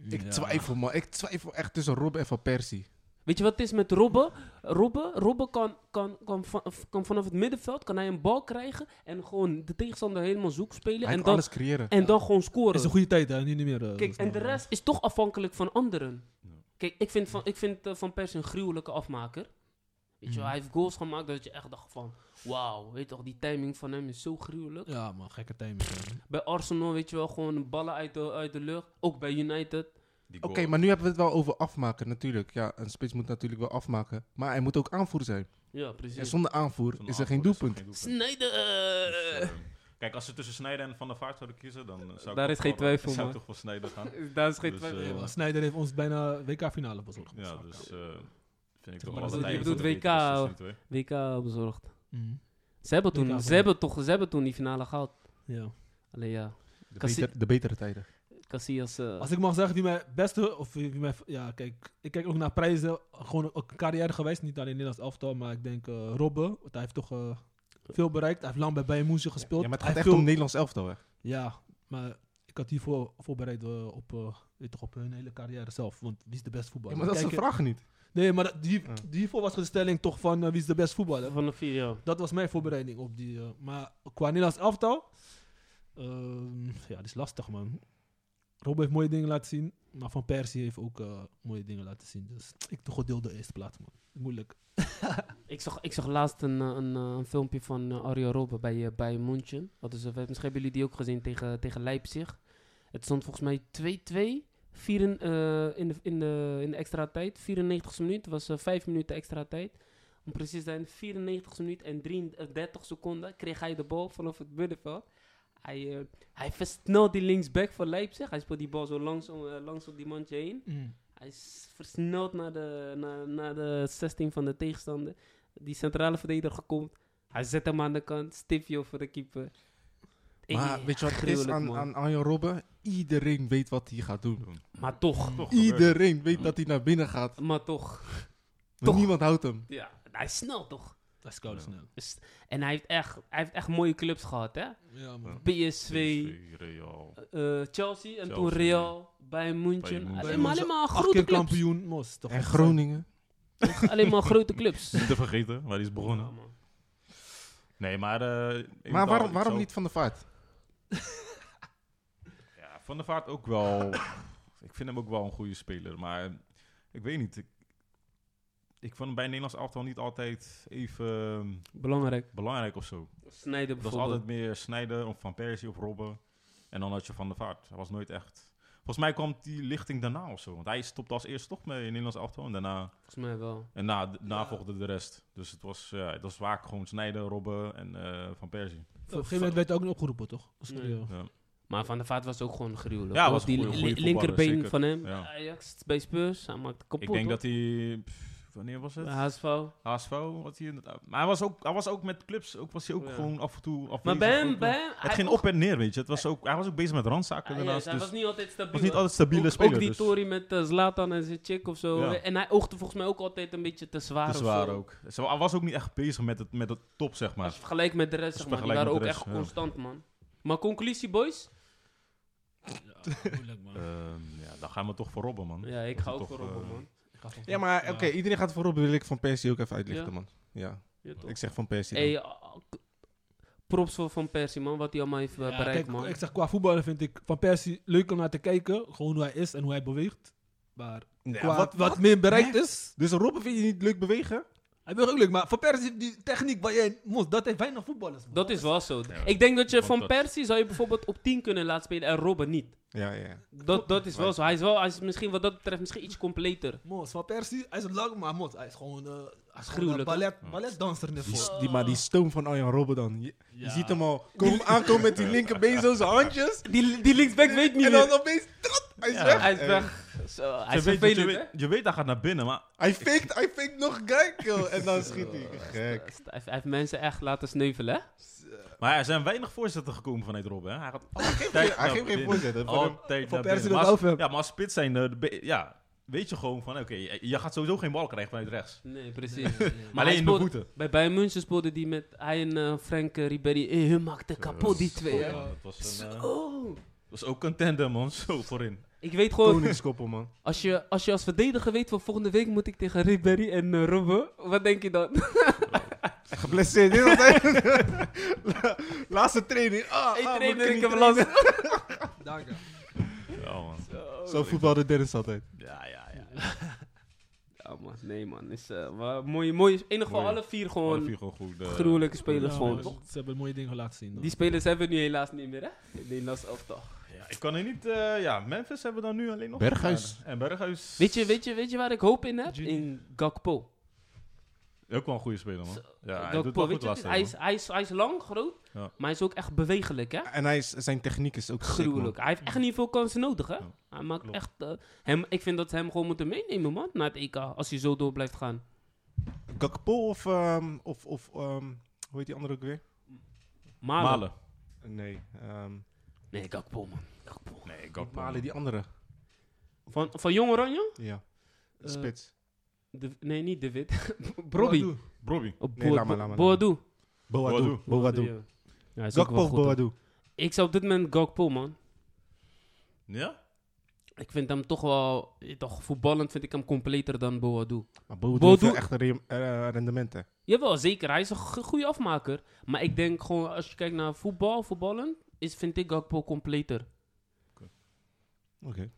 A: Ik
D: Ja.
A: twijfel, man. Ik twijfel echt tussen Robben en Van Persie.
C: Weet je wat het is met Robben? Robben, Robben kan, kan, kan, van- kan vanaf het middenveld kan hij een bal krijgen en gewoon de tegenstander helemaal zoek spelen.
A: Hij
C: En
A: kan
C: dan,
A: alles creëren.
C: en dan gewoon
D: is
C: scoren.
D: een goede tijd, hè? Nu niet meer. eh,
C: Kijk, en de rest is toch afhankelijk van anderen.
B: Ja.
C: Kijk, ik vind Van, ik vind, eh, van Persie een gruwelijke afmaker. Weet je wel, hij heeft goals gemaakt dat je echt dacht van... Wauw, weet je toch, die timing van hem is zo gruwelijk.
D: Ja, man, gekke timing. hè.
C: Bij Arsenal, weet je wel, gewoon ballen uit de, uit de lucht. Ook bij United.
B: Die
A: Oké,
B: goal.
A: maar nu hebben we het wel over afmaken, natuurlijk. Ja, een spits moet natuurlijk wel afmaken. Maar hij moet ook aanvoer zijn.
C: Ja,
A: En
C: precies.
A: zonder aanvoer
B: Van
A: is er
B: Aanvoer
A: geen doelpunt.
C: Snijden!
B: Dus, eh, Kijk, als ze tussen Snijder en Van der Vaart zouden kiezen, dan eh, zou ik
C: Daar
B: toch
C: is geen
B: voor, eh,
C: twijfel,
B: zou ik
C: man.
B: toch voor Snijder gaan.
C: Daar is
B: geen
C: geen
B: Dus, twijfel. eh,
D: Ja, maar Sneijder heeft ons bijna WK-finale bezorgd.
B: Ja, dus eh, vind ik toch wel
D: Maar dat
B: dat
D: doet- je
B: hij
D: bedoelt
B: dat weet,
C: WK,
B: dus dat is
C: hoor.
B: niet, hoor.
C: WK bezorgd.
D: Mhm.
C: Ze hebben,
D: WK
C: toen, ze,
D: bezorgd.
C: hebben toch, ze hebben toen die finale gehad.
D: Ja.
C: Alleen ja,
A: De,
C: Cassi-
A: beter- de betere tijden.
C: Casillas... eh,
D: Als ik mag zeggen wie mijn beste, of wie wie mijn, ja kijk, ik kijk ook naar prijzen, gewoon ook carrière geweest, niet alleen Nederlands elftal, maar ik denk eh Robben, want hij heeft toch eh, veel bereikt, hij heeft lang bij Bayern München gespeeld.
A: Ja, maar het
D: Hij
A: gaat echt
D: heeft
A: om Nederlands elftal, hè?
D: veel- Ja, maar ik had hiervoor voorbereid eh, op, eh, weet toch, op hun hele carrière zelf, want wie is de beste voetballer?
A: Ja, maar dat is de
D: Kijk,
A: vraag niet.
D: eh, Nee, maar dat- die,
A: Ja.
D: hiervoor was de stelling toch van eh, wie is de beste voetballer.
C: van de vier, ja.
D: Dat was mijn voorbereiding op die, eh, maar qua Nederlands elftal, ehm, ja, dat is lastig man. Robben heeft mooie dingen laten zien, maar Van Persie heeft ook eh, mooie dingen laten zien. Dus ik toch gedeeld de eerste plaats, man. Moeilijk.
C: Ik zag, ik zag laatst een, eh, een, eh, een filmpje van eh, Arjen Robben bij, eh, bij München. Dat is, eh, misschien hebben jullie die ook gezien tegen, tegen Leipzig. Het stond volgens mij 2-2. Vier in, eh, in, de, in, de, in de extra tijd. 94 minuut. was eh, vijf minuten extra tijd. Om precies te zijn, 94 minuut en 33 seconden kreeg hij de bal vanaf het middenveld. Hij, eh, hij versnelt die linksback van Leipzig. Hij speelt die bal zo langs, om, eh, langs op die mandje heen.
A: Mm.
C: Hij is versneld naar de, naar, naar de 16 van de tegenstander. Die centrale verdediger komt. Hij zet hem aan de kant. Stiffie over de keeper.
A: Maar
C: Eh,
A: weet je wat het is
C: gruwelijk,
A: aan,
C: man.
A: aan Arjen Robben? Iedereen weet wat hij gaat doen.
C: Maar toch.
B: Toch gebeurt het.
A: Iedereen weet dat hij naar binnen gaat.
C: Maar toch.
A: Maar
C: Toch.
A: niemand houdt hem.
C: Ja, hij is snel toch.
D: Dat is koud
B: Ja.
D: snel.
C: Dus- En hij heeft, echt, hij heeft echt mooie clubs gehad, hè?
D: Ja,
B: man.
D: man.
C: PSV,
B: PSV, Real.
C: eh, Chelsea en
B: Chelsea.
C: toen Real, Bayern München.
B: Bayern München.
C: Alleen maar, alleen maar
D: Acht keer
C: grote clubs.
D: kampioen, mos. Toch
A: En Groningen.
C: Alleen maar grote clubs.
B: Niet te vergeten, waar die is
C: Ja,
B: begonnen.
C: man.
B: Nee, maar... eh, ik moet
A: Maar
B: wel-
A: waarom,
B: ik
A: waarom
B: zou-
A: niet Van de Vaart?
B: Ja, Van der Vaart ook wel... ik vind hem ook wel een goede speler, maar... Ik weet niet. Ik, ik vond hem bij Nederlands elftal niet altijd even eh,
C: Belangrijk.
B: belangrijk of zo.
C: Snijden
B: Het was
C: bijvoorbeeld.
B: altijd meer Snijder of Van Persie of Robben. En dan had je Van der Vaart. Hij was nooit echt... Volgens mij kwam die lichting daarna of zo. Want hij stopte als eerste toch met in Nederlands elftal. En daarna...
C: Volgens mij wel.
B: En na, daarna volgde de rest. Dus het was, ja, het was vaak gewoon Snijder, Robben en eh, Van Persie.
D: Op een gegeven moment werd hij ook niet opgeroepen, toch? Dus,
C: Nee.
D: ja.
B: Ja.
C: Maar Van der Vaart was ook gewoon gruwelijk.
B: Ja,
C: hoor.
B: was een
C: die
B: goeie- goeie
C: li-
B: voetballer,
C: linkerbeen
B: zeker.
C: van hem.
B: Ja.
C: Ajax bij Spurs, hij maakte kapot.
B: ik denk
C: hoor.
B: dat hij... pff, Wanneer was het?
C: Bij HSV.
B: HSV? Wat hij, inderdaad- maar hij was, ook, hij was ook met clubs. Ook was hij ook
C: Oh, Ja.
B: gewoon af en toe
C: Maar
B: afwezig.
C: bij
B: Ook
C: hem,
B: wel-
C: bij hem.
B: Het ging op en neer, weet je. Het was ook, hij was ook bezig met randzaken daarnaast.
C: Ah, hij
B: dus
C: was niet altijd stabiel.
B: was niet
C: hoor.
B: altijd stabiele
C: ook,
B: speler.
C: ook die
B: dus
C: Tory met eh, Zlatan en zijn chick of zo.
B: Ja.
C: En hij oogde volgens mij ook altijd een beetje te zwaar.
B: te
C: of
B: zwaar
C: zo.
B: ook. Zo, hij was ook niet echt bezig met het, met het top, zeg
C: Als
B: maar.
C: je vergelijkt met de rest,
B: Als
C: zeg
B: je
C: maar. Die
B: vergelijkt
C: waren ook
B: met de
C: echt
B: rest, ja.
C: constant, man. Maar conclusie, boys?
D: moeilijk, man.
B: Ehm, ja, dan gaan we toch voor Robben, man.
C: Ja, ik
B: Dat
C: ga
B: Hm, is
C: ook
B: toch,
C: voor Robben,
B: eh,
C: man.
A: Ja, maar oké, iedereen gaat voorop. Wil ik Van Persie ook even uitlichten,
C: Ja.
A: man. Ja,
C: Ja, toch?
A: ik zeg Van Persie. dan.
C: Hey, ah, k- props voor Van Persie, man. Wat hij allemaal heeft eh,
D: Ja,
C: bereikt,
D: kijk,
C: man.
D: Ik zeg, qua voetballer vind ik Van Persie leuk om naar te kijken. Gewoon hoe hij is en hoe hij beweegt. Maar
A: Ja,
D: qua
A: wat,
D: wat, meer bereikt
A: Hè?
D: is...
A: Dus Robben vind je niet leuk bewegen?
D: Hij wil ook leuk, maar Van Persie heeft die techniek waar jij... Mos, dat heeft weinig voetballers, man.
C: Dat is wel zo.
B: Ja.
C: Ik denk dat je
B: Want
C: Van
B: dat-
C: Persie zou je bijvoorbeeld op 10 kunnen laten spelen en Robben niet.
A: Ja, ja.
C: Dat, dat is wel zo. Hij is wel, hij is misschien wat dat betreft, misschien iets completer.
D: Mos, Van Persie, hij is lang, maar Mos, hij is gewoon, eh, hij is gewoon een
C: Gruwelijk, hè?
D: ballet, balletdanser net
A: Die,
D: voor.
A: s- die, maar die stoom van Arjen Robben dan. Je, je ziet hem al kom, aankomen met die linkerbeen, zo zijn handjes.
C: Die, die linksback weet niet
A: En dan
C: meer.
A: opeens, trot, hij is
B: Ja.
A: weg.
C: Hij is
A: Hey,
C: weg. Zo, hij is
B: je, weet, je,
C: vervelend, hè?
B: weet, je weet, hij gaat naar binnen, maar
A: Hij faked, hij faked nog, kijk. joh. En dan schiet hij. Gek.
C: Hij heeft- hij heeft mensen echt laten sneuvelen, hè?
B: Maar er zijn weinig voorzetten gekomen vanuit Robben. Hè? Hij
A: Oh,
B: gaat altijd
A: nou, Hij geeft geen voorzet. hè, voor hem.
B: Altijd
D: Van
B: naar binnen.
D: Persie dat
B: Maar
D: over
B: als,
D: hem.
B: ja, maar als spits zijn... eh, de be- ja, weet je gewoon van, oké, je- je gaat sowieso geen bal krijgen vanuit rechts.
C: Nee, precies. Maar
B: Alleen in
C: hij
B: de
C: speelde-
B: voeten.
C: Bij Bayern München speelde die met hij en eh, Frank eh, Ribéry. Eh, hun maakten kapot, die twee.
B: Ja,
C: hè.
B: Het was, een, eh,
C: Zo.
B: het was ook een tandem, man. Zo voorin.
C: Ik weet gewoon,
A: Koningskoppel, man.
C: als je, als je als verdediger weet van volgende week moet ik tegen Ribéry en eh, Robben, wat denk je dan?
A: Geblesseerd. Dit was eigenlijk- La- Laatste training. Ah,
C: Eén
A: ah, mijn
C: trainer, ik
A: knie
C: heb
A: trainen.
C: last.
D: Dank je.
B: Ja, man.
A: Zo voetbalde Dennis altijd.
B: Ja, ja, ja.
C: Ja, man. Nee, man. Is, eh, wa- mooi, mooi. In ieder geval
B: Mooi.
C: alle vier
B: Alle
C: gewoon
B: vier gewoon goed. eh,
C: gruwelijke spelers. gewoon,
D: maar
C: toch?
D: Ze hebben mooie dingen laten zien.
C: Die spelers hebben we nu helaas niet meer, hè? In het Nederlands elftal.
B: Ja, ik kan er niet... eh, ja, Memphis hebben we dan nu alleen nog.
A: Berghuis.
B: En Berghuis.
C: Weet je, weet, je, weet je waar ik hoop in heb?
D: Gini.
C: In Gakpo.
B: Ook wel een goede speler, man. Ja, hij
C: Gakpo,
B: doet wel
C: weet
B: goed
C: je,
B: last.
C: hij, is, hij, is, hij is lang, groot,
B: Ja.
C: maar hij is ook echt bewegelijk, hè?
A: En hij is, zijn techniek is ook sick, man.
C: Gruwelijk. Hij heeft echt niet veel kansen nodig, hè?
B: Ja,
C: Hij maakt
B: klopt.
C: echt... eh, hem, ik vind dat ze hem gewoon moeten meenemen, man, naar het EK. Als hij zo door blijft gaan.
A: Gakpo of, ehm, of, of ehm, hoe heet die andere ook weer?
C: Malen.
B: Malen.
A: Nee, ehm
C: Nee, Gakpo, man. Gakpo.
B: Nee, ik eh,
A: niet Malen, die andere.
C: Van, van Jong Oranje?
A: Ja, de
C: Eh,
A: spits.
C: De- nee, niet De Wit. Brobby.
B: Brobby.
C: Op
A: Nee, laat maar, laat maar, laat maar.
C: Boadu.
B: Boadu.
A: Boadu. Boadu.
C: Ja. Ja, is ook
A: Gakpo
C: wel
A: of
C: goed, hoor.
A: Boadu?
C: Ik zou op dit moment Gakpo, man.
B: Ja?
C: Ik vind hem toch wel... eh, Toch, voetballend vind ik hem completer dan Boadu.
A: Maar Boadu
C: Boadu-
A: heeft wel echt een re- eh, rendement, hè.
C: Jawel, zeker. Hij is een go- goede afmaker. Maar ik denk gewoon, als je kijkt naar voetbal, voetballen, is, vind ik Gakpo completer.
A: Oké.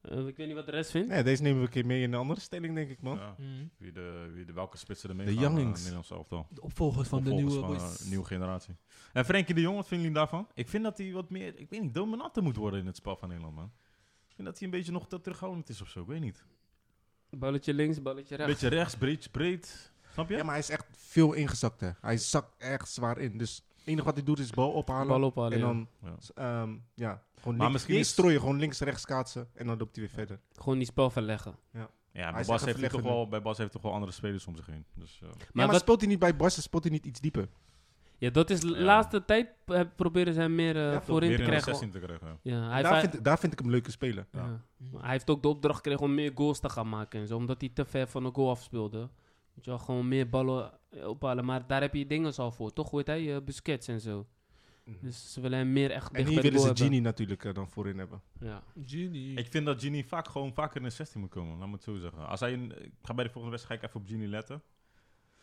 C: Eh, ik weet niet wat de rest vindt.
A: Nee, deze nemen we een keer mee in een andere stelling, denk ik, man.
B: Ja.
D: Mm.
B: Wie de, wie de, welke spitsen ermee
A: De
B: gaan, eh,
A: youngings.
B: in het Nederlands elftal.
D: De opvolgers van de nieuwe
B: Opvolgers van,
D: boys.
B: eh, nieuwe generatie. En Frenkie de Jong, wat vinden jullie daarvan? Ik vind dat hij wat meer, ik weet niet, dominanter moet worden in het spel van Nederland, man. Ik vind dat hij een beetje nog te terughoudend is of zo, ik weet niet.
C: Balletje links, balletje rechts.
B: Beetje rechts, breed, breed. Snap je?
A: Ja, maar hij is echt veel ingezakt, hè. Hij zakt echt zwaar in. Dus het enige wat hij doet is bal ophalen.
C: Bal ophalen,
A: En
C: ja.
A: dan,
B: Ja.
A: s- ehm, ja, gewoon
B: Maar
A: links,
B: misschien
A: niet
B: is-
A: strooien. Gewoon links, rechts kaatsen. En dan loopt hij weer verder.
C: Gewoon die spel verleggen.
B: Ja,
A: Hij
B: maar
A: is
B: Bas
A: echt een
B: heeft toch
A: verlegger
B: wel, bij Bas heeft toch wel andere spelers om zich heen. Dus, eh,
A: Maar, ja,
C: Maar
A: maar
C: wat-
A: speelt hij niet bij Barca, speelt hij niet iets dieper.
C: ja, dat is de
B: Ja.
C: laatste tijd eh, proberen ze hem meer eh,
A: toch,
C: voorin
B: meer
C: te
B: in de
C: krijgen.
B: 16 te krijgen. ja.
C: Ja, hij,
A: Daar
C: heeft,
A: vind, daar vind ik hem leuke speler.
C: ja.
B: ja.
C: Maar hij heeft ook de opdracht gekregen om meer goals te gaan maken en zo. Omdat hij te ver van de goal afspeelde. Moet je wel gewoon meer ballen eh, ophalen. Maar daar heb je dingen al voor. Toch hoort hij eh, Busquets en zo. Dus ze willen hem meer echt
A: Mhm. En
C: dicht
A: hier
C: bij de
A: willen
C: goal
A: ze
C: hebben.
A: Genie natuurlijk eh, dan voorin hebben.
C: Ja.
D: Genie.
B: Ik vind dat Genie vaak gewoon vaker in de 16 moet komen, laat me het zo zeggen. Als hij een, ik ga bij de volgende wedstrijd ga ik even op Genie letten.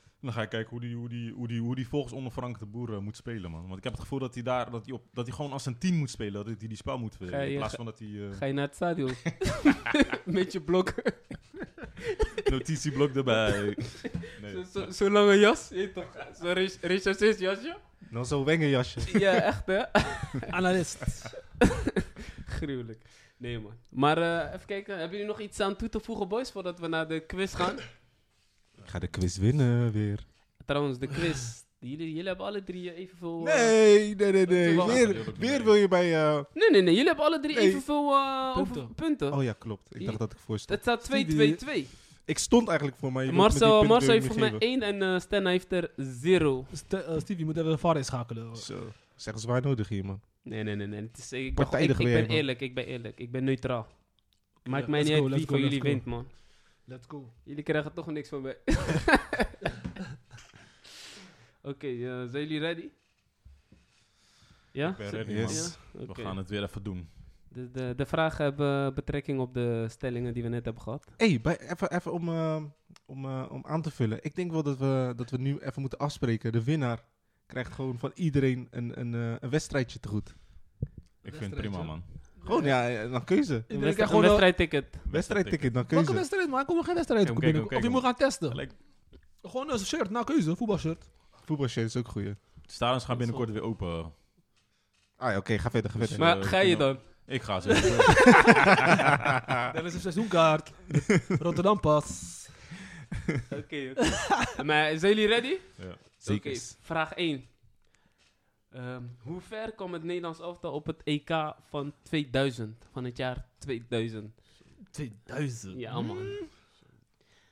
B: En dan ga ik kijken hoe die, hoe die, hoe die, hoe die volgens onder Frank de Boer eh, moet spelen, man. Want ik heb het gevoel dat hij daar dat hij op, dat hij gewoon als een 10 moet spelen. Dat hij die spel moet verdelen.
C: Ga je-
B: in plaats
C: ga-
B: van dat hij eh,
C: Ga je naar het stadion? Met je blok.
B: notitieblok erbij. Nee,
C: Zo- zo- Zo'n lange jas. je weet toch? Zo'n rech- rechercheursjasje.
A: Dan zo'n wengenjasje.
C: Ja, echt hè?
D: Analist.
C: Gruwelijk. Nee man. Maar eh, even kijken. Hebben jullie nog iets aan toe te voegen boys? Voordat we naar de quiz gaan.
A: Ik ga de quiz winnen weer.
C: Trouwens, de quiz. Jullie, jullie hebben alle drie eh, evenveel... eh,
A: Nee, nee, nee,
C: is
A: nee.
C: wel-
A: Weer, weer wil je bij... eh,
C: Nee, nee, nee. Jullie hebben alle drie
A: Nee.
C: evenveel eh, over- punten.
D: Punten.
A: Oh ja, klopt. Ik dacht dat ik voorstel.
C: Het staat 2-2-2.
A: Ik stond eigenlijk voor mij.
C: Marcel, Marcel heeft volgens mij 1 en eh Stan heeft er 0.
D: Ste- eh, Steve, je moet even de VAR inschakelen. hoor.
A: Zo. Zeg eens waar nodig hier, man.
C: Nee, nee, nee. nee. Het is, ik, ben, ik,
A: Partijdig
C: ik
A: weer,
C: ben
A: man.
C: eerlijk, ik ben eerlijk. Ik ben neutraal. Maakt
D: Ja,
C: mij
D: let's
C: niet
D: go,
C: uit
D: let's
C: wie
D: go,
C: van
D: let's
C: jullie
D: go.
C: wint, man.
D: Let's go.
C: Jullie krijgen toch niks van mij. Oké, eh, zijn jullie ready? Ja?
B: Ik ben
C: Zijn-
B: ready,
A: Yes.
B: man.
C: Ja? Oké.
B: We gaan het weer even doen.
C: De, de, de vragen hebben betrekking op de stellingen die we net hebben gehad.
A: Hé, hey, bij- even, even om, eh, om, eh, om aan te vullen. Ik denk wel dat we, dat we nu even moeten afspreken. De winnaar krijgt gewoon van iedereen een, een, eh, een wedstrijdje te goed.
B: Ik vind het prima, man.
A: Gewoon, ja, eh, dan keuze.
C: Een wedstrijd-
D: Iedereen krijgt
C: een
D: gewoon wel-
C: wedstrijdticket.
A: Wedstrijdticket, dan
D: Welke
A: keuze.
D: wedstrijd, man? Kom er geen wedstrijd
B: Kijk,
D: op
B: kijk,
D: binnen. Of
B: kijk,
D: je moet gaan testen.
B: Gelijk,
D: Gewoon een shirt, na keuze, voetbalshirt.
A: Voetbalshirt is ook goeie.
B: De stadions gaan binnenkort weer open.
A: Ah ja, oké, ga verder, ga verder.
B: Dus,
C: Maar
B: eh,
C: ga je
B: kunnen-
C: dan?
B: Ik ga zo.
D: Dan is een seizoenkaart. Rotterdam pas.
C: Oké, oké. maar zijn jullie ready?
B: ja.
A: Zeker.
C: Oké, vraag 1. Ehm, hoe ver kwam het Nederlands elftal op het EK van 2000? Van het jaar 2000.
D: 2000.
C: Ja, man.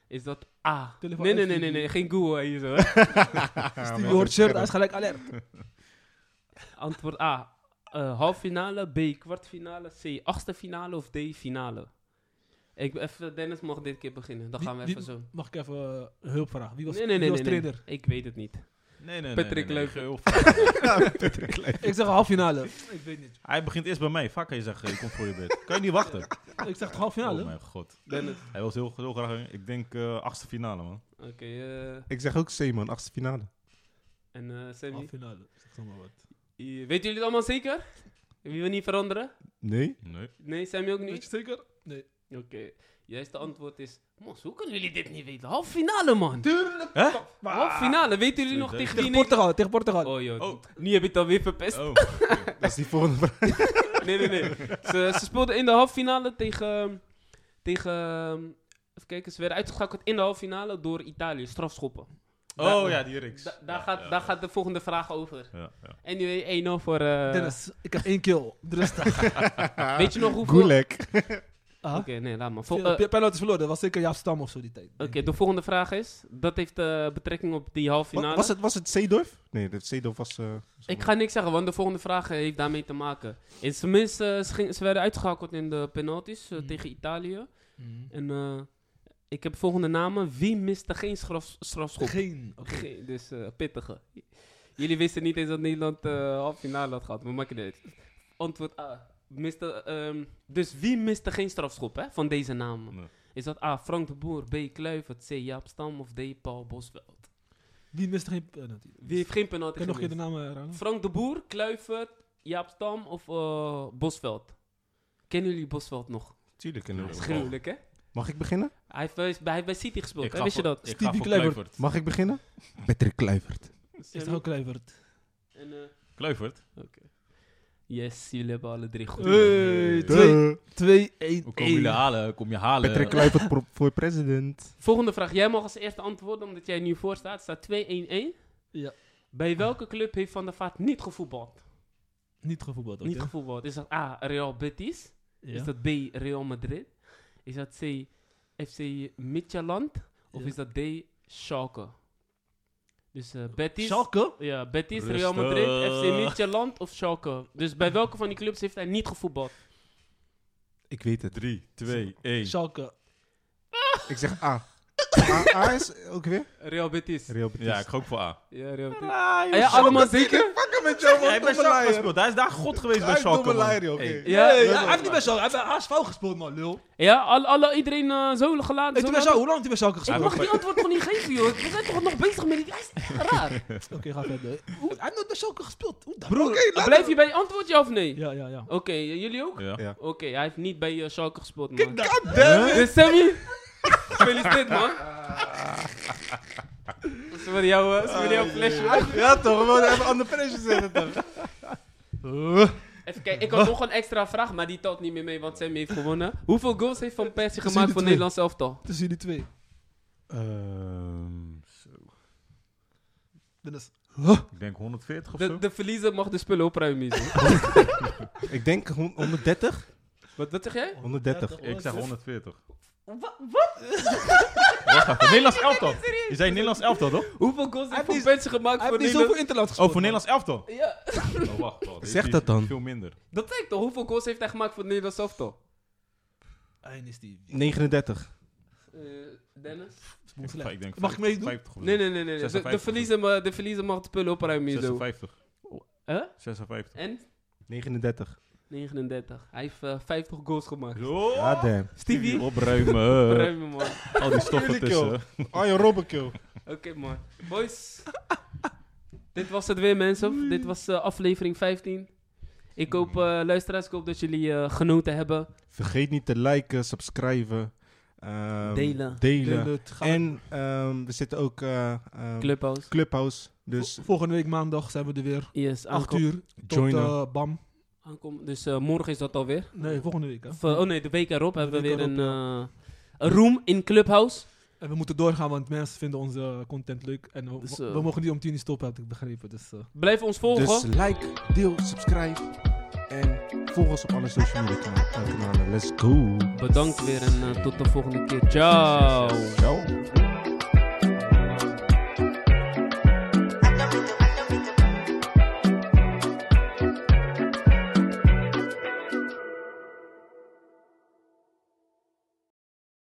C: Is dat A?
D: Telefoon
C: nee, nee, nee,
D: uitsturen.
C: nee, nee, geen Google hier zo. hè.
D: Steve, je hoort shirt, hij is gelijk alert.
C: Antwoord A. Eh half finale, B. Kwartfinale, C. Achtste finale of D. Finale. Ik, even, Dennis mag dit keer beginnen. Dan
D: Wie-
C: gaan we
D: wie-
C: even zo.
D: Mag ik even eh, hulp vragen? Wie was,
C: Nee, nee, nee.
D: wie was
C: nee, nee.
D: trainer?
C: Ik weet het niet.
B: Nee, nee,
C: Patrick
B: nee, nee, nee.
C: Leuven.
B: Heel vaak.
D: Ik zeg halffinale. ik weet niet.
B: Hij begint eerst bij mij. Vaak kan je zeggen, ik kom voor je bed. Kan je niet wachten?
D: Ik zeg toch
B: Oh
D: halffinale?
B: mijn god.
C: Dennis.
B: Hij was heel, heel graag, ik denk eh, achtste finale man.
C: Oké, eh,
A: Ik zeg ook Zeeman, achtste finale.
C: en eh Sammy.
D: halffinale. Ik Zeg maar wat.
C: Eh, Weten jullie het allemaal zeker? Wie wil niet veranderen?
A: Nee?
B: Nee.
C: Nee, Sammy ook
D: Weet
C: niet?
D: je zeker? Nee.
C: Oké. Juiste antwoord is... Mos, hoe kunnen jullie dit niet weten? Half finale, man.
D: Tuurlijk.
B: Hè?
C: Half finale. Weten jullie nog
B: Tegen
C: tegen wie?
D: Tegen
C: Nederland-
D: Portugal, tegen Portugal.
C: Oh, joh.
B: Ah. Oh.
C: Nu heb ik het alweer verpest.
B: Oh.
A: Dat is die volgende vraag.
C: Nee, nee, nee. ze, ze speelden in de halve finale tegen... tegen even kijken, ze werden uitgeschakeld in de halve finale door Italië. Strafschoppen.
B: oh ja, die Rix.
C: Da- daar
B: Ja,
C: gaat,
B: ja,
C: daar
B: ja.
C: gaat de volgende vraag over.
B: Ja, ja.
C: Anyway, 1-0 voor... eh,
D: Dennis, ik heb één kill. Rustig.
C: Weet je nog hoeveel... Oké,
A: Gulek.
D: Ah.
C: nee, laat maar. Vol- eh,
D: Pe- Penalty verloren, dat was zeker Jaap Stam of zo die tijd.
C: Oké, de volgende vraag is... Dat heeft eh, betrekking op die halve
A: Wa-
C: finale.
A: Was het, was het Zeedorf? Nee, dat Zeedorf was... eh,
C: Ik ga niks zeggen, want de volgende vraag eh, heeft daarmee te maken. In tenminste, eh, ze, ging- ze werden uitgeschakeld in de penalties eh,
D: Mm.
C: tegen Italië.
D: Mhm.
C: En eh, ik heb volgende namen. Wie miste geen straf, strafschop?
D: Geen. oké.
C: Geen- dus eh, pittige. Jullie wisten niet eens dat Nederland eh half finale had gehad, maar maakt niet uit. Antwoord A. Miste, ehm, dus wie miste geen strafschop hè, van deze namen?
B: Nee.
C: Is dat A. Frank de Boer, B. Kluivert, C. Jaap Stam of D. Paul Bosveld?
D: Wie miste geen penalty?
C: Wie heeft geen penalty
D: Kan je nog een keer
C: gemist?
D: de naam herhalen?
C: Frank de Boer, Kluivert, Jaap Stam of eh, Bosveld? Kennen jullie Bosveld nog?
A: Tuurlijk.
C: Dat is gruwelijk, hè?
A: Mag ik beginnen?
C: Hij heeft, bij- hij heeft bij City gespeeld,
B: Ik
C: hè?
B: ga
C: Wist je
B: voor-
C: dat?
B: Ik ga
D: Stevie
B: voor
D: Kluivert.
B: Kluivert.
A: Mag ik beginnen? Patrick Kluivert.
D: Is toch ook Kluivert?
C: En, eh,
B: Kluivert?
C: yes, jullie hebben alle drie
D: Eh.
C: goed.
D: Hey, twee-
A: Duh.
D: 2-1.
B: Hoe komen jullie halen? Kom je halen?
A: Patrick Kluivert pro- voor president.
C: Volgende vraag. Jij mag als eerste antwoorden, omdat jij nu voor staat. staat 2-1-1.
D: Ja.
C: Bij welke club heeft Van der Vaart niet gevoetbald?
D: Niet gevoetbald.
C: Niet gevoetbald. Is dat A, Real Betis? Is dat B, Real Madrid? Is dat C, FC Midtjylland? Of
D: Ja.
C: is dat D, Schalke? Dus eh, Betis...
D: Schalke?
C: Ja, Betis,
B: Rustig.
C: Real Madrid, FC Midtjylland of Schalke. Dus bij welke van die clubs heeft hij niet gevoetbald?
A: Ik weet het.
B: 3, 2, 1.
D: Schalke.
A: Ik zeg A. A, A is ook weer?
C: Real Betis.
A: Real Betis.
B: Ja, ik ga ook voor A.
C: Ja, Real Betis.
A: Ah,
C: Ja, allemaal zeker?
A: Pakken met jou,
B: Hij heeft bij Schalke gespeeld. Hij is daar god geweest bij Schalke, man. Hey.
C: Ja,
D: Nee,
C: ja,
D: hij heeft niet bij Schalke. Hij heeft bij HSV gespeeld, man, lul.
C: Ja, al, alle, iedereen eh, zo gelaten.
D: Hey,
C: zo
D: toen bij
C: laten.
D: Schalke, hoe lang heeft hij bij Schalke
C: Ik
D: gespeeld?
C: mag die antwoord gewoon niet geven, joh. We zijn toch nog bezig met die... Hij is echt raar.
D: Oké, ga verder. Hoe- Hij heeft nooit bij Schalke gespeeld. Hoe dan?
C: Broer, blijf je bij je antwoord, ja of nee?
D: Ja, ja, ja.
C: Oké, eh, jullie ook?
B: Ja.
C: Oké, hij heeft niet bij eh, Schalke gespeeld, man.
D: daar.
C: Dus Sammy, gefeliciteerd, man. Ze willen jou, eh, ze willen
D: Ah,
C: jou flesje.
A: Ja toch, we moeten even under pressure zetten toch.
C: Even kijken, ik had nog een extra vraag, maar die telt niet meer mee, want Sammy heeft gewonnen. Hoeveel goals heeft Van Persie
D: jullie
C: gemaakt voor
D: twee.
C: Nederlands elftal?
D: Tussen jullie twee.
B: Ehm,
D: Dennis.
B: ik denk 140 of
C: De,
B: zo.
C: de verliezer mag de spullen opruimen. Izzy.
A: Ik denk hon- 130.
C: Wat, wat zeg jij?
A: 130.
B: Ik zeg 140.
C: Wa- wat?
B: Wacht even. Nederlands elftal. Je zei Nederlands elftal, toch?
C: Hoeveel goals heeft
D: heeft
C: Van
D: niet-
C: Persie gemaakt
D: Hij
C: voor
D: heeft niet
C: Nederland?
D: zoveel interland gespeeld.
B: Oh, voor Nederlands elftal.
C: Ja,
B: Oh, wacht. wacht.
A: Zeg
B: Die-
A: dat dan.
B: Veel minder.
C: dat zei ik toch. Hoeveel goals heeft hij gemaakt voor het Nederlands elftal?
D: man. Hij is die.
A: 39.
C: Dennis?
D: is gewoon
B: Ik,
D: slecht.
B: denk
D: Mag ik meedoen?
B: 50 of zo.
C: Nee, nee, nee. nee. nee. De, de
B: 56.
C: verliezer, ma- de verliezer mag de spullen opruimen. Izzo.
B: 56.
C: Huh?
B: 56.
C: En?
A: 39.
C: 39. Hij heeft eh, 50 goals gemaakt.
B: Yo!
A: Ja, damn.
D: Eh,
C: Stevie,
B: Oh! Opruimen.
C: opruimen, man.
B: Al die stoffen
A: Jullie kill.
B: tussen.
A: Arjen Oh, Robbenkill.
C: Oké, man. Boys. dit was het weer, mensen. Dit was eh, aflevering 15. Ik hoop, eh, luisteraars, ik hoop dat jullie eh, genoten hebben.
A: Vergeet niet te liken, subscriben. ehm,
C: Delen.
A: Delen.
D: het gaat-
A: En ehm, we zitten ook eh, ehm,
C: Clubhouse.
A: Clubhouse. Dus
D: Vol- volgende week maandag zijn we er weer.
C: Yes,
D: 8
C: aankom.
D: uur. Tot
A: joinen.
D: eh, bam.
C: aankom. Dus eh, morgen is dat alweer.
D: Nee, volgende week. Hè.
C: Of, eh, oh nee, de week erop hebben we
D: week
C: weer een, eh, een room in Clubhouse.
D: En we moeten doorgaan, want mensen vinden onze content leuk. En we,
C: Dus,
D: we-
C: eh,
D: we mogen niet om tien uur stoppen, heb ik begrepen. Dus, eh,
C: Blijf ons volgen.
A: Dus like, deel, subscribe. En volg ons op alle social media kan- kanalen. Let's go.
C: Bedankt weer en eh, tot de volgende keer. Ciao.
A: Ciao.